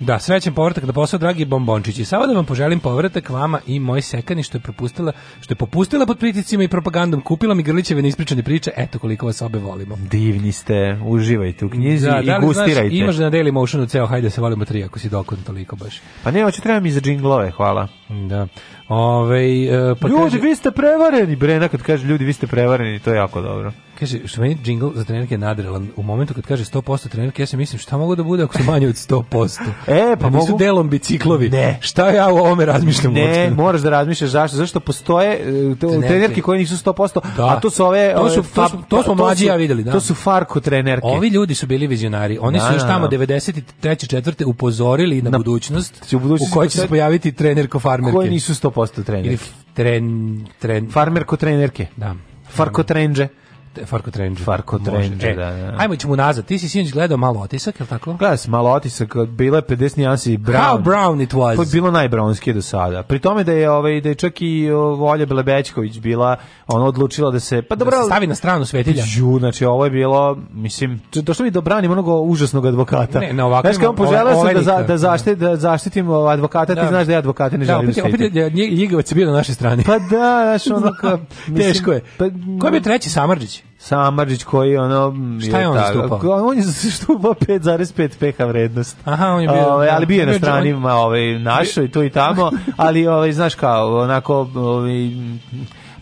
Da, srećan povratak na posao, dragi bombončići. Samo da vam poželim povratak vama i moj sekani što je propustila, što je popustila pod priticima i propagandom, kupila mi grlićeve neispričane priče, eto koliko vas obe volimo.
Divni ste, uživajte u knjizi
Da,
i
da li znaš,
gustirajte.
imaš na Dailymotionu ceo, hajde se volimo tri ako si dokon toliko baš.
Pa ne, hoće treba mi za džinglove, hvala.
Da. Ove, e, pa
ljudi,
kaže-
vi ste prevareni, Brena, kad kaže ljudi, vi ste prevareni, to je jako dobro.
Kaže, što meni džingl za trenerke je nadrelan. U momentu kad kaže 100% trenerke, ja se mislim šta mogu da bude ako su manje od 100%.
E, pa
Da nisu
mogu-
delom biciklovi.
Ne.
Šta ja o ovome razmišljam
Ne,
uopšte?
moraš da razmišljaš zašto, zašto postoje e, te-
Trenerke.
trenerke koje nisu 100%,
Da.
a to su ove...
To
ove
su- to
fa-
su- to smo mlađi
su-
ja videli, da.
To su farko trenerke.
Ovi ljudi su bili vizionari. Oni
Da,
su još
da,
tamo
da.
93. četvrte upozorili na, budućnost,
u budućnosti
kojoj će se
postoje-
pojaviti trener ko farmerke.
Koje nisu 100% trenerke.
Ili f- tren, tren,
Farmer ko trenerke.
da.
Farko trenđe.
Te- Farko Trendže.
Farko trenđe, da, da.
Ajmo ćemo nazad. Ti si sinoć gledao malo otisak, je li tako?
Gledaj se, malo otisak, bila je 50 nijansi i brown.
How brown it was.
To je bilo najbronskije do sada. Pri tome da je ovaj da je čak i o, Olja Belebećković bila ona odlučila da se pa dobro
se stavi na stranu svetilja.
Ju, znači ovo je bilo mislim to- došlo mi da branim onog užasnog advokata.
Ne, ovaj- ne, ovako
Znaš, kao
imam
poželeo
ove-
sam da za,
ovenika.
da zaštitim da zaštitim ovaj, advokata,
Da.
ti znaš da ja advokate ne
Da,
želim da
opet, je- opet
štitim.
je Lj- Ljigavac je bio na našoj strani.
Pa da, znaš, ono kao...
Teško je.
Pa,
Ko je bio treći Samardžić?
Samardžić koji ono mm,
Šta je on
tako-
zastupao?
On je zastupao 5,5 pH vrednost.
Aha, on je bio-
Ovaj, ali bio je
on je
na
bio-
strani ovaj našoj tu i tamo, ali ovaj znaš kao onako ovaj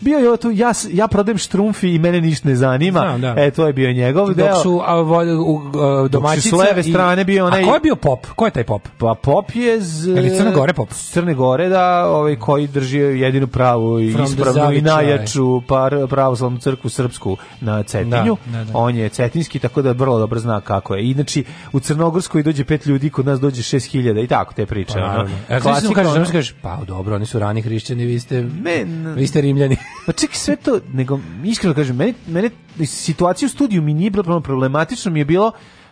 bio je ovo tu ja s- ja prodajem štrumfi i mene ništa ne zanima.
Znam, da.
E to je bio njegov
Dok
deo.
su a, vo- u, a, domaćica...
s leve
i-
strane bio onaj-
A ko je bio pop? Ko je taj pop?
Pa Pop je z
Ili Crne Gore Pop?
S Crne Gore da, ovaj koji drži jedinu pravu i
From the
ispravnu i
Zavičaj.
najjaču par pravoslavnu crkvu srpsku na Cetinju.
Da, da, da.
On je cetinski tako da vrlo dobro zna kako je. I znači u Crnogorskoj dođe pet ljudi, kod nas dođe 6000 i tako te priče. ono.
Ja sam
Klasika,
mislim kažeš,
ono.
Pa E, znaš, kažeš, pa dobro, oni su rani hrišćani, vi ste,
Ne, ne.
vi ste rimljani.
Pa čekaj sve to, nego iskreno kažem, mene, mene situacija u studiju mi nije bila problem- problematično, mi je bilo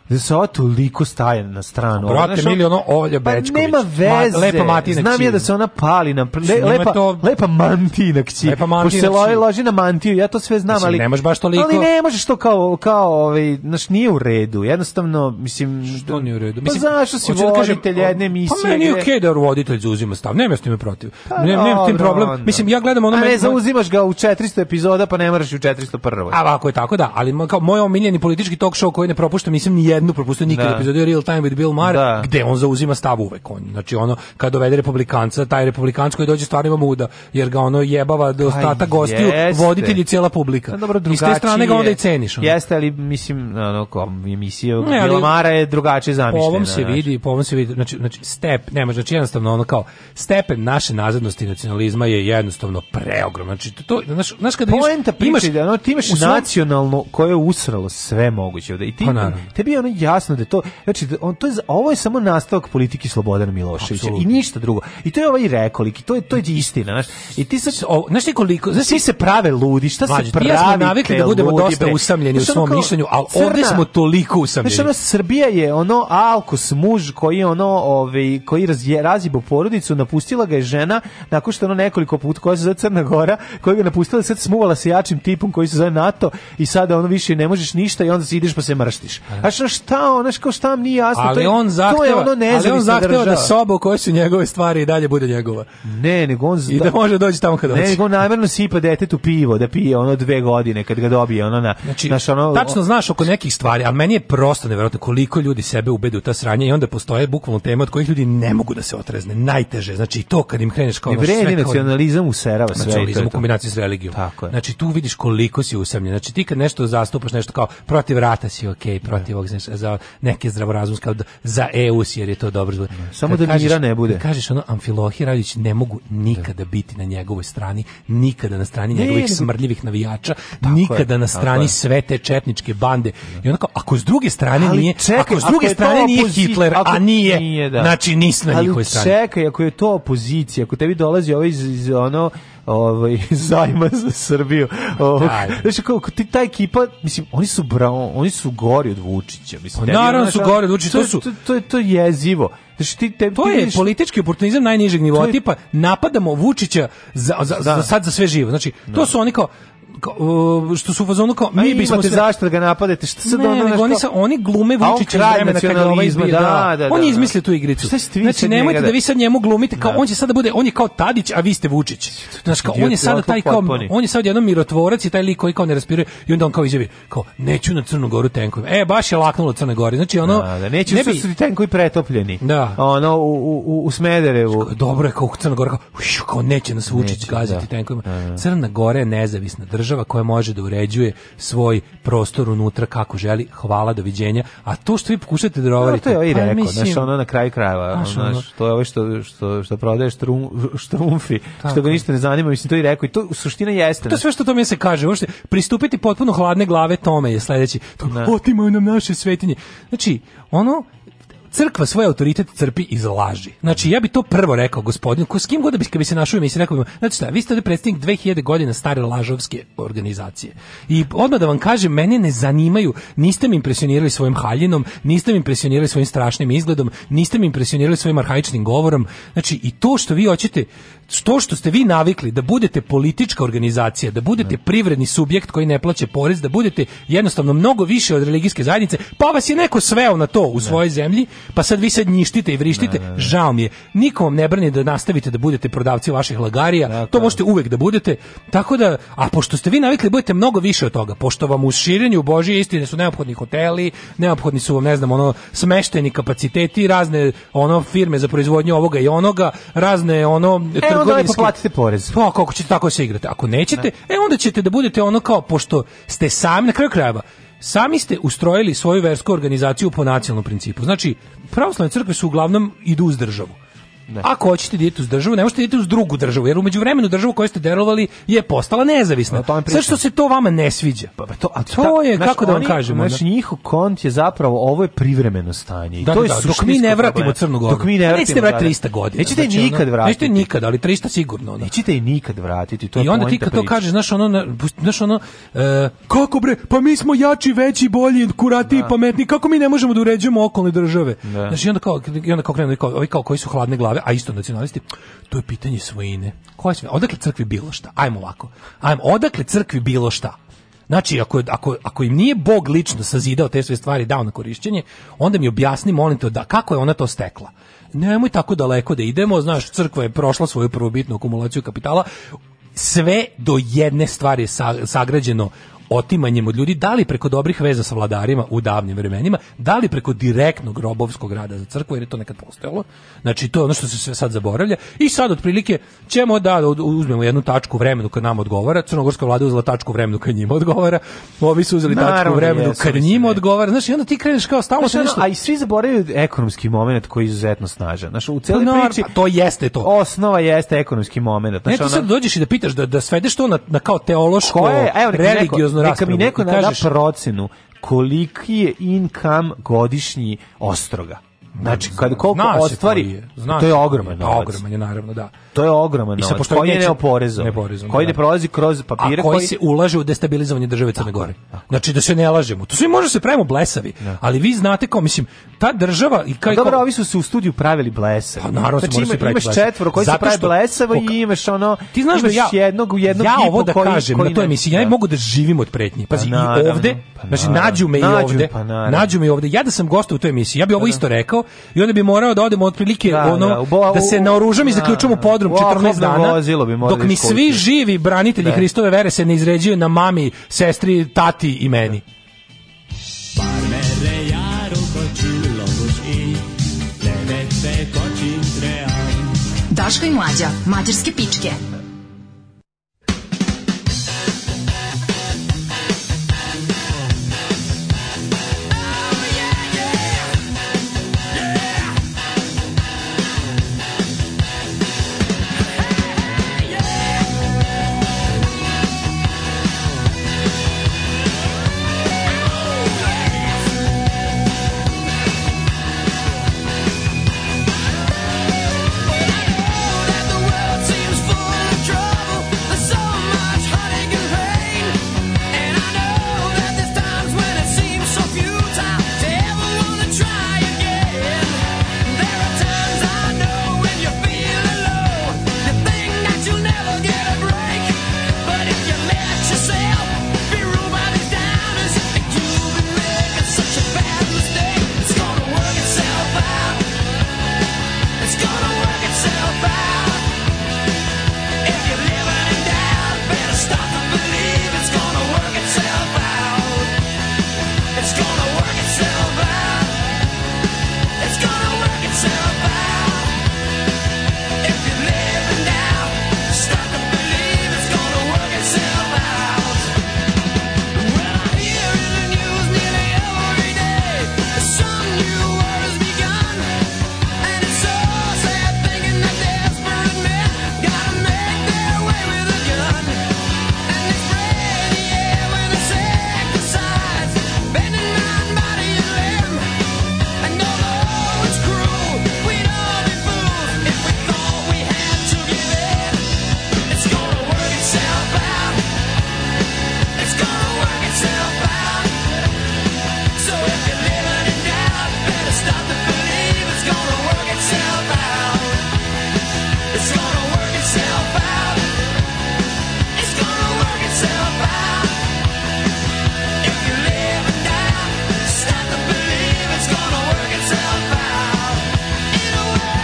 da se ova toliko staje na stranu. Ovo,
Brate,
znaš, ono-
mili ono Olja
Pa
Bečković.
nema veze.
Ma- lepa Matina
Znam
kćir.
ja da se ona pali na... pr- le-
Njima
lepa,
to-
lepa mantina kći.
Lepa mantina
Pošto se
kćir.
loži, loži na mantiju, ja to sve znam,
Mislim,
ali...
ne možeš baš toliko-
Ali ne možeš to kao, kao ovaj, znaš, nije u redu. Jednostavno, mislim...
To nije u redu.
Pa zašto si
hoću da kažem,
voditelj jedne emisije?
Pa meni je
gde-
okej da voditelj zauzima stav. Nemam s time protiv. Ne, nemam
Dobro,
tim problem.
onda.
Mislim, ja gledam ono...
A ne
meni-
zauzimaš ga u 400 epizoda, pa ne moraš i u 401.
A ovako je tako, da, ali mo- kao moj omiljeni politički talk show koji ne propuštam, nisam ni jednu propustio nikad
Da.
epizodu je Real Time with Bill Maher,
Da.
gde on zauzima stav uvek on. Znači ono kad dovede republikanca, taj republikanac koji dođe stvarno ima muda, jer ga ono jebava do ostatak gostiju,
Pa jeste.
voditelj i cijela publika.
Pa dobro,
I s te strane ga
drugačije.
onda i ceniš. Ono.
Jeste, ali mislim, ono, kao emisija
Ne, ali-
Bilomara je drugačije
Po
zamišljena.
ovom se
znaš.
vidi, po ovom se vidi, znači, znači step, ne može, znači jednostavno ono kao, stepen naše nazadnosti i nacionalizma je jednostavno preogrom. Znači, to, to znaš, znaš kada
Poenta priče, da ono, ti imaš
u svom-
nacionalno koje je usralo sve moguće. Da, I ti,
Pa naravno.
tebi je ono jasno da je to, znači, da on, to je, za- ovo je samo nastavak politike Slobodana Miloševića
Apsolutno.
i ništa drugo. I to je ovaj rekolik, i to je, to je istina. Znaš, I ti sad,
O, znaš ti koliko, znaš
svi
ti
se prave ludi, šta se
Mlađe, ti i
pravi?
ja smo navikli da budemo dosta usamljeni u svom mišljenju, ali ovdje smo toliko usamljeni.
ono Znaš, ono, Srbija je ono alkos muž koji je ono ovaj koji razje, razjebo porodicu, napustila ga je žena nakon što je ono nekoliko puta koja se zove Crna Gora, koja ga je napustila, sad smuvala sa jačim tipom koji se zove NATO i sada ono više ne možeš ništa i onda se ideš pa se mrštiš. Znaš, ono, šta, ono, kao šta mi nije jasno. to
E. Ali
je, to
on
je
zahteva,
ono
ali on
nezavisna
zahteva da
država.
soba u kojoj su njegove stvari i dalje bude njegova.
Ne, nego on...
I da može doći tamo kad
Ne,
hoće.
nego on namjerno sipa detetu pivo, da pije ono dve godine kad ga dobije, ono na...
Znači,
znaš, ono,
tačno znaš oko nekih stvari, ali meni je prosto nevjerojatno koliko ljudi sebe ubede u ta sranja i onda postoje bukvalno teme od kojih ljudi ne mogu da se otrezne. Najteže, znači i to kad im kreneš kao...
Ne
ono, sve
vredi
kao-
nacionalizam userava sve. i to je
nacionalizam u
to.
kombinaciji s religijom.
Tako je.
Znači tu vidiš koliko si usamljen. Znači ti kad nešto zastupaš nešto kao protiv rata si ok, protiv ovog, znaš, za neke zdravorazumske, ali za EU si jer je to dobro. zbog-
Samo
Kad
da
kažeš-
mira ne bude.
kad Kažeš ono, Amfilohi Radić ne mogu nikada biti na njegovoj strani, nikada na strani
Ne,
njegovih
nego-
smrdljivih navijača,
Tako je,
nikada na
tako
strani
je.
sve te četničke bande. I onako, ako s druge strane
Ali
nije,
čekaj,
ako s druge
je to
strane nije
opozi-
Hitler,
ako-
a nije,
da.
znači nisi na
Ali
njihovoj strani.
čekaj, ako je to opozicija, ako tebi dolazi ovaj iz, iz ono ovaj zajma za Srbiju. Ovaj,
Daj.
znači kao ako ti ta ekipa, mislim, oni su bra, oni su gori od Vučića, mislim.
Pa
tebi,
naravno
ono,
su
kao,
gori od Vučića, to
je-
su-
to, to je to je jezivo. Znači ti tebi
To
ti
je
vidiš-
politički oportunizam najnižeg nivoa,
To je-
tipa napadamo Vučića za, za,
Da.
za sad za sve živo. Znači, to su oni kao, kao, uh, što su u fazonu kao, mi
Mi
bismo
imate
sve...
zašto da ga napadete? Šta sad
Ne,
ono, znaš,
nego oni,
kao-
sa, oni glume
A on
Vučića iz
kralj
vremena kada je ovaj
nacionalizma,
izbio.
da, da,
on
da,
je
da.
izmislio tu igricu.
Šta ste vi
znači,
sad
nemojte
njega
da vi sad njemu glumite kao
Da.
on će sad da bude, on je kao Tadić, a vi ste Vučić. Znači, kao, on je
Idioti,
sada taj kao,
potpuni.
on je sad jedan mirotvorac i taj lik koji kao ne raspiruje i onda on kao izjavi, kao, neću na Crnu Goru tenkovima. E, baš je laknulo Crne Gori. Znači, ono,
Da, da, neće
ne
su-
bi-
su ti tenkovi pretopljeni.
Da.
Ono, u, u- u, u Smederevu.
dobro je kao Crna Gora, kao, ušu, kao neće nas Vučić
Neće,
gaziti
da.
tenkovima. Crna Gora je nezavisna država koja može da uređuje svoj prostor unutra kako želi. Hvala, doviđenja. A to što vi pokušate da
Dobro,
rovarite...
to je ovaj
pa
rekao,
mislim-
znaš, ono na kraju krajeva,
Znaš,
znaš,
ono-
to je ovo što, što, što prodaje štrum, štrumfi,
Tako
što ga
je.
ništa ne zanima, mislim, to i rekao, i to u suština jeste.
To je sve što tome se kaže. Uopšte, pristupiti potpuno hladne glave tome je sledeći. To,
Da.
otimaju nam naše svetinje. Znači, ono, crkva svoj autoritet crpi iz laži. Znači, ja bi to prvo rekao gospodinu, ko, s kim god da bi, kad bi se našao i mislim, rekao bi mu, znači šta, vi ste ovde predstavnik 2000 godina stare lažovske organizacije. I odmah da vam kažem, mene ne zanimaju, niste mi impresionirali svojim haljinom, niste mi impresionirali svojim strašnim izgledom, niste mi impresionirali svojim arhaičnim govorom. Znači, i to što vi hoćete, to što ste vi navikli da budete politička organizacija, da budete privredni subjekt koji ne plaća porez, da budete jednostavno mnogo više od religijske zajednice, pa vas je neko sveo na to u svojoj zemlji, pa sad vi sad njištite i vrištite, žao mi je. Niko vam ne brani da nastavite da budete prodavci vaših lagarija, to možete uvek da budete, tako da, a pošto ste vi navikli da budete mnogo više od toga, pošto vam u širenju Božije istine su neophodni hoteli, neophodni su vam, ne znam, ono, smešteni kapaciteti, razne, ono, firme za proizvodnju ovoga i onoga, razne, ono,
E, onda lepo
trgovinske-
platite porez.
Pa kako ćete tako se igrati? Ako nećete, e onda ćete da budete ono kao pošto ste sami na kraju krajeva Sami ste ustrojili svoju versku organizaciju po nacionalnom principu. Znači, pravoslavne crkve su uglavnom idu uz državu. Ako hoćete da idete uz državu, ne možete da idete uz drugu državu, jer u međuvremenu državu koju ste derovali je postala nezavisna.
tome
Sve
pričam.
što se to vama ne sviđa. Pa,
to, a
to je,
znaš,
kako da vam
oni-
kažem, ono-
Znači, njihov kont je zapravo, ovo je privremeno stanje. I
Da,
to
da,
je
da, dok
suštinsko
mi ne vratimo
problem.
Crnu Goru. Pa
Dok mi ne vratimo.
Nećete vratiti
da, da.
300 godina.
Nećete je
Znači, ono,
nikad vratiti.
Nećete nikad, ali 300 sigurno. ono.
Nećete je nikad vratiti. To je
I onda ti
poenta
kad to
priče.
kažeš, znaš ono, na- znaš ono, e, kako bre, pa mi smo jači, veći, bolji, kurati, pametni, kako mi ne možemo da uređujemo okolne države?
Da.
Znaš, i onda kao, i onda kao krenu, ovi kao, ovi kao koji su hladne glave, a isto nacionalisti, to je pitanje svojine. Koja svojina? Odakle crkvi bilo šta? Ajmo ovako. Ajmo, odakle crkvi bilo šta? Znači, ako, je- ako, ako im nije Bog lično sazidao te sve stvari i dao na korišćenje, onda mi objasni, molim te, da, kako je ona to stekla? Nemoj tako daleko da idemo, znaš, crkva je prošla svoju prvobitnu akumulaciju kapitala, sve do jedne stvari je sa- sagrađeno otimanjem od ljudi, da li preko dobrih veza sa vladarima u davnim vremenima, da li preko direktnog robovskog rada za crkvu, jer je to nekad postojalo. Znači, to je ono što se sve sad zaboravlja. I sad, otprilike, ćemo da od- uzmemo jednu tačku vremenu kad nam odgovara. Crnogorska vlada je uzela tačku vremenu kad njima odgovara. Ovi su uzeli tačku
Naravno da
vremenu
jesu,
kad
mislim,
njima
ne.
odgovara. Znači, onda ti kreneš kao stalno se
Znaš,
nešto...
ono, a i svi zaboravljaju ekonomski moment koji je izuzetno snažan. Znaš, u
Pa,
celoj
nar-
priči
pa to jeste to.
osnova jeste ekonomski moment.
Ne,
Znaš,
ti
ono-
sad dođeš i da pitaš, da, da svedeš to na, na kao teološko,
koje, evo, neka mi neko,
religiozno
neka
raspravu.
mi neko
i
da
kažeš-
procenu koliki je income godišnji ostroga. Znači, kad koliko
Zna se
ostvari,
koji je, zna
to je
se
ogroman
koji je,
novac.
Ogroman je, naravno, da.
To je ogroman
I sa
novac,
pošto
koji je
neće-
neoporezovan,
neoporezovan,
koji ne
da.
prolazi kroz papire,
a koji, se ulaže u destabilizovanje države Crne Gore. Znači da se ne lažemo. To svi može se pravimo blesavi, ali vi znate kao mislim ta država i kao
Pa Dobro, ovi su se u studiju pravili blese.
Pa naravno
znači,
se moraju
ima-
svi praviti
imaš
blesavi.
četvoro koji se
Zato
pravi
što-
blesavo i imaš ono
Ti znaš da
imaš
ja
jednog, jednog
ja
i po
ovo da
koji,
kažem
koji
na toj
ne-
emisiji ja ne mogu da živim od pretnji. Pazi,
Pa
i
naravno,
ovde,
pa
znači
naravno.
nađu me i
Nađu,
ovde.
pa naravno.
nađu me i ovde. Ja da sam gost u toj emisiji, ja bi ovo isto rekao i onda bi morao da odem otprilike
Da,
ono
da,
da,
u bo-
se naoružam i
da,
zaključam u podrum
u oklopno
14 dana.
vozilo bi morali
dok mi
iskočiti.
svi živi branitelji
Da.
Hristove vere se ne izređuju na mami, sestri, tati i meni.
Erre a csillagos ég, levegve kacsint reál.
Daško i Mlađa, mađarske pičke.
It's gonna work itself out. It's gonna work itself out. If you're living in doubt, better stop and believe it's gonna work itself out. It's gonna work itself out. It's gonna work itself out. If you're living doubt, stop and believe it's gonna work itself out. Well, I hear in the news nearly every day that some new war has begun, and it's so sad thinking that desperate men gotta make their way with a gun. And they spray the air with insecticides, bending mind, body, and limb. And although it's cruel, we'd all be fools if we thought we had to give in. It's gonna work itself out. It's gonna work itself out. So if you're living in doubt, better stop to believe it's gonna work itself out. It's gonna work itself out. It's gonna work itself out. If you live in doubt, stop to believe it's gonna work itself out. It'll work out.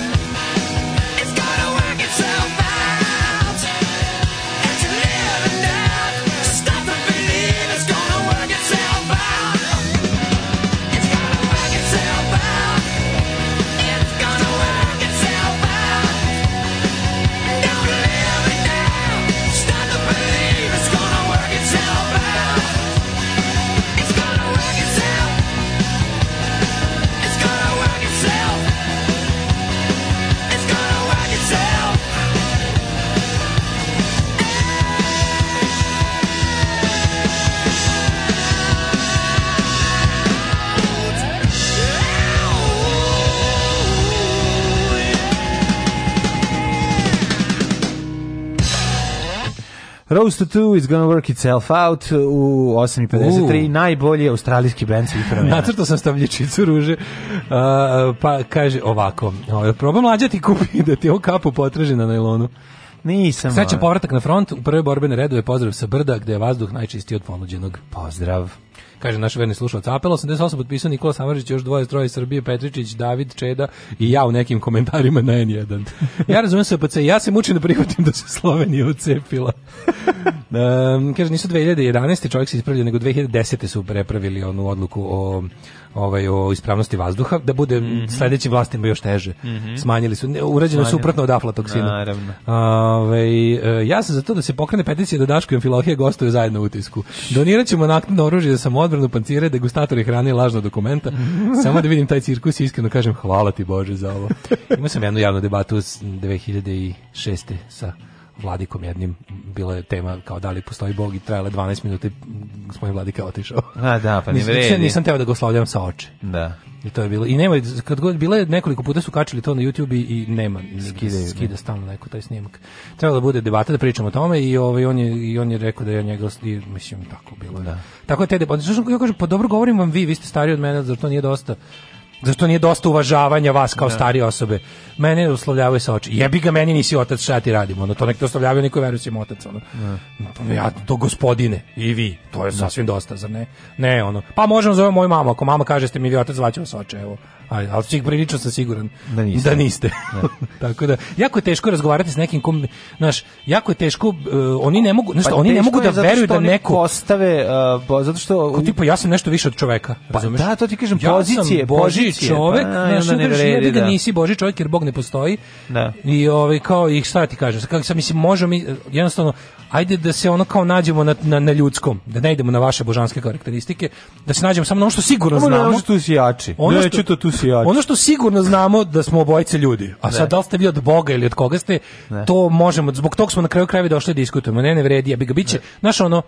It's gonna work itself out. As you live and doubt, stop and believe it's gonna work itself out. It's gonna work itself out. It's gonna work itself out. Don't live and doubt, stop and believe it's gonna work itself out. It's gonna work itself. It's gonna work itself. It's gonna work itself.
Roast to Two is gonna work itself out u 8.53,
U.
najbolji australijski band svih vremena.
Nacrtao sam stavljičicu ruže, a, pa kaže ovako, ovaj, proba mlađa ti kupi da ti ovu kapu potraži na najlonu.
Nisam. ono-
Srećan
a-
povratak na front, u prve borbene redove pozdrav sa brda gde je vazduh najčistiji od ponuđenog.
Pozdrav.
Kaže naš verni slušalac Apel 88 potpisao Nikola Samarđić, još dvoje troje iz Srbije, Petričić, David Čeda i ja u nekim komentarima na N1. Ja razumem se pa ja se mučim da prihvatim da se Slovenija ucepila. Um, kaže, nisu 2011. čovjek se ispravljao, nego 2010. su prepravili onu odluku o ovaj o ispravnosti vazduha da bude sledećim vlastima još teže.
Mhm.
Smanjili su, ne, urađeno je
Smanjili.
suprotno od aflatoksina.
Naravno.
Ovaj, e, ja sam za to da se pokrene peticija da Daško i Amfilohija gostuju zajedno u utisku. Donirat ćemo naknadno oružje za samoodbranu, pancire, degustatore hrane i lažna dokumenta. Samo da vidim taj cirkus i iskreno kažem hvala ti Bože za ovo. Imao sam jednu javnu debatu s 2006. sa vladikom jednim. Bila je tema kao da li postoji Bog i trajala je 12 minuta i gospodin vladika je otišao.
A da, pa ne
Nisam-
vredi.
Nisam teo da ga oslavljam sa oči.
Da.
I to je bilo. I nema kad god bile nekoliko puta su kačili to na YouTube i i nema skida,
Skidaju,
skida stalno neko taj snimak. Trebalo da bude debata da pričamo o tome i ovaj on je i on je rekao da ja njega i, mislim tako bilo. je. Tako je te debate. Znaš, ja kažem pa dobro govorim vam vi, vi ste stariji od mene, zar to nije dosta? Zašto nije dosta uvažavanja vas kao
Da.
starije osobe? Mene uslovljavaju sa oči. Jebi ga, meni nisi otac, šta ja ti radimo? Ono, to nek te uslovljavaju, niko veruje si im otac. Ono. Ja, to gospodine, i vi, to je sasvim dosta, zar ne? Ne, ono, pa možemo zovem moju mamu, ako mama kaže ste mi vi otac, zvaću vas oče, evo. Ajde, ali svih prilično sam siguran da niste. Tako da, jako je teško razgovarati s nekim kom, znaš, jako je teško, e, oni ne mogu, znaš, šta,
Pa
oni ne
teško
mogu da
je zato
veruju
što
da
oni
neko...
postave uh, bo, zato što
Ko tipa ja sam nešto više od čoveka.
Pa
razumeš?
da, to ti kažem,
ja
pozicije,
sam Boži
pozicije,
čovek,
pa da, i
ne,
onda
ne,
ne
ne,
vredi,
da.
da.
nisi Boži čovek jer Bog ne postoji.
Da.
I ovaj kao i šta ti kažem, kako sam mislim možemo mi jednostavno ajde da se ono kao nađemo na, na, na ljudskom, da ne idemo na vaše božanske karakteristike, da se nađemo samo na ono što sigurno
Ono
znamo.
ono što tu si jači.
Ono što-
Neću to tu si jači.
Ono što sigurno znamo da smo obojice ljudi. A sad
Ne.
da li ste vi od Boga ili od koga ste,
Ne.
to možemo. Zbog tog smo na kraju krajeva došli da diskutujemo. Ne, ne vredi, ja bi ga biće. Znaš ono,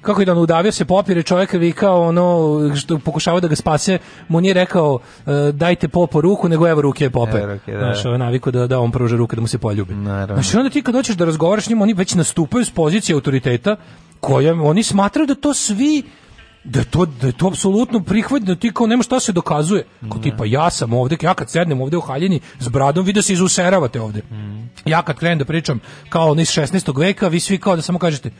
kako je da ono, udavio se popire čovjek vikao ono što pokušava da ga spase mu nije rekao e, dajte popo ruku nego evo ruke pope
Evo ruke, da.
znaš ovo je naviku da, da on pruža ruke da mu se poljubi znaš i onda ti kad hoćeš da razgovaraš s njima oni već nastupaju s pozicije autoriteta koja oni smatraju da to svi da je to da je to apsolutno prihvat da ti kao nema šta se dokazuje. Kao tipa ja sam ovdje, ja kad sednem ovdje u haljini s bradom, vi da se izuseravate ovdje. Ja kad krenem da pričam kao oni iz 16. veka, vi svi kao da samo kažete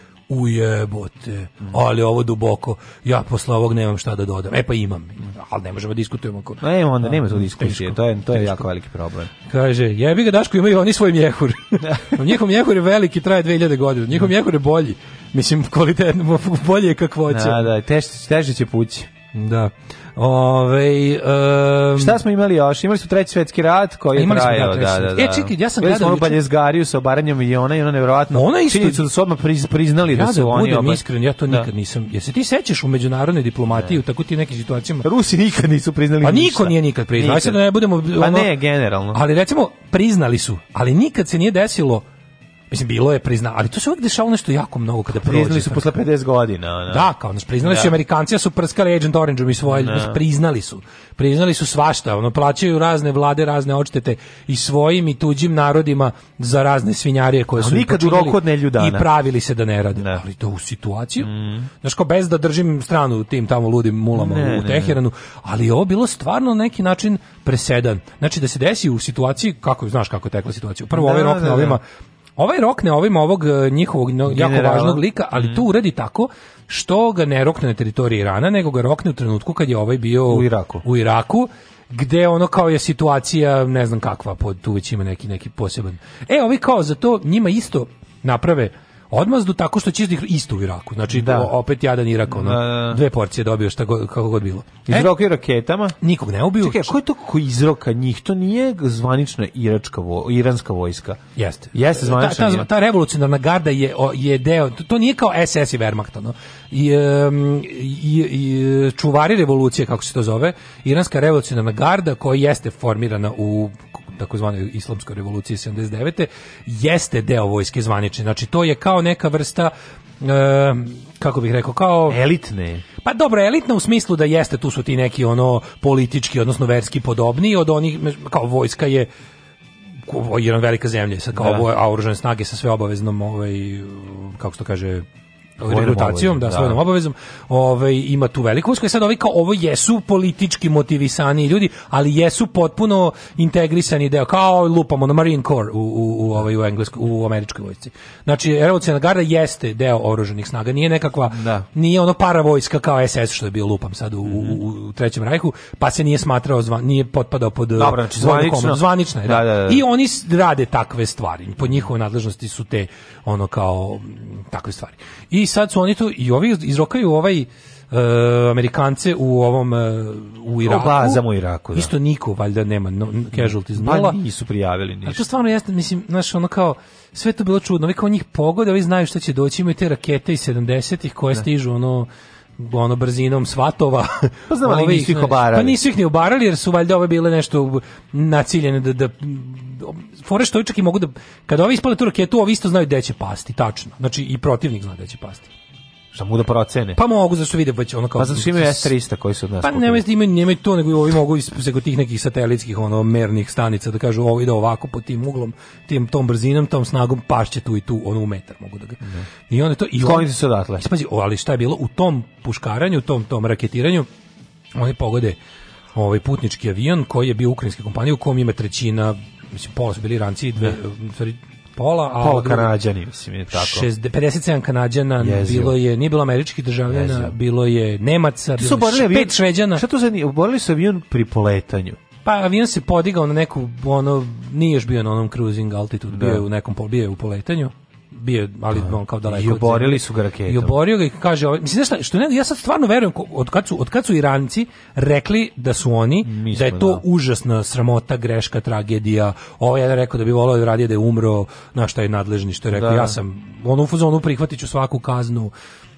ujebote, ali ovo duboko, ja posle ovog nemam šta da dodam. E pa imam, ali ne možemo da diskutujemo. Ako...
Ne, onda nema tu
Teško.
diskusije, to je, to je jako veliki problem.
Kaže, jebi ga Daško, imaju oni svoj mjehur. njihov mjehur je veliki, traje 2000 godina. Njihov mjehur je bolji. Mislim, kvalitetno, bolje je kakvoće.
Da, da, teže, teže će pući.
Da. Ove,
Šta smo imali još? Imali su treći svetski rat koji je
Imali smo, da,
trajao, da,
treći.
da, da.
E, čekaj, ja sam
Bili smo
gledao
ono
juče-
Baljezgariju sa obaranjem miliona i ono nevjerovatno.
Ona isto-
Činjenicu da su odmah priz- priznali da
ja da
su oni
budem
oba-
iskren, ja to nikad nisam. Jer se ti sećaš u međunarodnoj diplomatiji u tako ti nekim situacijama?
Rusi nikad nisu priznali
Pa
ništa.
niko nije nikad priznao. Aj sad da ne budemo...
Pa
ono-
ne, generalno.
Ali recimo, priznali su, ali nikad se nije desilo Mislim, bilo je priznao, ali to se uvijek dešavalo nešto jako mnogo kada prođe.
Priznali su
tako.
posle 50 godina. ono.
Da, kao nas priznali su
Da.
Amerikanci, a su prskali Agent Orange-om i svoje,
Da.
mislim, priznali su. Priznali su svašta, ono, plaćaju razne vlade, razne odštete i svojim i tuđim narodima za razne svinjarije koje
Ali
su im
nikad u
počinili
roku od nedlju dana.
I pravili se da ne rade. Ali to u situaciju, mm. znaš, kao bez da držim stranu tim tamo ludim mulama
Ne,
u
ne,
Teheranu, ali je ovo bilo stvarno na neki način presedan. Znači, da se desi u situaciji, kako, znaš kako je tekla situacija, prvo
Da,
ovaj rok
da,
na
da.
ovima, Ovaj rokne ovim ovog e, njihovog no, jako
Generala.
važnog lika, ali to uradi tako što ga ne rokne na teritoriji Irana, nego ga rokne u trenutku kad je ovaj bio
U Iraku.
u Iraku gde ono kao je situacija ne znam kakva, pod, tu već ima neki, neki poseban. E, ovi kao za to njima isto naprave odmazdu tako što će ih isto u Iraku. Znači, o- opet jadan Irak, ono,
Da, da, da.
dve porcije dobio šta god, kako god bilo. E,
Izrokaju raketama.
Nikog ne ubiju.
Čekaj, ko je to ko izroka njih? To nije zvanična iračka vo, iranska vojska.
Jeste.
Jeste zvanična.
Ta, ta,
iran-
ta revolucionarna garda je, o- je deo, to, to nije kao SS i Wehrmacht, ono. I, em, i, i, čuvari revolucije, kako se to zove, iranska revolucionarna garda koja jeste formirana u takozvanoj islamskoj revoluciji 79. jeste deo vojske zvanične. Znači, to je kao neka vrsta em, kako bih rekao, kao...
Elitne.
Pa dobro, elitna u smislu da jeste, tu su ti neki ono politički, odnosno verski podobniji od onih, kao vojska je ovo je jedna velika zemlja, sad kao
Da.
ovo je a oružane snage sa sve obaveznom, ovaj, kako se to kaže,
Vojnom
reputacijom, da,
obavezom,
svojom
da.
obavezom, ovaj, ima tu veliku usku. I sad ovi kao, ovo jesu politički motivisani ljudi, ali jesu potpuno integrisani deo, kao lupamo na Marine Corps u, u, u, ovaj, u, Engleskoj, u američkoj vojsci. Znači, revolucionarna garda jeste deo oruženih snaga, nije nekakva, nije ono paravojska kao SS što je bio lupam sad u,
Mhm.
u, u- u Trećem rajhu, pa se nije smatrao, zva, nije potpadao pod eh,
Dobro, znači,
vojnu
zvanično.
komoru. Zvanično je, da.
Da, da, da.
I oni s- rade takve stvari. Po njihovoj nadležnosti su te ono kao m, takve stvari. I sad su oni tu i ovi iz- izrokaju ovaj e, Amerikance u ovom e, u Iraku.
bazama u Iraku, da.
Isto niko valjda nema no, n- casualties
Pa
nula.
nisu prijavili ništa.
A to stvarno jeste, mislim, znaš, ono kao, sve to bilo čudno, ovi kao njih pogode, ovi znaju šta će doći, imaju te rakete iz 70-ih koje
Da.
stižu, ono, ono brzinom svatova.
Pa znam, ali
Ovi
nisu ih
znaš,
obarali.
Pa nisu ih ni obarali, jer su valjda ove bile nešto naciljene da... da fore što ovi čak i mogu da... Kada ovi ispale tu raketu, ovi isto znaju gde će pasti, tačno. Znači, i protivnik zna gde će pasti.
Šta mogu da procene?
Pa mogu, zašto vide, već ono kao...
Pa zato što imaju S-300 koji su od nas
Pa
kupili.
nemaju, imaju, nemaju to, nego ovi mogu iz preko tih nekih satelitskih ono, mernih stanica da kažu ovo ide ovako po tim uglom, tim, tom brzinom, tom snagom, pašće tu i tu, ono u metar mogu da ga... I onda to... I
Sklonite se odatle.
I sad pazi, o, ali šta je bilo u tom puškaranju, u tom, tom raketiranju, oni pogode ovaj putnički avion koji je bio ukrajinske kompanije u kom ima trećina, mislim, pola su bili ranci, dve, u stvari, pola, a...
Pola
od drugog-
Kanađani, mislim, je tako.
60 57 Kanadjana,
Jezivo.
bilo je, nije bilo američkih državljana,
Jezivo.
bilo je Nemaca,
Tu su
bilo je
oborili
š-
avion,
pet Šveđana.
Šta to za nije? Oborili su avion pri poletanju.
Pa avion se podigao na neku, ono, nije još bio na onom cruising altitude, bio je u nekom, pol- bio je u poletanju, bio je, ali on kao daleko.
I
od
oborili
zemlje.
su ga raketom.
I oborio ga i kaže, ovaj, mislim, znaš šta, što ne, ja sad stvarno verujem, ko- od kad su, od kad su Iranci rekli da su oni, da je
smo,
to
da.
užasna sramota, greška, tragedija, ovaj jedan rekao da bi volao da radije da je umro, na šta je nadležni, što je rekao,
Da.
ja sam, ono u fazonu prihvatit ću svaku kaznu,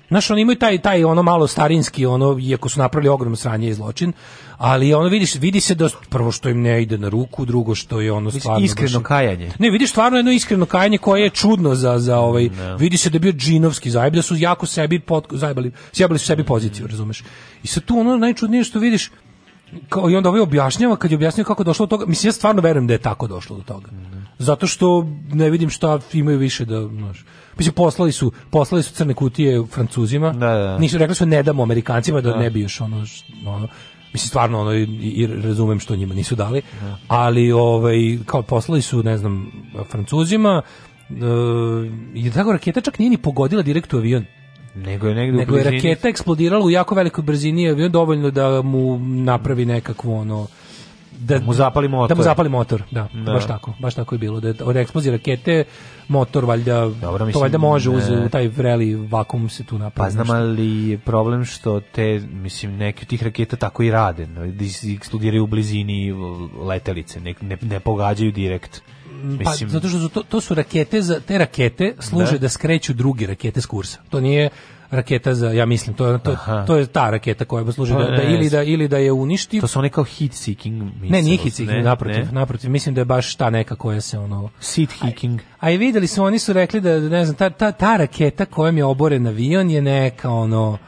Znaš, oni imaju taj, taj ono malo starinski, ono, iako su napravili ogromno sranje i zločin, ali ono, vidiš, vidi se da prvo što im ne ide na ruku, drugo što je ono stvarno...
iskreno
baš-
kajanje.
Ne, vidiš stvarno jedno iskreno kajanje koje je čudno za, za ovaj, vidi se da je bio džinovski zajeb, da su jako sebi pot, zajebali, sjebali su sebi poziciju, razumeš. I sad tu ono najčudnije što vidiš, kao, i onda ovaj objašnjava, kad je objašnjava kako je došlo do toga, mislim, ja stvarno verujem da je tako došlo do toga. Zato što ne vidim šta imaju više da, znaš, mislim, poslali su, poslali su crne kutije Francuzima, nisu rekli su ne damo Amerikancima da,
Da.
ne bi još ono, š- ono mislim, stvarno ono, i, i razumem što njima nisu dali, ali ovaj, kao poslali su, ne znam, Francuzima, e, i tako raketa čak nije ni pogodila direkt u avion.
Nego je negde
Nego
u
je
blizini.
raketa eksplodirala u jako velikoj brzini i avion dovoljno da mu napravi nekakvu ono da
mu zapali motor.
Da mu zapali motor, da,
Da.
baš tako, baš tako je bilo. Da je od eksplozije rakete motor valjda to
mislim,
valjda može uz
ne.
u taj vreli vakum se tu napravi.
Pa znam,
nešto.
ali je problem što te, mislim, neke od tih raketa tako i rade. no, da is- Eksplodiraju u blizini uh, letelice, ne, ne, ne pogađaju direkt.
Pa,
Mislim,
zato što su to, to su rakete za te rakete služe da.
Da.
skreću drugi rakete s kursa. To nije raketa za ja mislim to to,
Aha.
to je ta raketa koja služi da,
Pa,
da
ne,
ili da ili da je uništi
to su one kao hit seeking.
Ne,
missiles,
nije hit-seeking,
ne,
naprotiv,
ne.
naprotiv. Mislim da je baš ta neka koja se ono...
Seat hicking.
A i videli su, oni su rekli da, da ne znam, ta, ta, ta raketa kojom je oboren avion je neka ono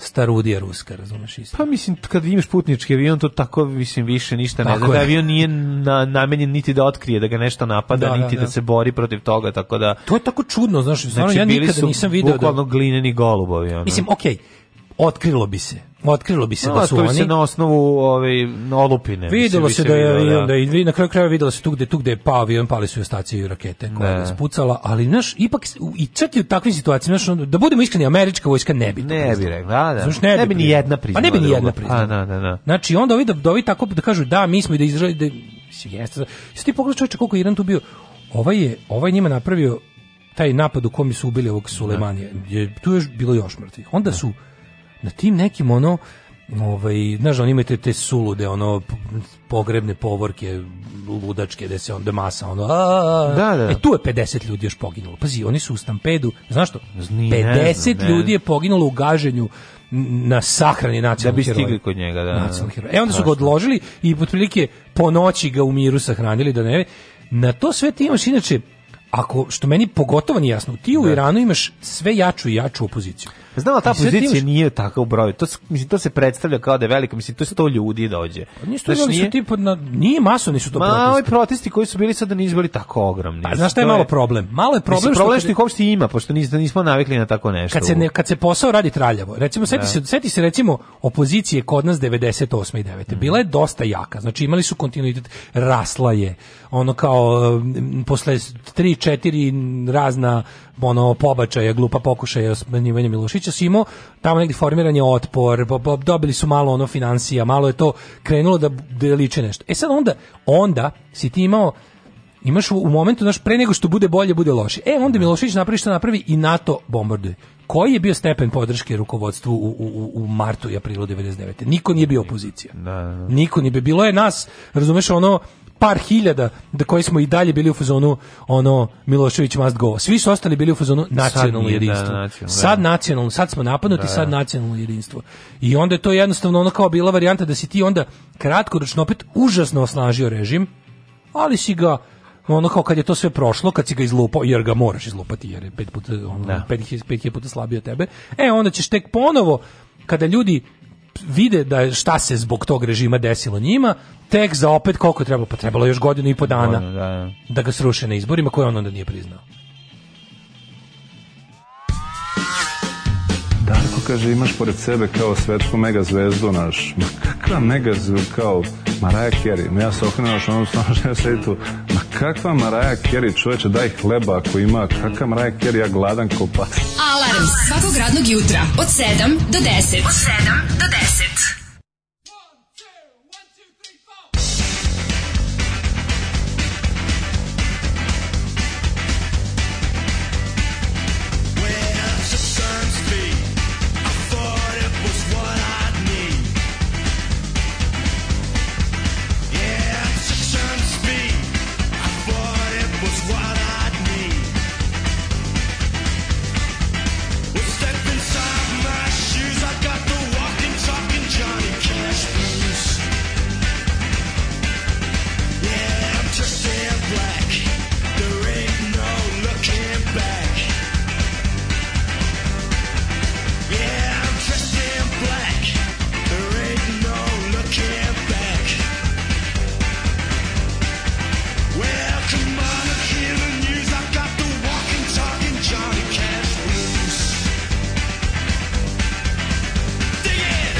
starudija ruska, razumeš isto.
Pa mislim, kad imaš putnički avion, to tako, mislim, više ništa ne
Tako
znači.
je.
Da avion nije na, namenjen niti da otkrije, da ga nešto napada,
Da, da,
niti da,
da.
se bori protiv toga, tako da...
To je tako čudno, znaš, stvarno,
Znači,
ja
bili
nikada
su
nisam video da...
bukvalno glineni golubovi. Ono.
Mislim, okej, otkrilo bi se. Otkrilo bi se
No,
da
to
su
bi
oni...
se na osnovu ove, olupine.
Videlo
mislim, bi
se da je
videlo,
avion, da je, i na kraju krajeva videlo se tu gde, tu gde je pao avion, pali su i ostaci i rakete koja
Da.
je spucala, ali, znaš, ipak, u- i čak i u takvim situacijama, znaš, ono, da budemo iskreni, američka vojska ne bi to
Ne bi
priznala.
rekla, da, da.
Znaš, ne,
Ne bi ni jedna
Pa
priznala
ne bi ni jedna
drugo.
priznala.
A, da, da, da.
Znači, onda ovi da, da ovi tako da kažu, da, mi smo i da izraži, da, mislim, jeste, jesi ti pogledaj čovječe koliko je Iran tu bio, ovaj je, ovaj njima napravio taj napad u kom su ubili ovog Sulemanija, je, tu je još bilo još mrtvih. Onda su na tim nekim ono, ovaj, znaš, oni imaju te, te sulude, ono, p- pogrebne povorke, ludačke, gde se onda masa, ono, a, a, a.
Da, da.
E, tu je 50 ljudi još poginulo. Pazi, oni su u stampedu, znaš što?
Ni ne
50
znam, ne.
ljudi je poginulo u gaženju n- na sahrani
Da bi
nacionalnih heroja.
stigli kod njega, da.
Nacionalni heroj. E onda su ga odložili i otprilike po noći ga u miru sahranili da ne. Na to sve ti imaš inače ako, što meni pogotovo nije jasno, ti u Iranu imaš sve jaču i jaču opoziciju.
Znam, ali ta
I sad ti
pozicija
imaš-
nije takav broj. To, s- mislim, to se predstavlja kao da je velika, mislim, to je sto ljudi dođe.
Pa Nisu to imali su tipa na, nije masovni su to
Ma,
protesti.
ovi protesti koji su bili sada nisu bili tako ogromni.
A znaš šta je
To
malo problem? Malo je problem
Mislim,
što
problem
kad-
što ih uopšte ima, pošto nis- nismo navikli na tako nešto.
Kad se, ne, kad se posao radi traljavo, recimo, seti,
Da.
se, seti se recimo opozicije kod nas 98. i 9.
Mhm.
Bila je dosta jaka, znači imali su kontinuitet, rasla je, ono kao mm, posle 3-4 razna ono, pobačaja, glupa pokušaja smanjivanja Milošića, si imao tamo negdje formiranje otpor, bo- bo- dobili su malo ono financija, malo je to krenulo da, da liče nešto. E sad onda, onda si ti imao imaš u, u momentu naš pre nego što bude bolje bude loše. E onda Milošević napravi što napravi i NATO bombarduje. Koji je bio stepen podrške rukovodstvu u, u, u- u martu i aprilu 99. Niko nije bio opozicija. Niko nije bio. Bilo je nas, razumeš, ono par hiljada da koji smo i dalje bili u fazonu ono Milošević must go. Svi su ostali bili u fazonu nacionalno
nije, da,
jedinstvo.
nacionalno, da.
sad nacionalno, sad smo napadnuti,
Da,
sad
da.
nacionalno jedinstvo. I onda je to jednostavno ono kao bila varijanta da si ti onda kratkoročno opet užasno osnažio režim, ali si ga ono kao kad je to sve prošlo, kad si ga izlupao, jer ga moraš izlupati, jer je pet puta, ono,
Da.
pet, hi- pet hiljada puta slabiji od tebe, e onda ćeš tek ponovo, kada ljudi vide da je- šta se zbog tog režima desilo njima, tek za opet koliko je trebalo, pa trebalo je još godinu i po dana
Godinu, da,
da ga sruše na izborima koje on onda nije priznao.
Darko kaže, imaš pored sebe kao svetsku megazvezdu naš. Ma kakva megazvezdu kao Maraja Kerry? Ma ja se okrenuo naš onom stvarno žena sedi tu. Ma kakva Maraja Kerry? Čoveče, daj hleba ako ima. Kakva Maraja Kerry? Ja gladan ko pas.
Alarm svakog radnog jutra od 7 do 10. Od 7 do 10.
Just in black, there ain't no looking back. Yeah, I'm dressed in black. There ain't no looking back. Well, come on and hear the news. I've got the walking, talking Johnny Cash blues. Dig it!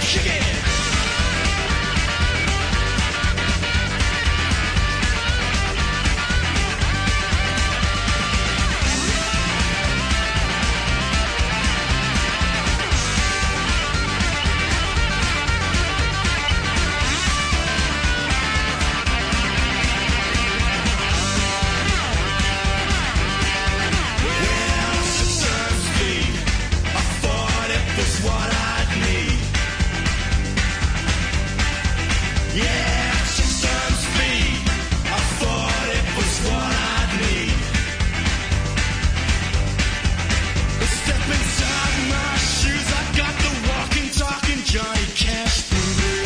Kick it! Johnny Cash blues.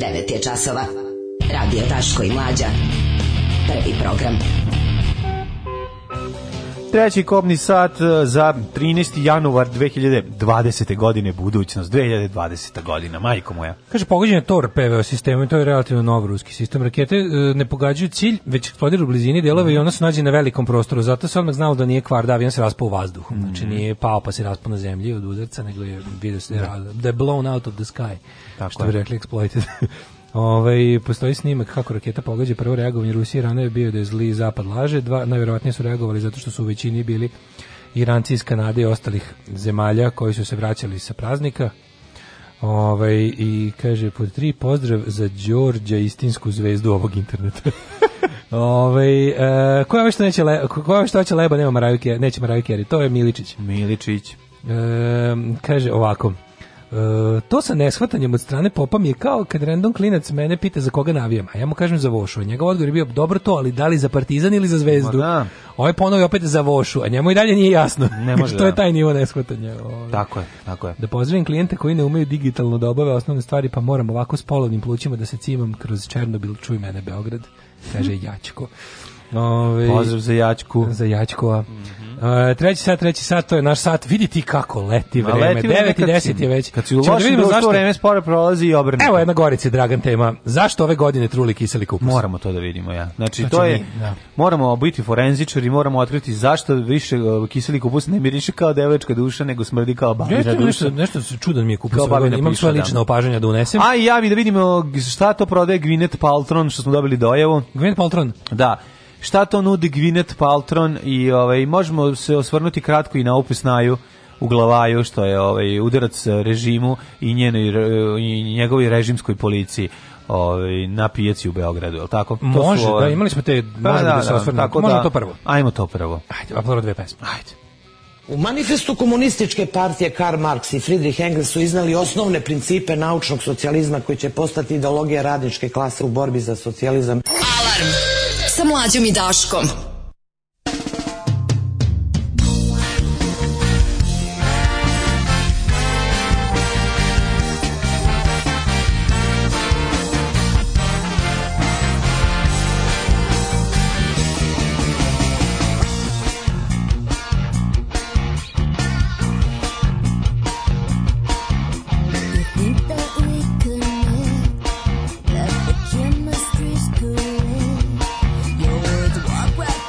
Devet je časova. Radio Daško i Mlađa.
Prvi program.
Treći kopni sat e, za 13. januar 2020. godine, budućnost, 2020. godina, majko moja.
Kaže, pogođen je TOR PVO sistemom i to je relativno nov ruski sistem. Rakete e, ne pogađaju cilj, već eksplodiraju u blizini delove i ona se nađe na velikom prostoru. Zato se odmah znalo da nije kvar, da avion se raspao u vazduhu. Znači nije pao pa se raspao na zemlji od udarca, nego je vidio se da je ra- da je blown out of the sky. Tako što bi
je.
rekli exploited. Ovaj postoji snimak kako raketa pogađa prvo reagovanje Rusije i Irana je bio da je zli zapad laže, dva najverovatnije su reagovali zato što su u većini bili Iranci iz Kanade i ostalih zemalja koji su se vraćali sa praznika. Ovaj i kaže pod tri pozdrav za Đorđa istinsku zvezdu ovog interneta. Ovaj e, ko je ovo što neće le, ko je ovo što hoće leba nema Mariah Carey, neće Mariah Carey, to je Miličić. E,
Miličić.
kaže ovako. E, to sa neshvatanjem od strane popa mi je kao kad random klinac mene pita za koga navijam, a ja mu kažem za Vošu. A njegov odgovor je bio dobro to, ali da li za Partizan ili za Zvezdu?
Ma da.
Ovaj ponovi opet za Vošu, a njemu i dalje nije jasno.
Ne može,
to je
da.
taj nivo neshvatanja. Ovaj.
Tako je, tako je.
Da pozdravim klijente koji ne umeju digitalno da obave osnovne stvari, pa moram ovako s polovnim plućima da se cimam kroz Černobil, čuj mene Beograd, kaže Jačko. Ove,
Pozdrav za Jačku. Mhm.
Za Jačkova. E, treći sat, treći sat, to je naš sat. Vidite kako leti
Ma,
vreme.
leti vreme
9 i
kad
10
si-
je već.
kad si u
Ćemo da
lošem
vidimo
društvu,
zašto-
vreme sporo prolazi i obrnuto.
Evo jedna Gorici, Dragan tema. Zašto ove godine truli kiseli kupus?
Moramo to da vidimo, ja. Znači,
Znači,
to je,
mi, da.
moramo biti forenzičari, moramo otkriti zašto više e, kiseli kupus ne miriše kao devojačka duša, nego smrdi kao babina
Nešto,
duša.
nešto, nešto čudan mi je kupus.
Kao
ove godine.
babina
Imam
piša,
svoje
da.
lične opažanja da unesem.
A i ja mi da vidimo šta to prodaje Gwyneth Paltron, što smo dobili dojavu.
Gwyneth Paltron?
Da. Šta to nudi Gwyneth Paltron i ovaj, možemo se osvrnuti kratko i na ovu pesnaju u glavaju, što je ovaj, udarac eh, režimu i, njenoj, re- i njegovoj režimskoj policiji ovaj, na pijaci u Beogradu, je li tako? To su,
Može,
ovaj,
da, imali smo te- možemo da se osvrnemo.
tako
Možemo to prvo.
Ajmo to prvo.
Ajde, a prvo dve pesme.
Ajde.
U manifestu komunističke partije Karl Marx i Friedrich Engels su iznali osnovne principe naučnog socijalizma koji će postati ideologija radničke klase u borbi za socijalizam.
Alarm sa mlađom i Daškom.
Your words walk right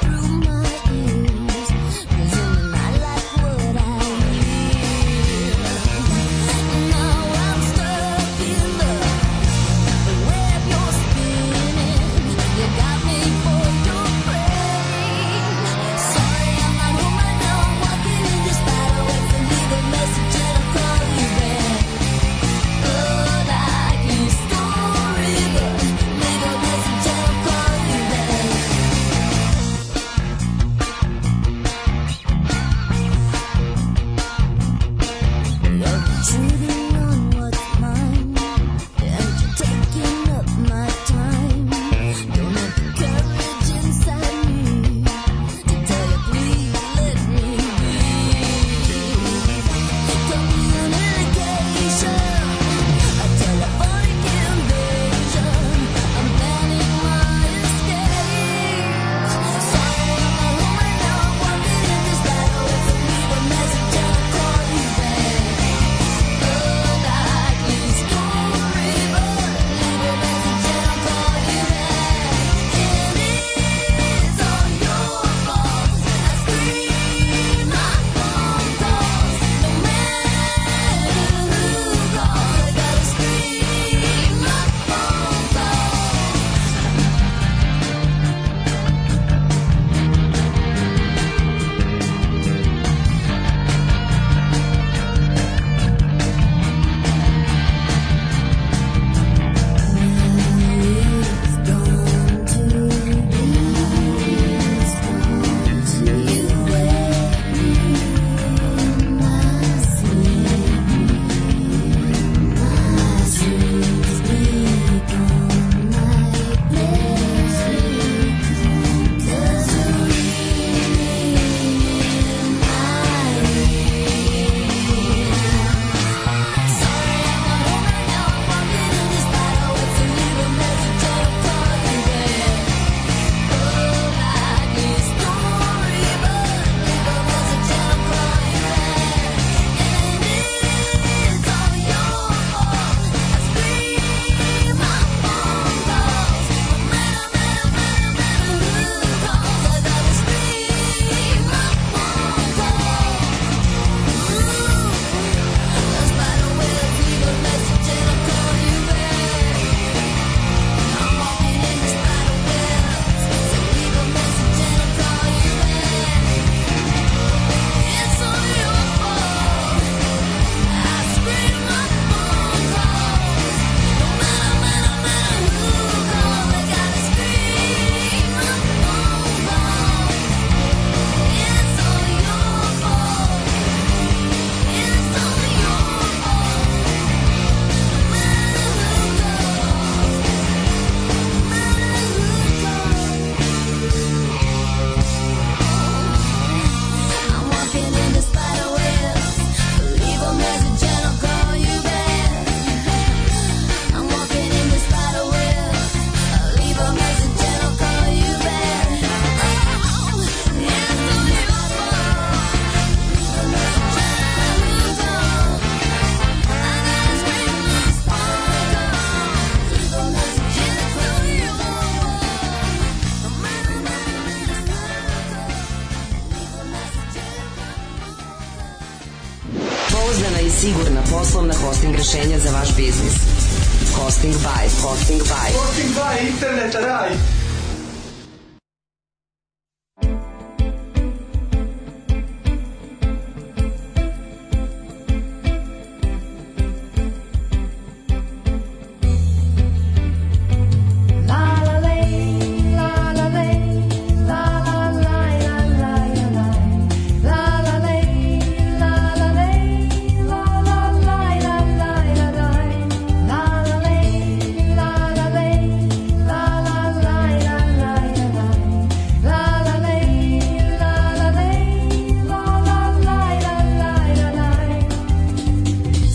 poslovna hosting rešenja za vaš biznis. Hosting by, hosting by.
Hosting by, internet, raj.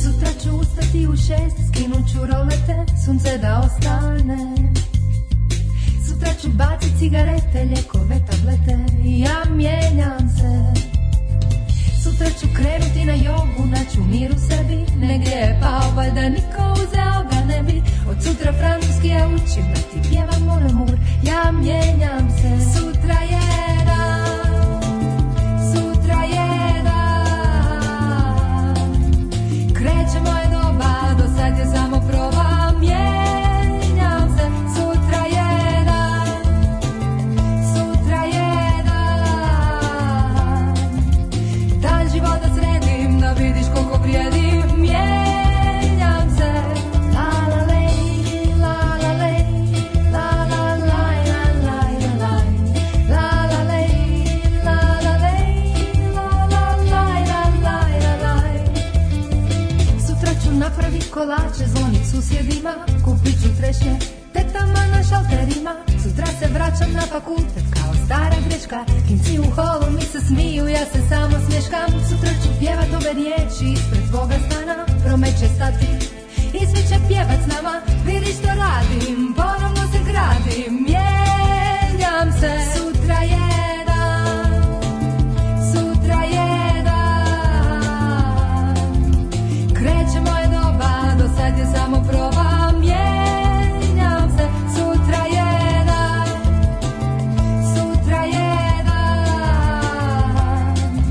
Sutra ću ustati u šest, skinut ću rolete, sunce da ostane. Sutra ću bacit cigarete, ljekove, tablete i ja mijenjam se. Sutra ću krenuti na jogu, naću mir u sebi, negdje je pao, valjda niko uzeo ga ne bi. Od sutra francuski ja učim, da ti pjevam mon amour, ja mijenjam se. Sutra je dan, sutra je dan, Kreće moje doba, do sad je samo proba, mijenjam se, sutra je dan, sutra je dan. Dan života sredim, da vidiš koliko vrijedim, mijenjam se. La la lej, la la lej, la la laj, la laj, la laj. La la lej, la la lej, la la laj, la laj, la laj. Sutra ću napravit kolače, zvonit susjedima, kupit ću trešnje, tetama na šalterima. Sutra se vraćam na fakultet kao stara greška, kinci u holu mi se smiju, ja se samo smješkam. Sutra ću pjevat ove riječi ispred svoga stana, promeće stati i svi će pjevat s nama, vidi što radim, ponovno se gradim, mijenjam se. Sutra je dan, sutra je dan, Kreće moje doba, do sad je samo proba, mijenjam se, sutra je dan, sutra je dan.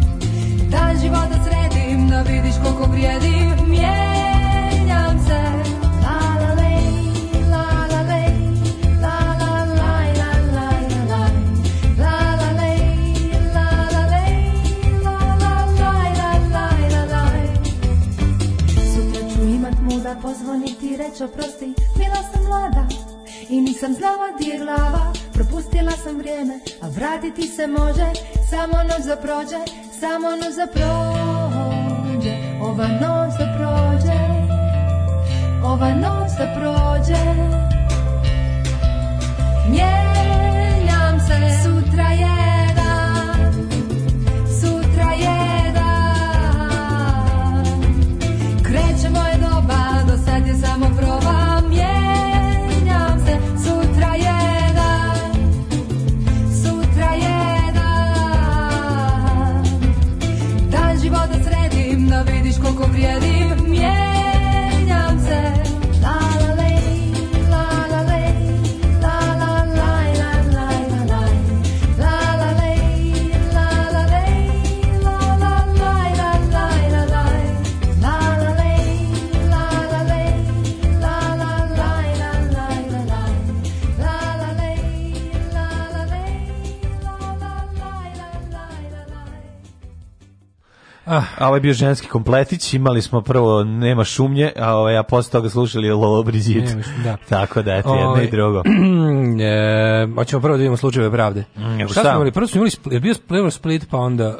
Dan života sredim, da vidiš koliko vrijedim, mijenjam se. La la lej, la la lej, la la laj, la laj, la laj. La la lej, la la lej, la la laj, la laj, la laj. Sutra ću imat muda pozvoniti i reći oprosti, bila sam mlada i nisam znala di je glava. Propustila sam vrijeme, a vratiti se može, samo noć da prođe, samo noć da prođe, ova noć da prođe, ova noć da prođe. Mijenjam se, sutra je dan, sutra je dan. Kreće moje doba, do sad je samo proba Mijenjam se, sutra je dan Sutra je dan Dan života sredim, da vidiš koliko vrijedim Mijenjam se La la lej, la la lej La la laj, la laj, la laj La la lej, la la lej La la laj, la laj, la laj La la lej, la la lej La la laj, la laj, la laj La la lej, la la lej
Ah. A ovo je bio ženski kompletić, imali smo prvo Nema šumnje, a, ovaj, a posle toga slušali Lolo Brizit.
Nema šumnje, da.
Tako da, eto, jedno
Ovaj,
i drugo.
e, hoćemo prvo da vidimo slučajeve pravde.
evo šta?
šta smo imali? Prvo smo imali, Split- je bio prvo Split, pa onda,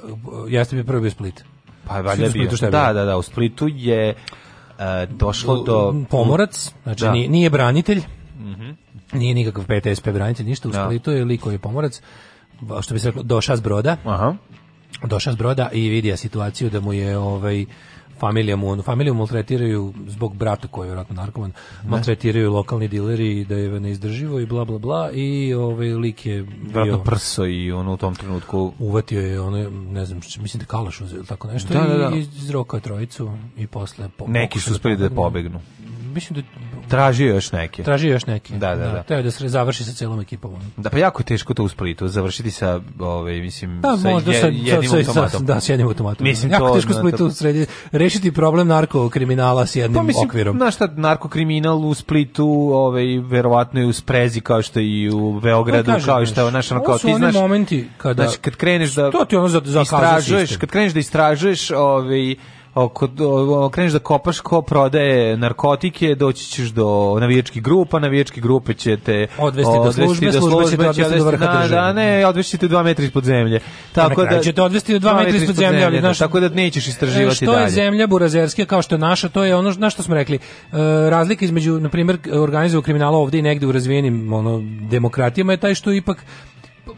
jeste bi prvo bio Split.
Pa valjda
Svi u Splitu
bio.
šta je bilo?
Da, da, da, u Splitu je e, došlo do...
Pomorac, znači
Da.
nije, nije branitelj,
Mhm.
nije nikakav PTSP branitelj, ništa, u
Da.
Splitu je lik koji je pomorac, ba- što bi se reklo, došao s broda, došao s broda i vidio situaciju da mu je ovaj, familija mu, ono, familiju maltretiraju zbog brata koji je vjerojatno narkoman, maltretiraju lokalni dileri i da je neizdrživo i bla bla bla i ovaj lik je bio
Vratno prso i ono u tom trenutku...
uvatio je ono, ne znam, č- mislim da je Kalaš uzeo ili tako nešto
Da, da, da.
i izrokao je trojicu i posle... po-
Neki su
pokušao da
uspeli da
pomogne.
pobegnu.
Mislim da
Tražio je još neke.
Tražio je još neke.
Da, da, da.
Teo je da se završi sa celom ekipom. ono.
Da, pa jako je teško to u Splitu, završiti sa, ovaj, mislim,
Da,
sa,
Pa, možda
je-
sa,
jednim
sa, sa-
automatom.
da, s jednim automatom.
Mislim,
jako
to,
teško
na,
Splitu
to-
sredi, rešiti problem narkokriminala s jednim
Pa mislim,
okvirom.
znaš šta, narkokriminal u Splitu, ovaj, verovatno je u sprezi kao što i u Beogradu,
Pa kažem,
kao što je, znaš, ono, kao
ovo su
ti
oni
znaš,
momenti kada-
znači, kad kreneš da
To ti ono za- za kazu
istražuješ,
sistem.
kad kreneš da istražuješ, ovaj, oko, o- kreneš da kopaš ko prodaje narkotike, doći ćeš do navijačkih grupa, navijačke grupe će te
Odvesti do službe, služba će te odvesti do vrha
na-
države.
da, ne, odvesti te dva metra ispod zemlje.
na kraju će te odvesti do dva metra ispod zemlje, ali,
da,
znaš,
tako da nećeš
E,
istraživati
što je
dalje.
zemlja burazerske kao što je naša, to je ono na što smo rekli. E, razlika između, na primjer, organizovanog kriminala ovdje i negdje u razvijenim ono, demokratijama je taj što ipak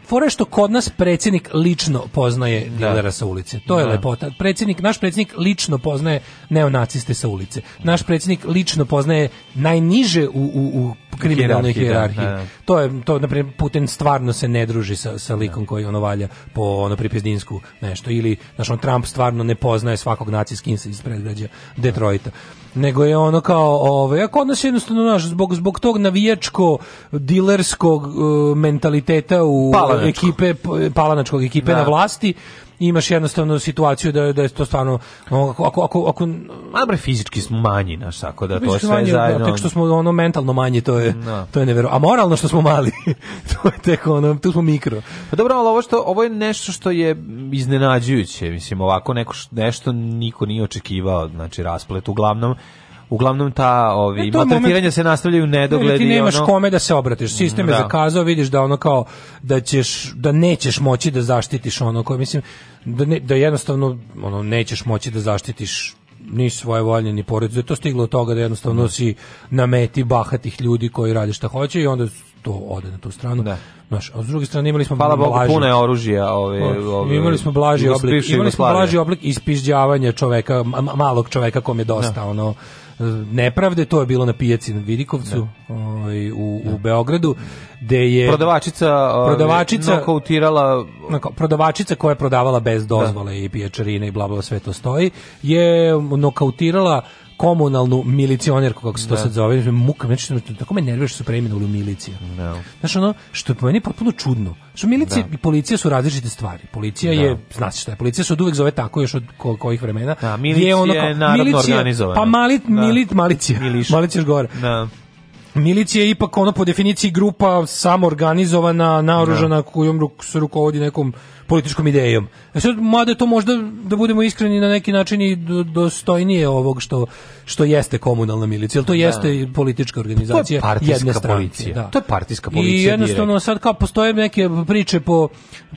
Fore što kod nas predsjednik lično poznaje dilera sa ulice. To je
Da.
lepota. Predsjednik, naš predsjednik lično poznaje neonaciste sa ulice. Naš predsjednik lično poznaje najniže u, u, u kriminalnoj
Hijerarhiji, da,
hijerarhiji.
da, da.
To je to na primjer Putin stvarno se ne druži sa sa likom koji ono valja po ono pripizdinsku nešto ili znači on Trump stvarno ne poznaje svakog nacijski insa iz predgrađa Detroita. Nego je ono kao ovaj ako odnos jednostavno naš zbog zbog tog navijačko dilerskog eh, mentaliteta u
Palanačkog.
ekipe p- palanačkog ekipe
Da.
na vlasti imaš jednostavno situaciju da je- da je to stvarno ono, ako ako ako, ako
Ma bre, fizički smo manji, naš, tako da to
Mislim,
sve
manje,
zajedno...
Tek što smo ono mentalno manji, to je,
Da.
to je nevjero. A moralno što smo mali, to je tek ono, tu smo mikro.
Pa dobro, ali ovo, što, ovo je nešto što je iznenađujuće, mislim, ovako neko, š- nešto niko nije očekivao, znači rasplet, uglavnom, uglavnom ta ovi,
E, to je
maltretiranja
moment-
se nastavljaju u nedogled.
Ili ti
i
nemaš
ono-
kome da se obratiš. Sistem je
Da.
zakazao, vidiš da ono kao da ćeš da nećeš moći da zaštitiš ono koje mislim da ne- da jednostavno ono nećeš moći da zaštitiš ni svoje volje ni porodicu. Da je to stiglo od toga da jednostavno si na meti bahatih ljudi koji rade šta hoće i onda to ode na tu stranu. Znaš, a s druge strane imali smo
Hvala Bogu,
blažu-
puno je oružja. Ove, ove,
imali smo blaži
iz
oblik,
bivše
imali smo
Jugoslavije.
blaži oblik ispižđavanja čoveka, ma- ma- malog čoveka kom je dosta ono e, nepravde, to je bilo na pijaci na Vidikovcu, ovaj, u, u Beogradu, gde je
Prodavačica, ove,
Prodavačica-
nokautirala
na kao prodavačica koja je prodavala bez dozvole i pijačarine i bla bla sve to stoji je nokautirala komunalnu milicionerku kako se to
Da.
sad zove muka znači tako me nervira što su preimenovali u milicija
No.
Znaš, ono, što je po meni potpuno čudno. Što milicija
Da.
i policija su različite stvari. Policija
Da.
je, znaš šta je, policija se od uvek zove tako još od ko- kojih vremena. Da,
milicija je narodno organizovana.
Pa malit,
Da.
milit, malicija. Malicija još gore.
Da.
Milicija je ipak ono po definiciji grupa samoorganizovana, naoružana, kojom ruk- se rukovodi nekom političkom idejom. E sad, mada je to možda, da budemo iskreni, na neki način i do- dostojnije ovog što, što jeste komunalna milicija, jer to jeste i politička organizacija
partijska
jedne stranke.
policija.
da.
To je partijska policija
I jednostavno
direkt.
sad kao postoje neke priče po,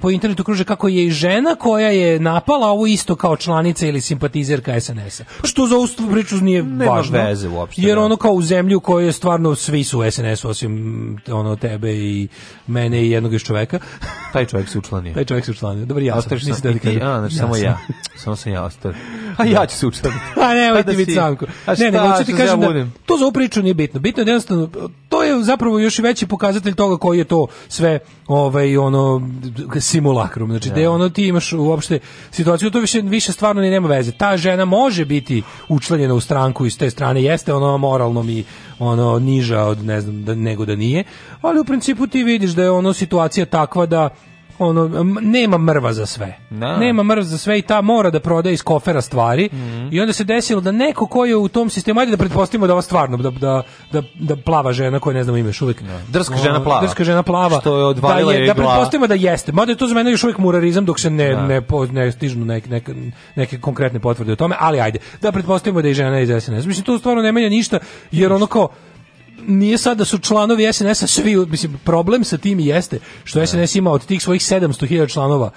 po internetu kruže kako je i žena koja je napala ovo isto kao članica ili simpatizerka SNS-a. Pa Što za ustu priču nije
Nema
važno.
veze uopšte,
Jer
da.
ono kao u zemlju u kojoj je stvarno svi su u SNS-u osim ono tebe i mene i jednog još čoveka.
Taj čovjek se učlanio.
Taj čovjek se učlanio. Dobar ja sam.
Ostaviš sam,
Mislim da
i
ti
ti,
kažem.
a, znači, samo
sam.
ja. Samo sam ja ostao. A ja ću se učlaniti.
A
Pa
nemoj
da
ti biti
si.
samko.
A
Ne, nego
šta,
hoću ti
što se ja
kažem da
budim?
to za ovu priču nije bitno. Bitno je da jednostavno, to je zapravo još i veći pokazatelj toga koji je to sve ovaj, ono, simulakrum. Znači, da je ono ti imaš uopšte situaciju, to više, više stvarno ni nema veze. Ta žena može biti učlanjena u stranku i s te strane, jeste ono moralno mi ono niža od ne znam da, nego da nije, ali u principu ti vidiš da je ono situacija takva da ono m- nema mrva za sve.
Da.
Nema mrv za sve i ta mora da proda iz kofera stvari.
Mhm.
I onda se desilo da neko ko je u tom sistemu, ajde da pretpostavimo da ova stvarno, da, da, da, da plava žena koja ne znam ime još uvijek.
Drska žena plava.
Drska žena plava.
Što je odvalila
da
joj
Da
glava.
pretpostavimo da jeste. Mada je to za mene još uvijek murarizam dok se ne,
Da.
ne, po- ne stižu nek- nek- neke konkretne potvrde o tome, ali ajde. Da pretpostavimo da je žena iz SNS. Mislim, to stvarno ne menja ništa, jer ono kao, nije sad da su članovi SNS-a svi, mislim, problem sa tim jeste što SNS ima od tih svojih 700.000 članova,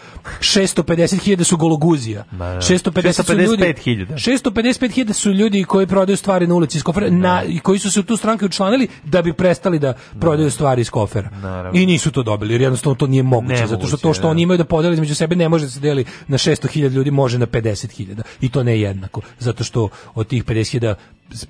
650.000 su gologuzija,
Ma, da.
650 su ljudi,
655.000.
655.000 su ljudi koji prodaju stvari na ulici iz kofera na, i koji su se u tu stranku učlanili da bi prestali da prodaju stvari iz kofera.
Naravno.
I nisu to dobili, jer jednostavno to nije moguće, zato što
Nemoguće,
to što
da.
oni imaju da podele između sebe ne može da se deli na 600.000 ljudi, može na 50.000 i to ne jednako, zato što od tih 50.000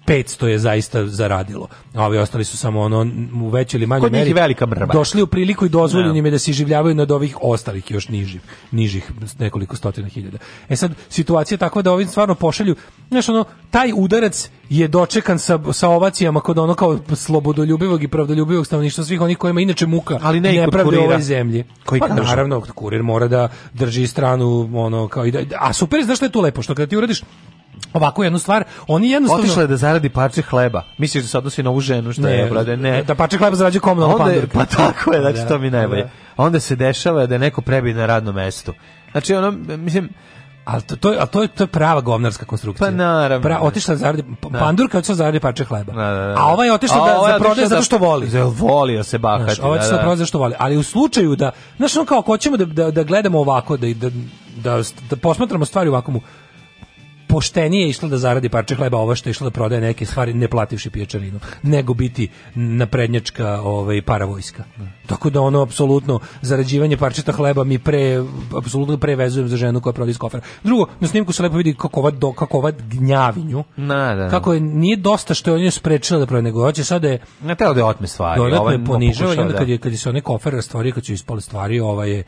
500 je zaista zaradilo. A ovi ostali su samo ono u većoj ili manjoj
Kod njih
meri
je velika mrva.
Došli u priliku i dozvoljeno
Da.
im je da se življavaju nad ovih ostalih još nižih, nižih s nekoliko stotina hiljada. E sad situacija je takva da ovim stvarno pošalju, znaš ono taj udarac je dočekan sa, sa ovacijama kod ono kao slobodoljubivog i pravdoljubivog stanovništva svih onih kojima je inače muka
Ali ne i kod
nepravde u
kurira.
ovoj zemlji.
Koji
pa
kaže.
naravno, kurir mora da drži stranu, ono, kao i da, a super, je, znaš što je tu lepo, što kada ti uradiš ovako jednu stvar, oni jednostavno...
Otišla je da zaradi parče hleba. Misliš da se odnosi na ovu ženu, šta
Ne,
je, brade? Ne.
da parče hleba zarađuje komunalna
Onda je-
pandurka.
Pa tako je, znači
Da,
to mi je najbolje.
da.
Onda se dešava da je neko prebi na radno mesto. Znači, ono, mislim...
Ali to, to, je- a to, je, to je prava govnarska konstrukcija.
Pa naravno.
Pra, otišla je da zaradi, pa-
Da.
pandurka je otišla da zaradi parče hleba.
Da, da, da.
A ovaj je otišla
A
da,
ovaj je
da prodaje
otišao
zato što voli.
Zato voli da se bahati.
Znaš, ovaj će
da,
sad
da.
prodaje zato što voli. Ali u slučaju da, znaš, ono kao, ako hoćemo da, da, da gledamo ovako, da, da, da, da posmatramo stvari ovako mu, poštenije je išla da zaradi parče hleba ova što je išla da prodaje neke stvari ne plativši pijačarinu, nego biti naprednjačka ovaj, paravojska. Tako da ono, apsolutno, zarađivanje parčeta hleba mi pre, apsolutno pre vezujem za ženu koja prodaje iz kofera. Drugo, na snimku se lepo vidi kako ova, do, kako ova gnjavinju,
Na, da.
kako je, nije dosta što je on nju sprečila da prodaje, nego hoće sad da je
Ne teo da je otme stvari.
Dodatno
ovaj
je ponižao i
pokušao
onda
da-
kad je, kad je se onaj kofer rastvorio, kad su ispale stvari, ovaj je,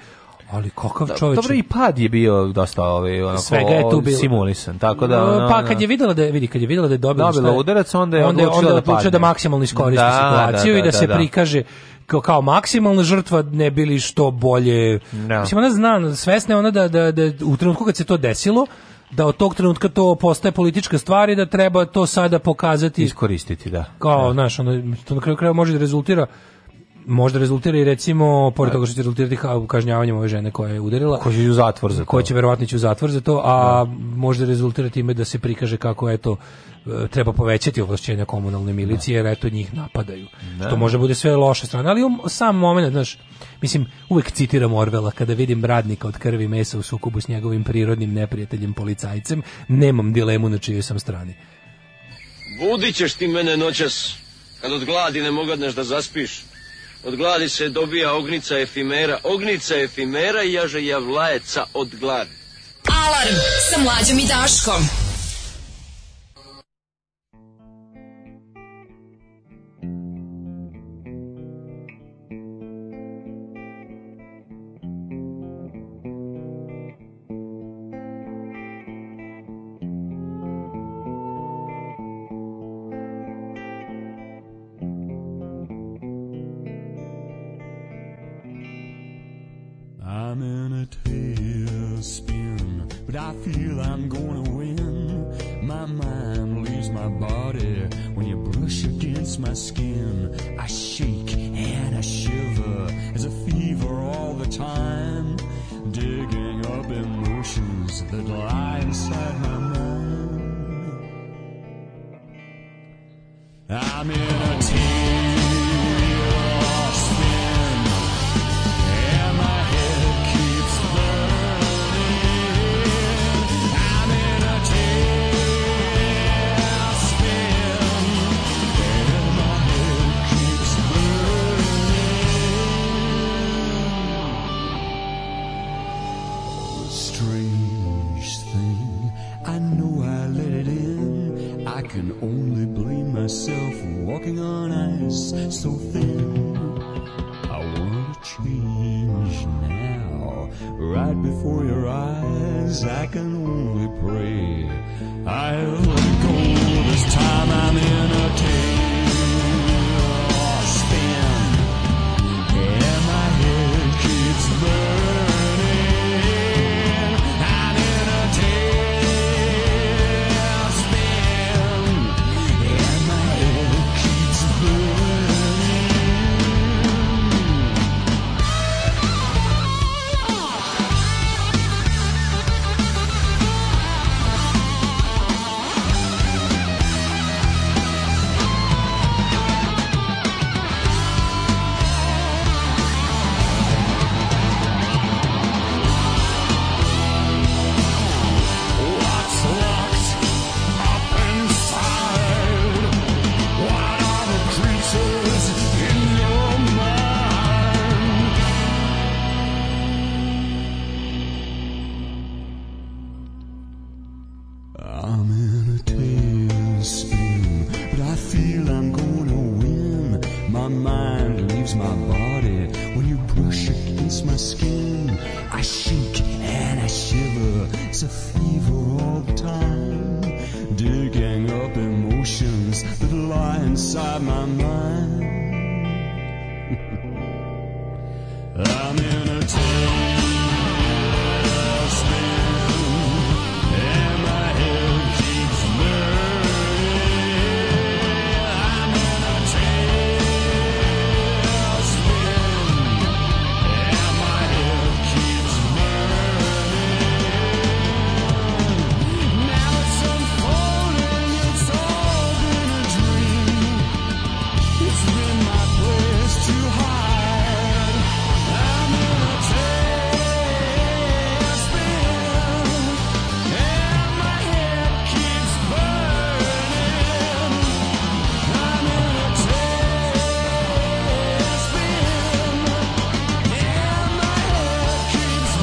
ali kakav čovjek.
Dobro i pad je bio dosta ovaj onako
Svega je tu bilo.
simulisan. Tako da ono,
pa kad je videla da je- vidi kad je videla da je dobila,
Dobila
šta je-
udarac, onda je odlučila
onda
da
odlučila
padne.
maksimalno iskoristi
Da,
situaciju
da,
i da,
da,
se
da, da.
prikaže kao, kao maksimalna žrtva ne bili što bolje. Mislim ona zna, svesna je ona da, da, da u trenutku kad se to desilo, da od tog trenutka to postaje politička stvar i da treba to sada pokazati
iskoristiti, da.
kao, znaš, ono, to na kraju krajeva može da rezultira možda rezultira i recimo pored toga što će rezultirati ha- kažnjavanjem ove žene koja je udarila
Ko će i u zatvor za to.
koja će verovatno ići u zatvor za to a možda rezultira time da se prikaže kako eto e, treba povećati ovlašćenja komunalne milicije jer eto njih napadaju
Da.
što može bude sve loše strane ali um, sam moment znaš mislim uvek citiram Orvela kada vidim radnika od krvi i mesa u sukobu s njegovim prirodnim neprijateljem policajcem nemam dilemu na čijoj sam strani
Budit ćeš ti mene noćas, kad od gladi ne mogadneš da zaspiš. Od gladi se dobija ognica efimera, ognica efimera i jaže javlajeca od gladi.
Alarm sa mlađom i Daškom.
I'm in a tailspin, but I feel I'm gonna win. My mind leaves my body when you brush against my skin. I shake and I shiver as a fever all the time, digging up emotions that lie inside my mind. I'm in a tailspin. And my head keeps burning. I'm in a tailspin, and my head keeps burning. Strange thing, I know I let it in. I can only blame myself for walking on ice so thin. I want to change now. Right before your eyes, I can only pray. I'll let go this time. I'm in a tailspin, and my head keeps burning. I'm in a tailspin, and my head keeps burning.
Alarm
mind leaves my body when you brush against my skin. I shake and I shiver. It's a fever all the time, digging up emotions that lie inside my mind. I'm in a tailspin, and my head keeps burning. I'm in a tailspin, and my head keeps burning. Now it's unfolding, it's all been a dream. It's been my place to hide. I'm in a tailspin, and my head keeps burning. I'm in a tailspin, and my head keeps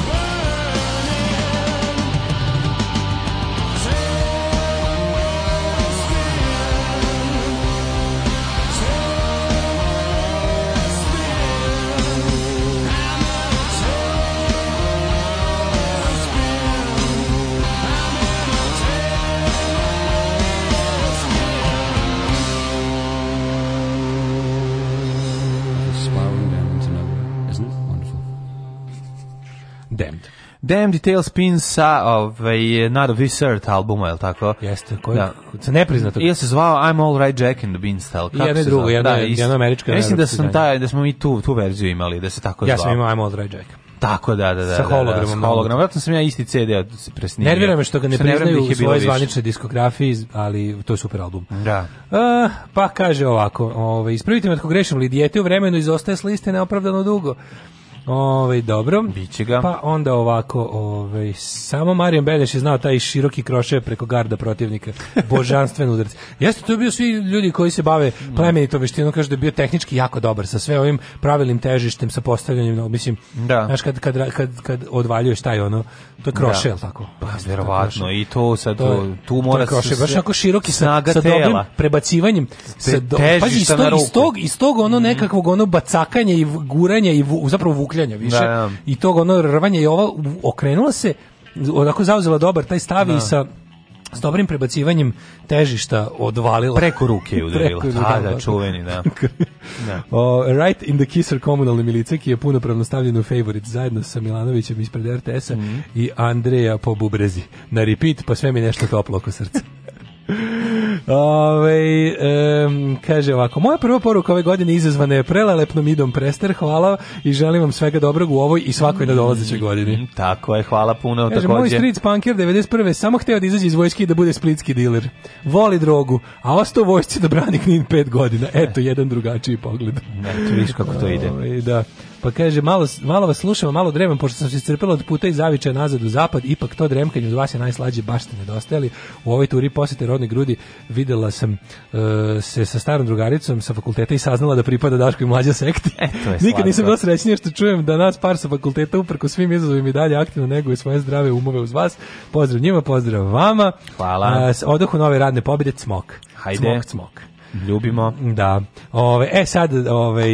burning. Tailspin. Spiraling down into nowhere, isn't it wonderful?
Damned. Damned Details Pin sa ovaj, Not of This Earth albuma, je li tako?
Jeste, koji- sa nepriznatog.
Ili se zvao I'm All Right Jack and the Beanstalk.
I jedno i
se
drugo,
zvao?
jedno je-
isto.
jedno je američko,
Ja Mislim
jedno
da,
je
sam
izdanje.
taj, da smo mi tu, tu verziju imali, da se tako
Ja
zvao.
sam imao I'm All Right Jack.
Tako, da, da, da.
Sa
da, da,
hologramom.
Sa hologramom. Vratno sam ja isti CD od se presnimio.
Nervira me što ga ne
Sa nerviram
priznaju
da ih
u
je bilo
svojoj
više. Mhm.
zvaničnoj diskografiji, ali to je super album.
Da.
E, pa kaže ovako, ovaj, ispravite me ako grešim, li dijete u vremenu izostaje s liste neopravdano dugo? Ovaj, dobro. Biće
ga.
Pa onda ovako, ovaj, samo Marijan Beneš je znao taj široki kroše preko garda protivnika. Božanstven udarac. Jeste, to je bio svi ljudi koji se bave plemenitom veštinom, kaže da je bio tehnički jako dobar sa sve ovim pravilnim težištem, sa postavljanjem, no, mislim,
Da.
znaš, kad, kad, kad, kad odvaljuješ taj ono, to je kroše,
Da.
jel tako?
Pa,
Jeste, to je
verovatno.
kroše.
I to sad,
To
to,
je-
tu
to
mora...
je kroše,
se-
baš onako široki sa,
snaga
sa dobrim
tela.
prebacivanjem sa do,
težišta
pazi iz
na
tog,
ruku. Mhm.
iz tog, iz tog ono nekakvog ono bacakanja i v- guranja i vu- zapravo vukljanja više
Da, da.
i tog ono rvanja i ova u- okrenula se onako zauzela dobar taj stav i sa s dobrim prebacivanjem težišta odvalila.
Preko ruke je udarila.
Preko-
Da, da, čuveni, da. Da.
o, right in the kisser komunalne milice ki je punopravno stavljen u favorit zajedno sa Milanovićem ispred RTS-a
Mhm.
i Andreja po bubrezi. Na repeat, pa sve mi nešto toplo oko srca. Ove, kaže ovako Moja prva poruka ove godine izazvana je prelelepnom idom prester, hvala i želim vam svega dobrog u ovoj i svakoj nadolazećoj godini
Mm, Tako je, hvala puno.
Kaže, moj
takođe.
street punker 91. samo hteo da izađe iz vojske i da bude splitski diler. Voli drogu, a ostao u vojsci da brani Knin pet godina. Eto, jedan drugačiji pogled.
Eto, vidiš kako to ide.
Ovaj, da. Pa kaže, malo, malo vas slušam, a malo dremam, pošto sam se iscrpila od puta i zavičaja nazad u zapad, ipak to dremkanje od vas je najslađe, baš ste nedostajali. U ovoj turi posete rodne grudi videla sam e, se sa starom drugaricom sa fakulteta i saznala da pripada Daško i mlađa sekti. Nikad nisam
slatko.
dosta srećnije što čujem da nas par sa fakulteta uprko svim izazovima i dalje aktivno neguje svoje zdrave umove uz vas. Pozdrav njima, pozdrav vama.
Hvala.
A, s- odohu nove radne pobjede, cmok.
Hajde.
Cmok, cmok.
Ljubimo.
Da. Ove, e sad, ove,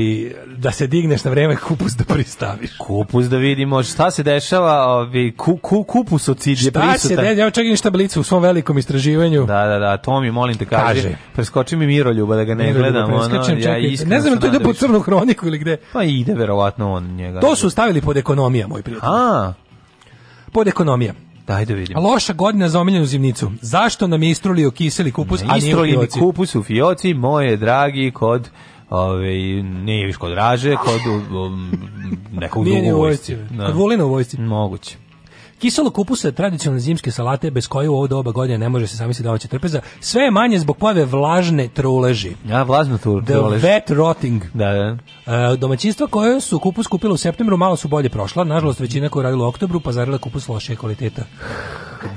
da se digneš na vreme kupus da pristaviš.
Kupus da vidimo šta se dešava, ovi, ku, ku, kupus od Cid je
Da se
prisutan.
dedi, evo čekaj ništa blicu u svom velikom istraživanju.
Da, da, da, to mi molim te kaže.
Kaže.
Preskoči mi Miroljuba da ga ne
Miroljuba
gledam. Ono,
preskačem,
ja
čekaj,
iskreno
ne znam,
se
to ide
nadam
po
više.
crnu hroniku ili gde?
Pa ide verovatno on njega.
To su stavili pod ekonomija, moj prijatelj.
A,
Pod ekonomija.
daj da vidimo.
Loša godina za omiljenu zimnicu. Zašto nam je istrulio kiseli kupus, a nije u
Istroljeni
fioci?
kupus u fioci, moje dragi, kod ove, nije viš kod Raže, kod um, nekog
Nije
drugog
ni
u
u
vojsci.
vojsci,
Da.
kod Vulina u vojsci.
Moguće.
Kiselo kupusa je tradicionalne zimske salate bez koje u ovo doba godine ne može se zamisliti da hoće trpeza. Sve je manje zbog pojave vlažne truleži.
Ja, vlazno tu.
The wet rotting.
Da, da.
E, domaćinstva koje su kupus kupila u septembru malo su bolje prošla. Nažalost, većina koja je radila u oktobru pazarila kupus lošije kvaliteta.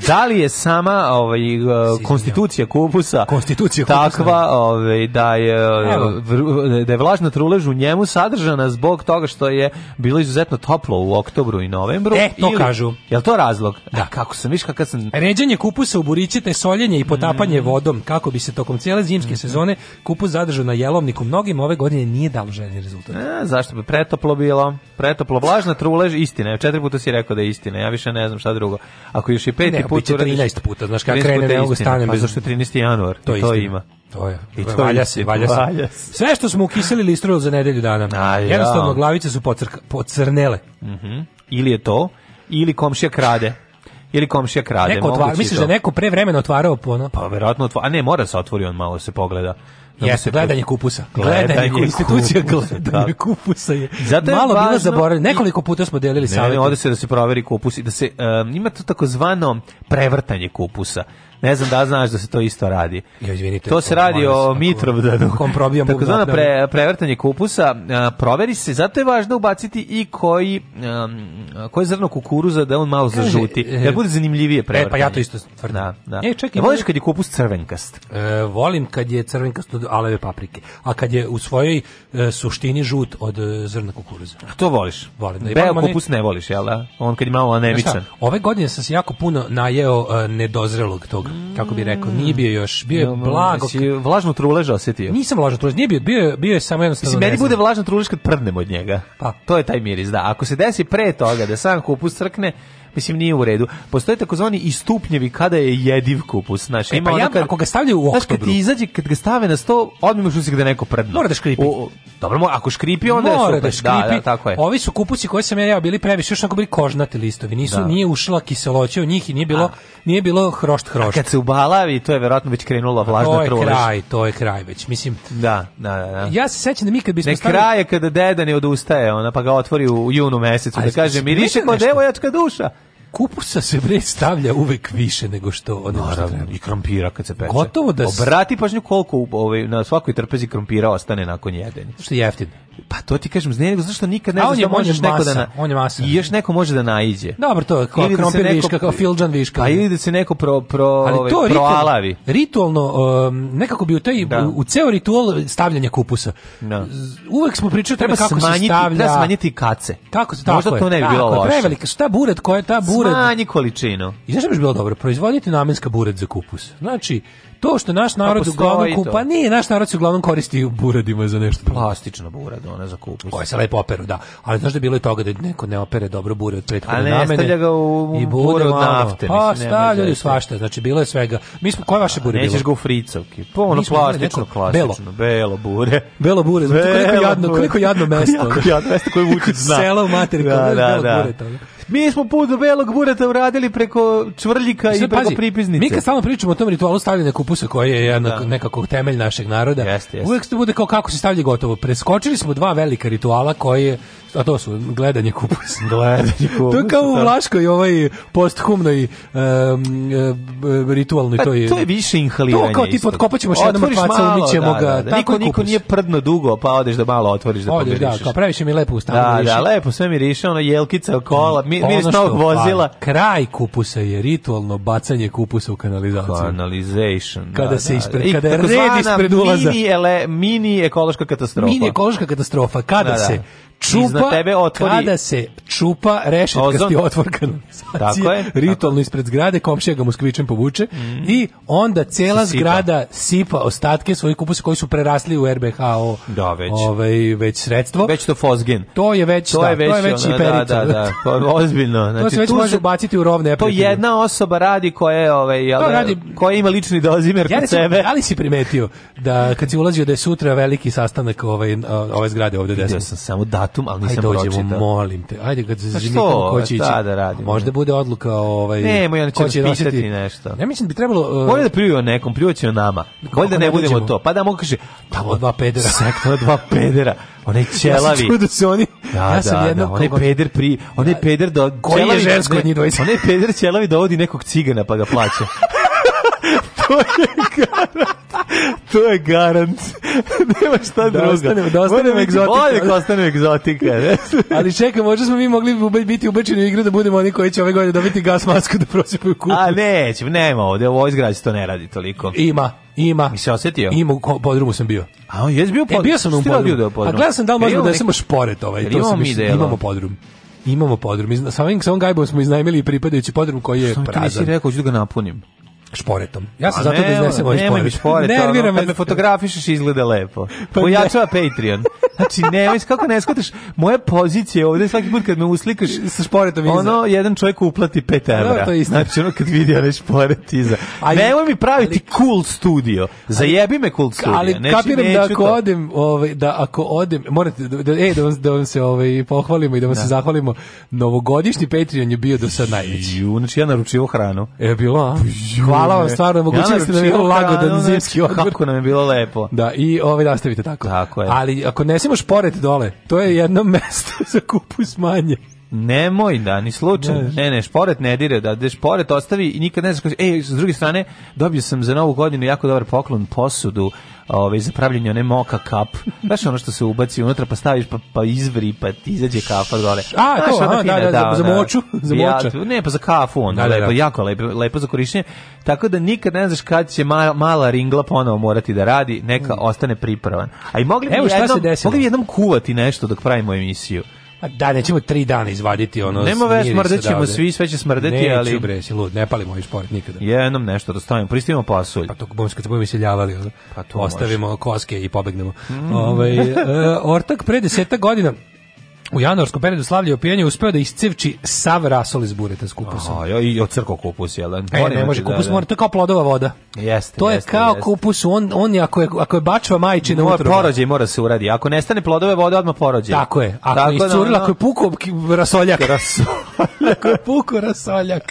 Da li je sama ovaj, uh, konstitucija kupusa
konstitucija
takva ovaj, da, je,
Evo.
vr- da je vlažna trulež u njemu sadržana zbog toga što je bilo izuzetno toplo u oktobru i novembru?
E, to
ili-
kažu.
Jel to razlog? Da. kako sam, viš kakav sam...
Ređanje kupusa u buričetne soljenje i potapanje
Mm.
vodom, kako bi se tokom cijele zimske sezone kupus zadržao na jelovniku, mnogim ove godine nije dalo željeni rezultat.
E, zašto bi pretoplo bilo? Pretoplo, vlažna trulež, istina je. Četiri puta si rekao da je istina, ja više ne znam šta drugo. Ako još i peti
Ne,
put...
biće
uradiš-
13 puta, znaš, kad
13
krene,
puta
ne
je
mogu
istina.
stanem
Pa
bez-
zašto 13. januar?
To
To,
je
to
istina.
ima.
To je.
I to
valja
je
se, valja se.
valja se.
Sve što smo ukiselili i istrojili za nedelju dana. Jednostavno, glavice su pocrka, pocrnele.
Mhm. Ili je to, ili komšija krade. Ili komšija krade.
neko
moguće
otvar,
i
misliš
to.
da neko pre vremena otvarao po ono?
Pa verovatno otvo- A ne, mora se otvori on malo, se pogleda. Da mu
Jeste,
se-
gledanje kupusa. Gledanje,
Gledanje
institucija
kupusa,
gledanje
da.
kupusa je.
Zato je
Malo bilo
važno-
zaboravljeno. Nekoliko puta smo delili
Ne, ne,
savjete.
ode se da se proveri kupus i da se em, ima to takozvano prevrtanje kupusa. Ne znam da znaš da se to isto radi.
Ja, izvinite,
to se radi
molim vas,
o
ako-
Mitrovdanu.
kom probijam bubnjar,
Takozvano
da.
pre, prevrtanje kupusa a, proveri se, zato je važno ubaciti i koji em, koje zrno kukuruza da on malo
Kaže,
zažuti.
e,
Da bude zanimljivije prevrtanje.
E, pa ja to isto tvrdim.
Da, da.
E, čekaj,
E, voliš
ima-
kad je kupus crvenkast?
E, volim kad je crvenkasto od aleve paprike, a kad je u svojoj e, suštini žut od e, zrna kukuruza.
A to voliš?
Volim da i
Beo
volim one-
kupus ne voliš, jel da? On kad je malo
Znaš
anemičan.
šta, ove godine sam se jako puno najeo e, nedozrelog tog, kako bi rekao, nije bio još, bio je
Jel,
blago.
si vlažnu trulež osjetio?
Nisam vlažno trulež, nije bio, bio, je- bio je samo jednostavno...
Mislim, meni
ne znam.
bude vlažan truliš kad prdnem od njega. Pa. To je taj miris, da. Ako se desi pre toga da sam kupus crkne, mislim, nije u redu. Postoje takozvani istupnjevi kada je jediv kupus. Znaš,
E,
ima
pa
ono
ja,
kad,
ako ga stavljaju u
znaš, kad
oktobru,
ti izađe, kad ga stave na sto, odmah imaš utisak da je neko prdno.
Mora da škripi.
O, o, dobro, mo- ako škripi, onda je
Mora
super.
da škripi.
Da, da, tako je.
Ovi su kupusi koje sam ja jeo bili previše, još onako bili kožnati listovi. Nisu,
Da.
Nije ušla kiseloća u njih i nije bilo, nije bilo hrošt
A
hrošt.
kad se ubalavi, to je verovatno već krenula
To
vlažna
je
trulež.
kraj, to je kraj već. Mislim,
Da, da, da. da.
ja se sećam da mi kad bismo
Ne
stavili-
kraj je kada deda ne odustaje, ona pa ga otvori u, u junu mesecu
Ali
da kaže
jesi
miriše
primetio
kao
nešto?
devojačka duša.
Kupusa se bre stavlja uvek više nego što ono što treba.
i krompira kad se peče.
Gotovo da s-
Obrati pažnju koliko u- ovaj, na svakoj trpezi krompira ostane nakon jedenja.
Što je jeftin.
Pa to ti kažem, ne nego zašto nikad ne
A
znaš
on
da
je- on je
možeš neko da
masa,
na,
on je masa.
I još neko može da naiđe.
Dobro, to je kao
Ili da se
krompir
neko-
viška, kao filđan viška.
Pa ili da se neko pro, pro,
ali
ovaj,
to
proalavi.
ritual, ritualno um, nekako bi u taj
Da.
u, u ceo ritual stavljanja kupusa.
Da.
Z- Uvek smo pričali o tome
Treba
kako se
smanjiti,
stavlja.
treba smanjiti kace.
Kako se tako
Možda
je,
to ne bi
tako
bilo
je,
loše.
Prevelika, šta buret, koja je ta buret?
Smanji količinu.
I znaš šta bi bilo dobro? Proizvoditi namenska buret za kupus. Znači, to što naš narod
Pa postoji
uglavnom
to.
kupa, nije, naš narod se uglavnom koristi u buredima za nešto. drugo.
Plastična burada,
ono,
ona za kupus.
Koje se lepo operu, da. Ali znaš da je bilo i toga da neko ne opere dobro bure od prethodne
A Pa, ne,
namene.
stavlja ga u
I bude
bure od
malo.
nafte,
Pa,
mislim, ne može
stavljaju
reći.
svašta. Znači, bilo je svega. Mi smo, koje je vaše bure bilo?
Nećeš ga u fricovki. Pa ono
Mi smo imali
plastično,
neko- belo.
klasično. Belo. bure.
Belo bure, znači koliko
Belo
jadno,
bure.
koliko jadno mesto.
Jako jadno mesto koje Vučić zna.
Selo u materiku, da, da, da.
Mi smo put do belog bureta uradili preko čvrljika i
Sad,
preko
pazi,
pripiznice.
Mi kad stalno pričamo o tom ritualu stavljanja kupusa koji je jedan
Da.
nekako temelj našeg naroda,
Jeste, jeste.
uvek to bude kao kako se stavlja gotovo. Preskočili smo dva velika rituala koje, a to su gledanje kupusa.
Gledanje kupusa,
to je kao u
da.
Vlaškoj ovaj posthumnoj um, e, ritualnoj
Pa,
to je.
to je više inhaliranje.
To kao tipa,
isto.
otkopat ćemo još jednom
Otvoriš
mrtvaca,
malo,
umićemo
da,
ga,
da, da.
tako
Niko,
je
niko
kupus.
nije prdno dugo, pa odeš da malo otvoriš da
Odeš, da,
pomirišeš.
kao previše mi lepo u stanu
Da,
miriše.
da, lepo sve miriše, ono jelkica, kola, mi,
Ono
miris
što
novog
fali.
vozila.
Kraj kupusa je ritualno bacanje kupusa u kanalizaciju.
Canalization.
Kada se ispred-
I
kada je red
takozvana
ispred ulaza.
Mini, ele, mini ekološka katastrofa.
Mini ekološka katastrofa kada
Da, da.
se čupa
Iznad tebe otvori-
kada se čupa rešetkasti
Ozon.
otvor
Tako
kanalizacije
je, tako Mhm.
ritualno ispred zgrade komšija ga moskvičem povuče i onda cela
Se sipa.
zgrada sipa ostatke svojih kupusa koji su prerasli u RBH o,
Da, već.
ovaj, već sredstvo
Već to fosgen.
to je već
To
da,
je već,
to je već
ono,
i perica
Da, da, da. Pa, ozbiljno.
to se već
tu
može
su-
baciti u rovne
To
neprijatelje.
jedna osoba radi koja je ovaj jel
To
da,
radi-
koja ima lični dozimer
Ja
kod
recimo,
sebe.
E, ali si primetio da kad si ulazio da je sutra veliki sastanak ovaj, ove zgrade ovde desno?
Vidio sam samo datum, ali
Ajde
nisam
dođemo,
pročitao.
molim te. Ajde kad
Pa što, Pa
zazimikamo ko će ići.
šta da radimo?
Možda bude odluka ovaj
Nemoj, oni će
ko
nas pitati
nositi-
nešto.
Ne mislim da bi trebalo e,
Bolje da pljuju o nekom, pljuvaće o nama. Bolje da
ne
ne budemo
dođemo?
to. Pa da mogu kaže, tamo
Od dva pedera.
sektora dva pedera, onaj
Ja sam
ćelavi.
čuo da su oni.
Da,
ja sam
da,
jednom
da, onaj
koga-
peder pri, onaj peder do
Koji je
ćelavi-
žensko od njih dvojice?
Onaj peder ćelavi dovodi nekog cigana pa ga plaća. to je garant. To je garant. Nema šta
Da
drugo.
ostanemo- da ostanemo
Mora biti
egzotika.
Bolje da ostanemo egzotika. ne?
Ali čekaj, možda smo mi mogli ube- biti ubačeni u igru da budemo oni koji će ove godine dobiti gas masku da prosipaju kuću.
A nećemo, nema ovde, u ovoj zgradi se to ne radi toliko.
Ima, ima.
Mi se osetio?
Ima, u ko- podrumu sam bio.
A on jes bio
E,
pod-
bio sam u
Šta je bio da je u
podrumu. A
podrumu?
gledao sam da li
Jel
možemo
imamo
da
neki-
jesemo šporet ovaj.
Jel
To
imamo
sam
mi
mislio,
delo?
imamo podrum. Imamo podrum. Iz- Sa ovim, sa ovim gajbom smo iznajmili i pripadajući podrum koji je
Samo ti nisi
prazan.
rekao, ću da ga napunim.
Šporetom. Ja sam
A
zato da
nemoj,
iznesem ovaj
Nemoj mi šporet,
Nervira
ono, kad me fotografišeš izgleda lepo.
Pa ne.
Pojačava Patreon. Znači, nemoj, kako ne shvataš, moja pozicija ovde svaki put kad me uslikaš,
sa šporetom iza.
ono, jedan čovjek uplati 5 evra.
Da, to je istina.
Znači, ono kad vidi onaj šporet iza.
Ali-
nemoj mi praviti cool studio. Zajebi me cool studio.
ali
Znači,
kapiram
neću
da ako
to.
odem, ovaj da ako odem, morate da, da ej, da vam, da vam se ovaj pohvalimo i da vam se zahvalimo. Novogodišnji Patreon je bio do sad najveći.
Ju, znači ja naručio hranu.
E, bilo, a?
Pa
Hvala vam stvarno, omogućili ste nam
naručio
jedan lagodan
hranu,
zimski
znači,
odmor.
Kako nam je bilo lepo.
Da, i ovaj nastavite tako. Tako
je.
Ali ako nesemo šporet dole, to je jedno mesto za kupu smanje.
Nemoj da, ni slučajno. Ne, ne, šporet ne dire, da, da šporet ostavi i nikad ne znaš koji... Ej, s druge strane, dobio sam za novu godinu jako dobar poklon posudu ovaj, za pravljenje one moka kap. Znaš ono što se ubaci unutra, pa staviš, pa, pa izvri, pa ti izađe kafa dole.
A,
Znaš,
to,
ona
a, da,
fina,
da, za- za
ona-
moču, za
Ja,
moča.
ne, pa za kafu onda,
Da, da,
lepo,
da.
jako lepo, lepo za korišćenje. Tako da nikad ne znaš kad će mala, mala ringla ponovo morati da radi, neka ostane pripravan. A i mogli bi
Mm. Evo šta se
jednom,
desilo.
mogli bi jednom kuvati nešto dok pravimo emisiju.
A da, nećemo tri dana izvaditi ono.
Nema veze,
mirisa
smrdećemo
odavde.
svi, sve će smrdeti,
Neću,
ali-
bre, si lud, ne palimo ovaj šporet nikada.
Jednom nešto da stavimo, pristavimo pasulj.
Pa to budemo kad se budemo iseljavali, ono.
Pa
ostavimo koske i pobegnemo.
Mm.
Ovaj, e, ortak pre deseta godina u januarskom periodu slavlja opijanja uspeo da iscevči sav rasol iz bureta s kupusom.
A, ja i od crko kupus, jel? da?
E,
Moram
ne može,
znači, da-
kupus
da.
mora, to je kao plodova voda.
Jeste,
To je
jeste,
kao
jeste.
kupus, on, on je, ako je, ako je bačva majčina
Mora
utroba.
porođaj mora se uradi. Ako nestane plodove vode, odmah porođaj.
Tako je. Ako je
da, ono-
iscurila, ako je puko rasoljak. ako je puko rasoljak.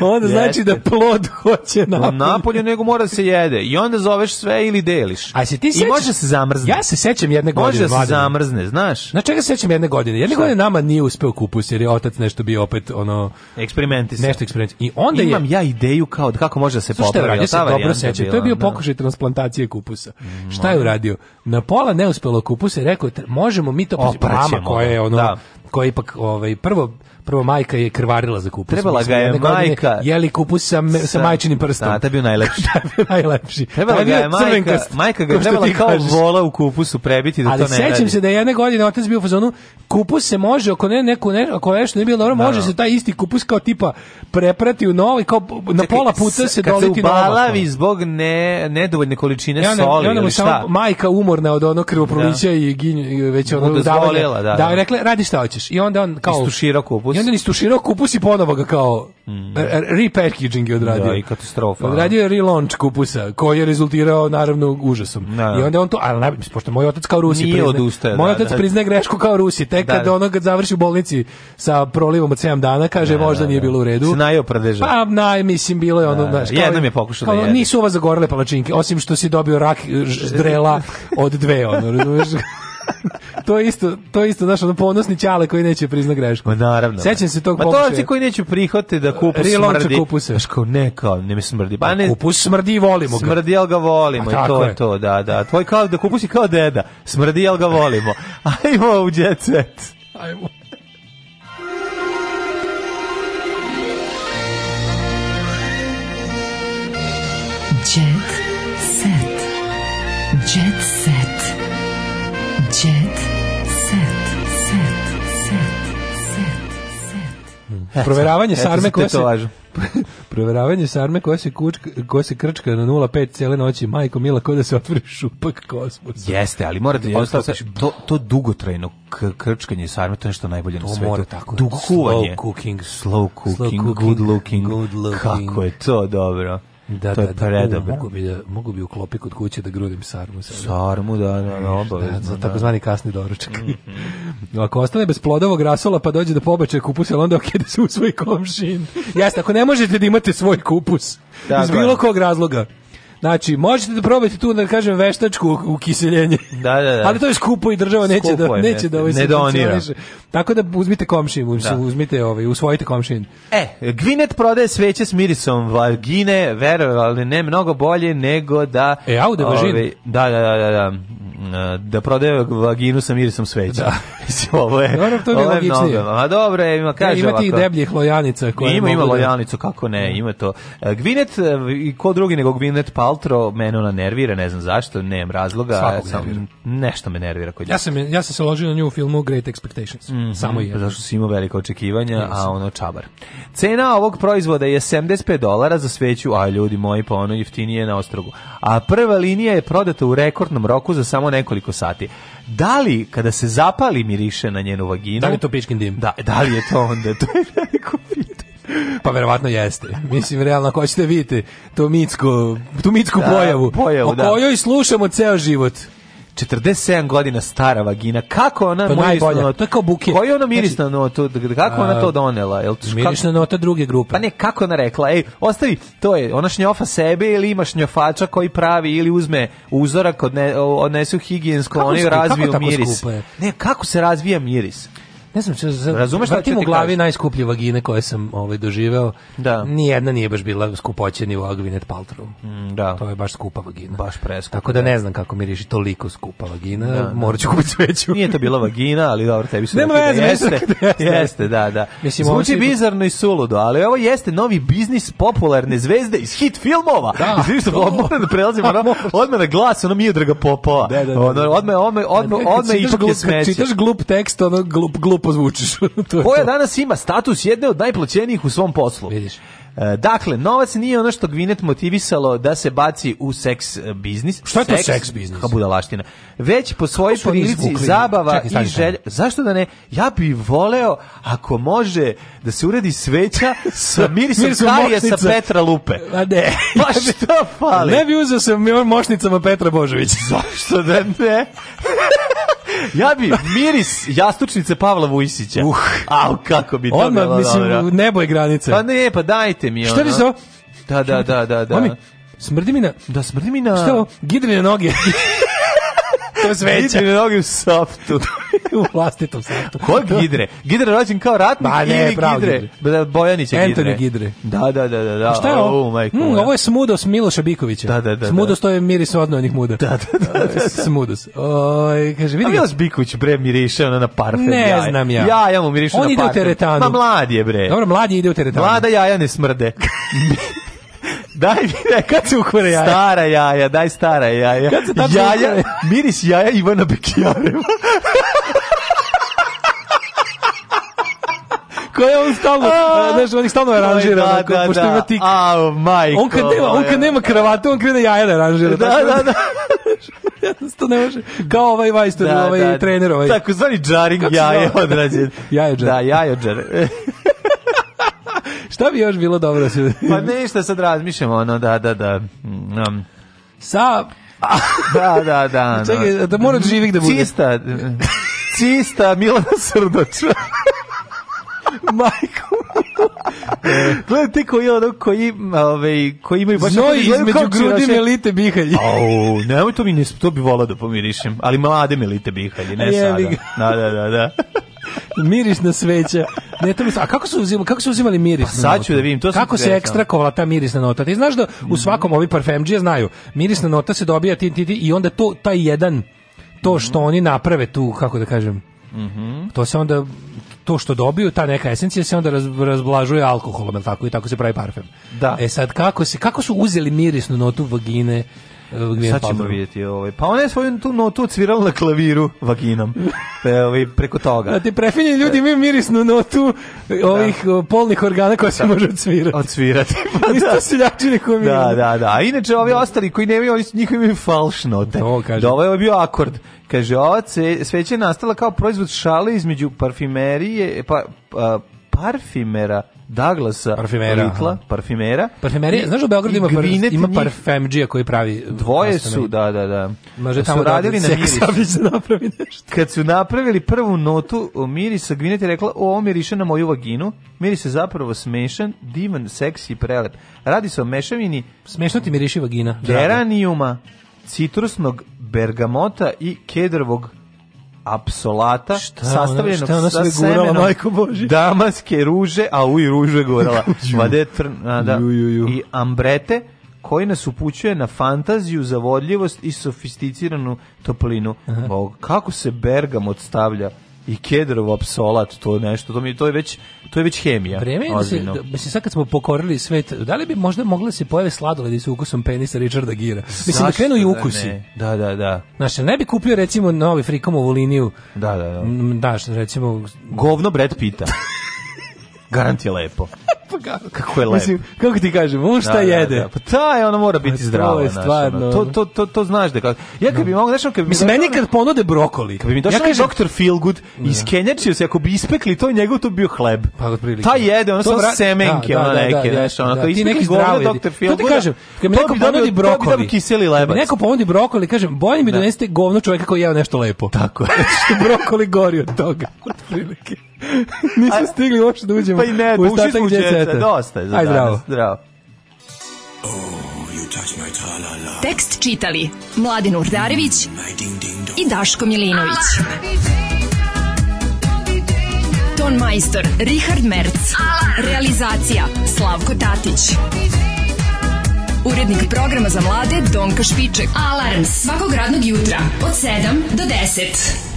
Onda znači
значи
Jeste.
da plod hoće napolje.
Napolju nego mora da se jede. I onda zoveš sve ili deliš.
A se ti
I
sećaš-
može se zamrzne.
Ja se sećam jedne godine.
Može da se
Vladimir.
zamrzne, znaš?
Znaš čega se sećam jedne godine? Jedne godine nama nije uspeo kupus jer je otac nešto bio opet ono
Eksperimenti se.
nešto eksperiment. I onda
Imam
je
ja ideju kao da kako može da se
Znaš šta je
popravi. jel
uradio? Ja
ta
se dobro
varijanta
sećam. To
bila?
je bio
Da. Mm,
pokušaj transplantacije kupusa. Šta je uradio? Na pola neuspelo kupusa i rekao je, "Tr- možemo mi to
Opraćemo
mama koja je
ga,
ono
da.
koja je ipak ovaj prvo prvo majka je krvarila za kupus.
Trebala
Mislim,
ga je
jedne godine
majka-
Jeli kupus sa, me- sa majčinim prstom.
Da, to je bio najlepši.
najlepši.
Trebala
Taj
ga
bio
je majka,
crvenkast,
majka ga je
kao što
trebala
ti
kao
kažeš.
vola u kupusu prebiti da
Ali
to ne
sećam
radi.
se da je jedne godine otac bio u fazonu kupus se može ako ne neko ne ako nešto ne bilo dobro može se taj isti kupus kao tipa preprati u novi kao na
Čekaj,
pola puta se
kad se
doliti
ubalavi zbog ne, nedovoljne količine
Ja ne,
soli
ja ne,
ili šta.
samo majka umorna od onog krvoprolića i ginju već ono
Dozvolila, da,
davanja.
da.
Da, rekla je, radi šta hoćeš. I onda on kao
Istuširao kupus. Mm,
I onda je istuširao kupus i ponovo ga kao re- re- repackaging je odradio.
Da, i katastrofa.
Odradio je relaunch kupusa, koji je rezultirao naravno užasom.
Da.
I onda on to, ali naj, pošto moj otac kao Rusi
Nije
priznaje-
odustaje,
moj
da,
otac
da.
priznaje grešku kao Rusi, tek
Da,
kad
da.
ono kad završi u bolnici sa prolivom od 7 dana, kaže možda nije bilo u redu.
Se najeo pradeža.
Pa, naj, mislim, bilo je ono,
Znači, Da,
znaš,
da. Jednom je pokušao da
kao, ono,
jede.
Nisu ova zagorele palačinke, osim što si dobio rak eh, ž- ždrela od dve, ono, razumeš? to je isto, to je isto, znaš, ono ponosni ćale koji neće prizna grešku.
Ma naravno.
Sećam se tog
Ma Pa to
pokušaja.
ti koji neću prihvate da kupus
Relauncha
smrdi.
kupusa.
Znaš kao, ne kao, ne mi smrdi. Pa ne,
Kupus smrdi i volimo ga.
smrdi, jel ga volimo.
A
I
tako
to je
je.
to, da, da. Tvoj kao da kupus je kao deda. Smrdi, jel ga volimo. Ajmo u jet set.
Ajmo.
Jet set. Jet set. Jet set. Set. Set. Set.
Proveravanje
Eto,
sarme
za
koja se
tetovažu.
proveravanje sarme koja se kučka, koja se krčka na 05 cele noći, majko mila, ko da se otvori šupak kosmos.
Jeste, ali morate
Jednostavno
jednostavno,
kažem,
to, to dugotrajno k- krčkanje sarme, to je nešto najbolje na
To
svetu.
mora tako.
Dugo
Slow
kuvanje.
cooking.
Slow cooking,
Slow cooking,
good, looking.
good looking.
Kako je to dobro.
Da,
to
da,
je
da, U,
predobro.
mogu bi da mogu bi u klopi kod kuće da grudim sarmu sada.
Sarmu, da, da, da, Mhm.
Da,
obavezno.
za takozvani kasni doručak. No, ako ostane bez plodovog rasola pa dođe do pobačaja kupusa, ali onda okej da se u svoj komšin. Jeste, ako ne možete da imate svoj kupus,
Tako
iz
je.
bilo kog razloga, Znači, možete da probate tu, da kažem, veštačku ukiseljenje.
Da, da, da.
Ali to je skupo i država neće
Skupo
da
je,
neće
ne-
da ovaj
ne
subvencioniše.
donira.
Tako da uzmite komšin,
Da.
uzmite ovaj, usvojite komšin.
E, Gvinet prodaje sveće s mirisom vagine, verovali ne, mnogo bolje nego da...
E, aude vagine.
Ovaj, Da, da, da, da, da. Mm, Da prodaje vaginu sa mirisom sveća. Da. ovo je,
Dobro, to je
ovo
logičnije.
mnogo. A dobro, je, ima, Pa kaže
Kaže ima tih
ovako.
debljih lojanica koje
ima, ima
mogu da-
lojanicu, kako ne, ima to. E, Gvinet, e, i ko drugi nego Gvinet Paltro, mene ona nervira, ne znam zašto, nemam razloga.
Svakog
sam-
nervira.
Nešto me nervira kod Mhm. nje.
Ja sam, ja sam se ložio na nju u filmu Great Expectations. Samo je.
Zašto si imao velika očekivanja, a ono čabar. Cena ovog proizvoda je 75 dolara za sveću, a ljudi moji, pa ono jeftinije na ostrogu. A prva linija je prodata u rekordnom roku za samo nekoliko sati. Da li, kada se zapali miriše na njenu vaginu...
Da li je to pičkin dim?
Da, da li je to onda? To je veliko pitanje.
Pa verovatno jeste. Mislim, realno, ako hoćete vidjeti to mitsko, tu mitsku
Da,
pojavu,
pojavu,
o
da.
kojoj slušamo ceo život.
47 godina stara vagina. Kako ona
To je
mirisna
Pa najbolja.
nota-
To je kao buket.
Pa Koji je ona mirisna notu? Kako ona
A, ono
to donela? Jel,
Mirišna nota druge grupe.
Pa ne, kako ona rekla, ej, ostavi, to je, ona šnjofa sebe ili ima šnjofača koji pravi ili uzme uzorak, odne, odnesu higijensko,
Kako
oni
skupo- kako
razviju
tako
miris.
skupo je?
Ne, kako se razvija miris?
Ne znam, če, za,
Razumeš šta
vrtim
ću ti
u glavi
kažem?
najskuplje vagine koje sam ovaj, doživeo.
Da.
Nijedna nije baš bila skupoće nivoa Gwyneth Paltrow.
Mm, Da,
To je baš skupa vagina.
baš preskupo.
Tako da ne znam kako miriši toliko skupa vagina.
Da, da.
Morat ću kupiti sveću.
Nije to bila vagina, ali dobro, tebi su
Nema
rekli da
veze, meni su
jeste,
rekli da jeste.
jeste, da, da.
Mislim, ovo
Zvuči
se-
bizarno i suludo, ali ovo jeste novi biznis popularne zvezde iz hit filmova.
Da.
Izvini što odmah da prelazimo, ono, odmah na glas, ono mi draga popova.
Da, da, da.
Ono, Odmah, odmah, odmah,
Kad
odmah
čitaš
ipak je
glup- kad
smeće.
Čitaš glup tekst, ono glup, glupo zvučiš. to je
Koja
to.
danas ima status jedne od najplaćenijih u svom poslu. Vidiš. Dakle, novac nije ono što Gvinet motivisalo da se baci u seks e, biznis.
Šta je to seks biznis?
Kako budalaština. Već po svojoj
su oni
prilici
izvukli?
zabava
Čekaj, stani,
i
stani.
želja. Zašto da ne? Ja bi voleo, ako može, da se uredi sveća sa mirisom
Mirisom
karije sa
mošnica.
Petra Lupe.
A ne.
Pa što fali?
Ne bi uzeo sa mi- mošnicama Petra Božović.
Zašto da ne? ja bi miris jastučnice Pavla Vujsića. Uh. Au, kako bi to
Odmah,
bilo
mislim,
dobro.
nebo je granica.
Pa ne, pa dajte mi ono.
Šta bi se ovo?
Da, da, da, da, da.
Mami, smrdi mi na...
Da, smrdi mi na...
Šta je ovo? Gidrine noge. to je sveća.
Gidre noge u softu.
u vlastitom satu.
Ko Gidre? Gidre rođen kao ratnik
Ba, ne,
ili
pravo
Gidre? Gidre. Bojanić je Gidre.
Anthony Gidre.
Da, da, da, da. da.
A šta je ovo?
Oh, majko
Mm,
moja.
ovo je smudos Miloša Bikovića.
Da, da, da,
Smudos to je miris odnojenih muda. Da,
da, da, da.
Smudos. Oj, kaže,
A
vidi ga.
Milos Biković, bre, miriše ono na parfem.
Ne
jaja.
znam ja.
Ja, ja mu mirišu
On
na
ide
parfem.
u teretanu.
Ma mlad je, bre.
Dobro, mladi ide u teretanu.
Mlada jaja ne smrde. daj mi neka
Kad se ukvare jaja?
stara jaja, daj stara jaja.
Kad se tačno
Jaja,
ukvare?
miris jaja Ivana Bekijareva.
Koje on stalno,
A.
znaš, on ih stalno aranžira.
Da,
onako,
da,
pošto
da.
ima tik.
Au, majko.
On kad nema, on
moja.
kad nema kravatu, on krene jaja da aranžira.
Da,
Tako
da, da.
To ne može. Kao ovaj Vajster,
da,
ovaj
da.
trener, ovaj.
Tako zvani džaring
Kako se
jaje
zove?
odrađen.
Jajođar.
Da, jajođar.
Šta bi još bilo dobro? da se-
pa ništa sad razmišljamo, ono, da, da, da. Mm,
Sa...
Da, da, da. no.
Čekaj, da mora od živih da bude.
Cista, cista Milana Srdoča.
Majko.
Gledaj ti koji ono, koji, ovaj, koji imaju baš...
Znoj
koji izgledaju
između
kao
grudi
čiraše.
melite bihalji.
Au, nemoj to mi ne, to bi volao da pomirišem, ali mlade melite bihalje, ne sada.
Jebi ga.
Da, da, da, da.
mirisna sveća. Ne, to mi, a kako su uzimali, kako su uzimali miris?
Pa sad ću da vidim, to sam
Kako
ti
se
rekao.
ekstrakovala ta mirisna nota? Ti znaš da u svakom ovi parfemdžije znaju, mirisna nota se dobija ti, ti, ti, i onda to taj jedan to što oni naprave tu, kako da kažem. To se onda to što dobiju, ta neka esencija se onda raz, razblažuje alkoholom, jel tako i tako se pravi parfem.
Da.
E sad kako se kako su uzeli mirisnu notu vagine? e, Gwyneth
Sad ćemo
Paltrow?
vidjeti ovaj. Pa ona je svoju tu notu odsvirala na klaviru vaginom. Pe, ovaj, preko
Da
toga.
ti prefinje ljudi imaju mirisnu notu ovih o, polnih organa koja se može odsvirati.
Odsvirati. Pa
Isto
da.
seljačine koje mi
Da, da, da. A inače ovi ostali koji nemaju, oni su njihovi imaju falš note.
To kažem.
Da, ovo je bio akord. Kaže, ova ce- sveća je nastala kao proizvod šale između parfimerije, pa, pa- parfimera Douglasa
Parfimera,
Littla,
aha.
parfimera.
Parfumerija,
I-
znaš da u Beogradu
i
ima, par,
Gvinet
ima
njih-
parfemdžija koji pravi
Dvoje
pastane.
su, da, da, da.
Može
Da
tamo
su
da
radili na
Seka Savić
mirisu.
da napravi nešto.
Kad su napravili prvu notu o mirisa, Gvinet je rekla, o, ovo miriše na moju vaginu. Miris je zapravo smešan, divan, seksi i prelep. Radi se o mešavini
Smešno ti miriši vagina.
geranijuma, citrusnog bergamota i kedrovog apsolata
ona-
sastavljenog
šta ona
sa
sve gurala,
semenom
majko Božja?
damaske ruže, a uj ruže gorala,
Ju.
vade trn, a, da, i ambrete koji nas upućuje na fantaziju, zavodljivost i sofisticiranu toplinu. Ovog. Kako se bergamot stavlja i kedrov apsolat, to je nešto, to, mi, to, je, već, to je već hemija.
Vreme je da se,
ozbiljno.
da, mislim, sad kad smo pokorili svet, da li bi možda mogla se pojave sladoledi sa ukusom penisa Richarda Gira? Mislim, da
Zašto
krenu i
da
ukusi.
ne? Da, da, da.
Znaš, ne bi kupio recimo novi frikomovu liniju.
Da, da, da.
Mm, Daš, recimo...
Govno Brad Pita. Garant je lepo. Kako je lepo.
Pa Mislim, kako ti kažem, on šta
Da, da,
jede?
da. Pa ta je, ona mora biti
to
zdrava.
je
znaš,
stvarno,
ono. To, to, to, to znaš da kako. Ja kad bi mogao, znaš, ono, kad bi
Mislim,
mi
meni
došao-
kad ponude brokoli.
Kad bi mi došao ja doktor Feelgood i iskenjačio se, ako bi ispekli to njegov, to bi bio hleb.
Pa otprilike.
Ta jede, ono
To
samo
vra-
semenke,
da,
ono
da, da,
neke,
da,
znaš, ono,
da,
ako
ti
ispekli
neki
govno
zdravi
doktor
ljudi. To ti
Feelgood,
kažem, kad mi neko ponudi
To bi
brokoli.
dobio kiseli lebac.
Kad mi neko ponudi brokoli, kažem, bolje mi donesite govno čovjeka koji jeo nešto lepo.
Tako je.
Što brokoli gori od toga. Otprilike. Nismo stigli uopšte da uđemo
Pa i ne,
u
ušli
ostatak
smo u
jet
jet seta,
seta.
dosta je za
Aj,
danas.
zdravo.
Zdravo.
Tekst čitali Mladin Urdarević i Daško Milinović. Ton majstor Richard Merc. Realizacija Slavko Tatić. Urednik programa za mlade Donka Špiček. Alarms svakog radnog jutra od 7 do 10.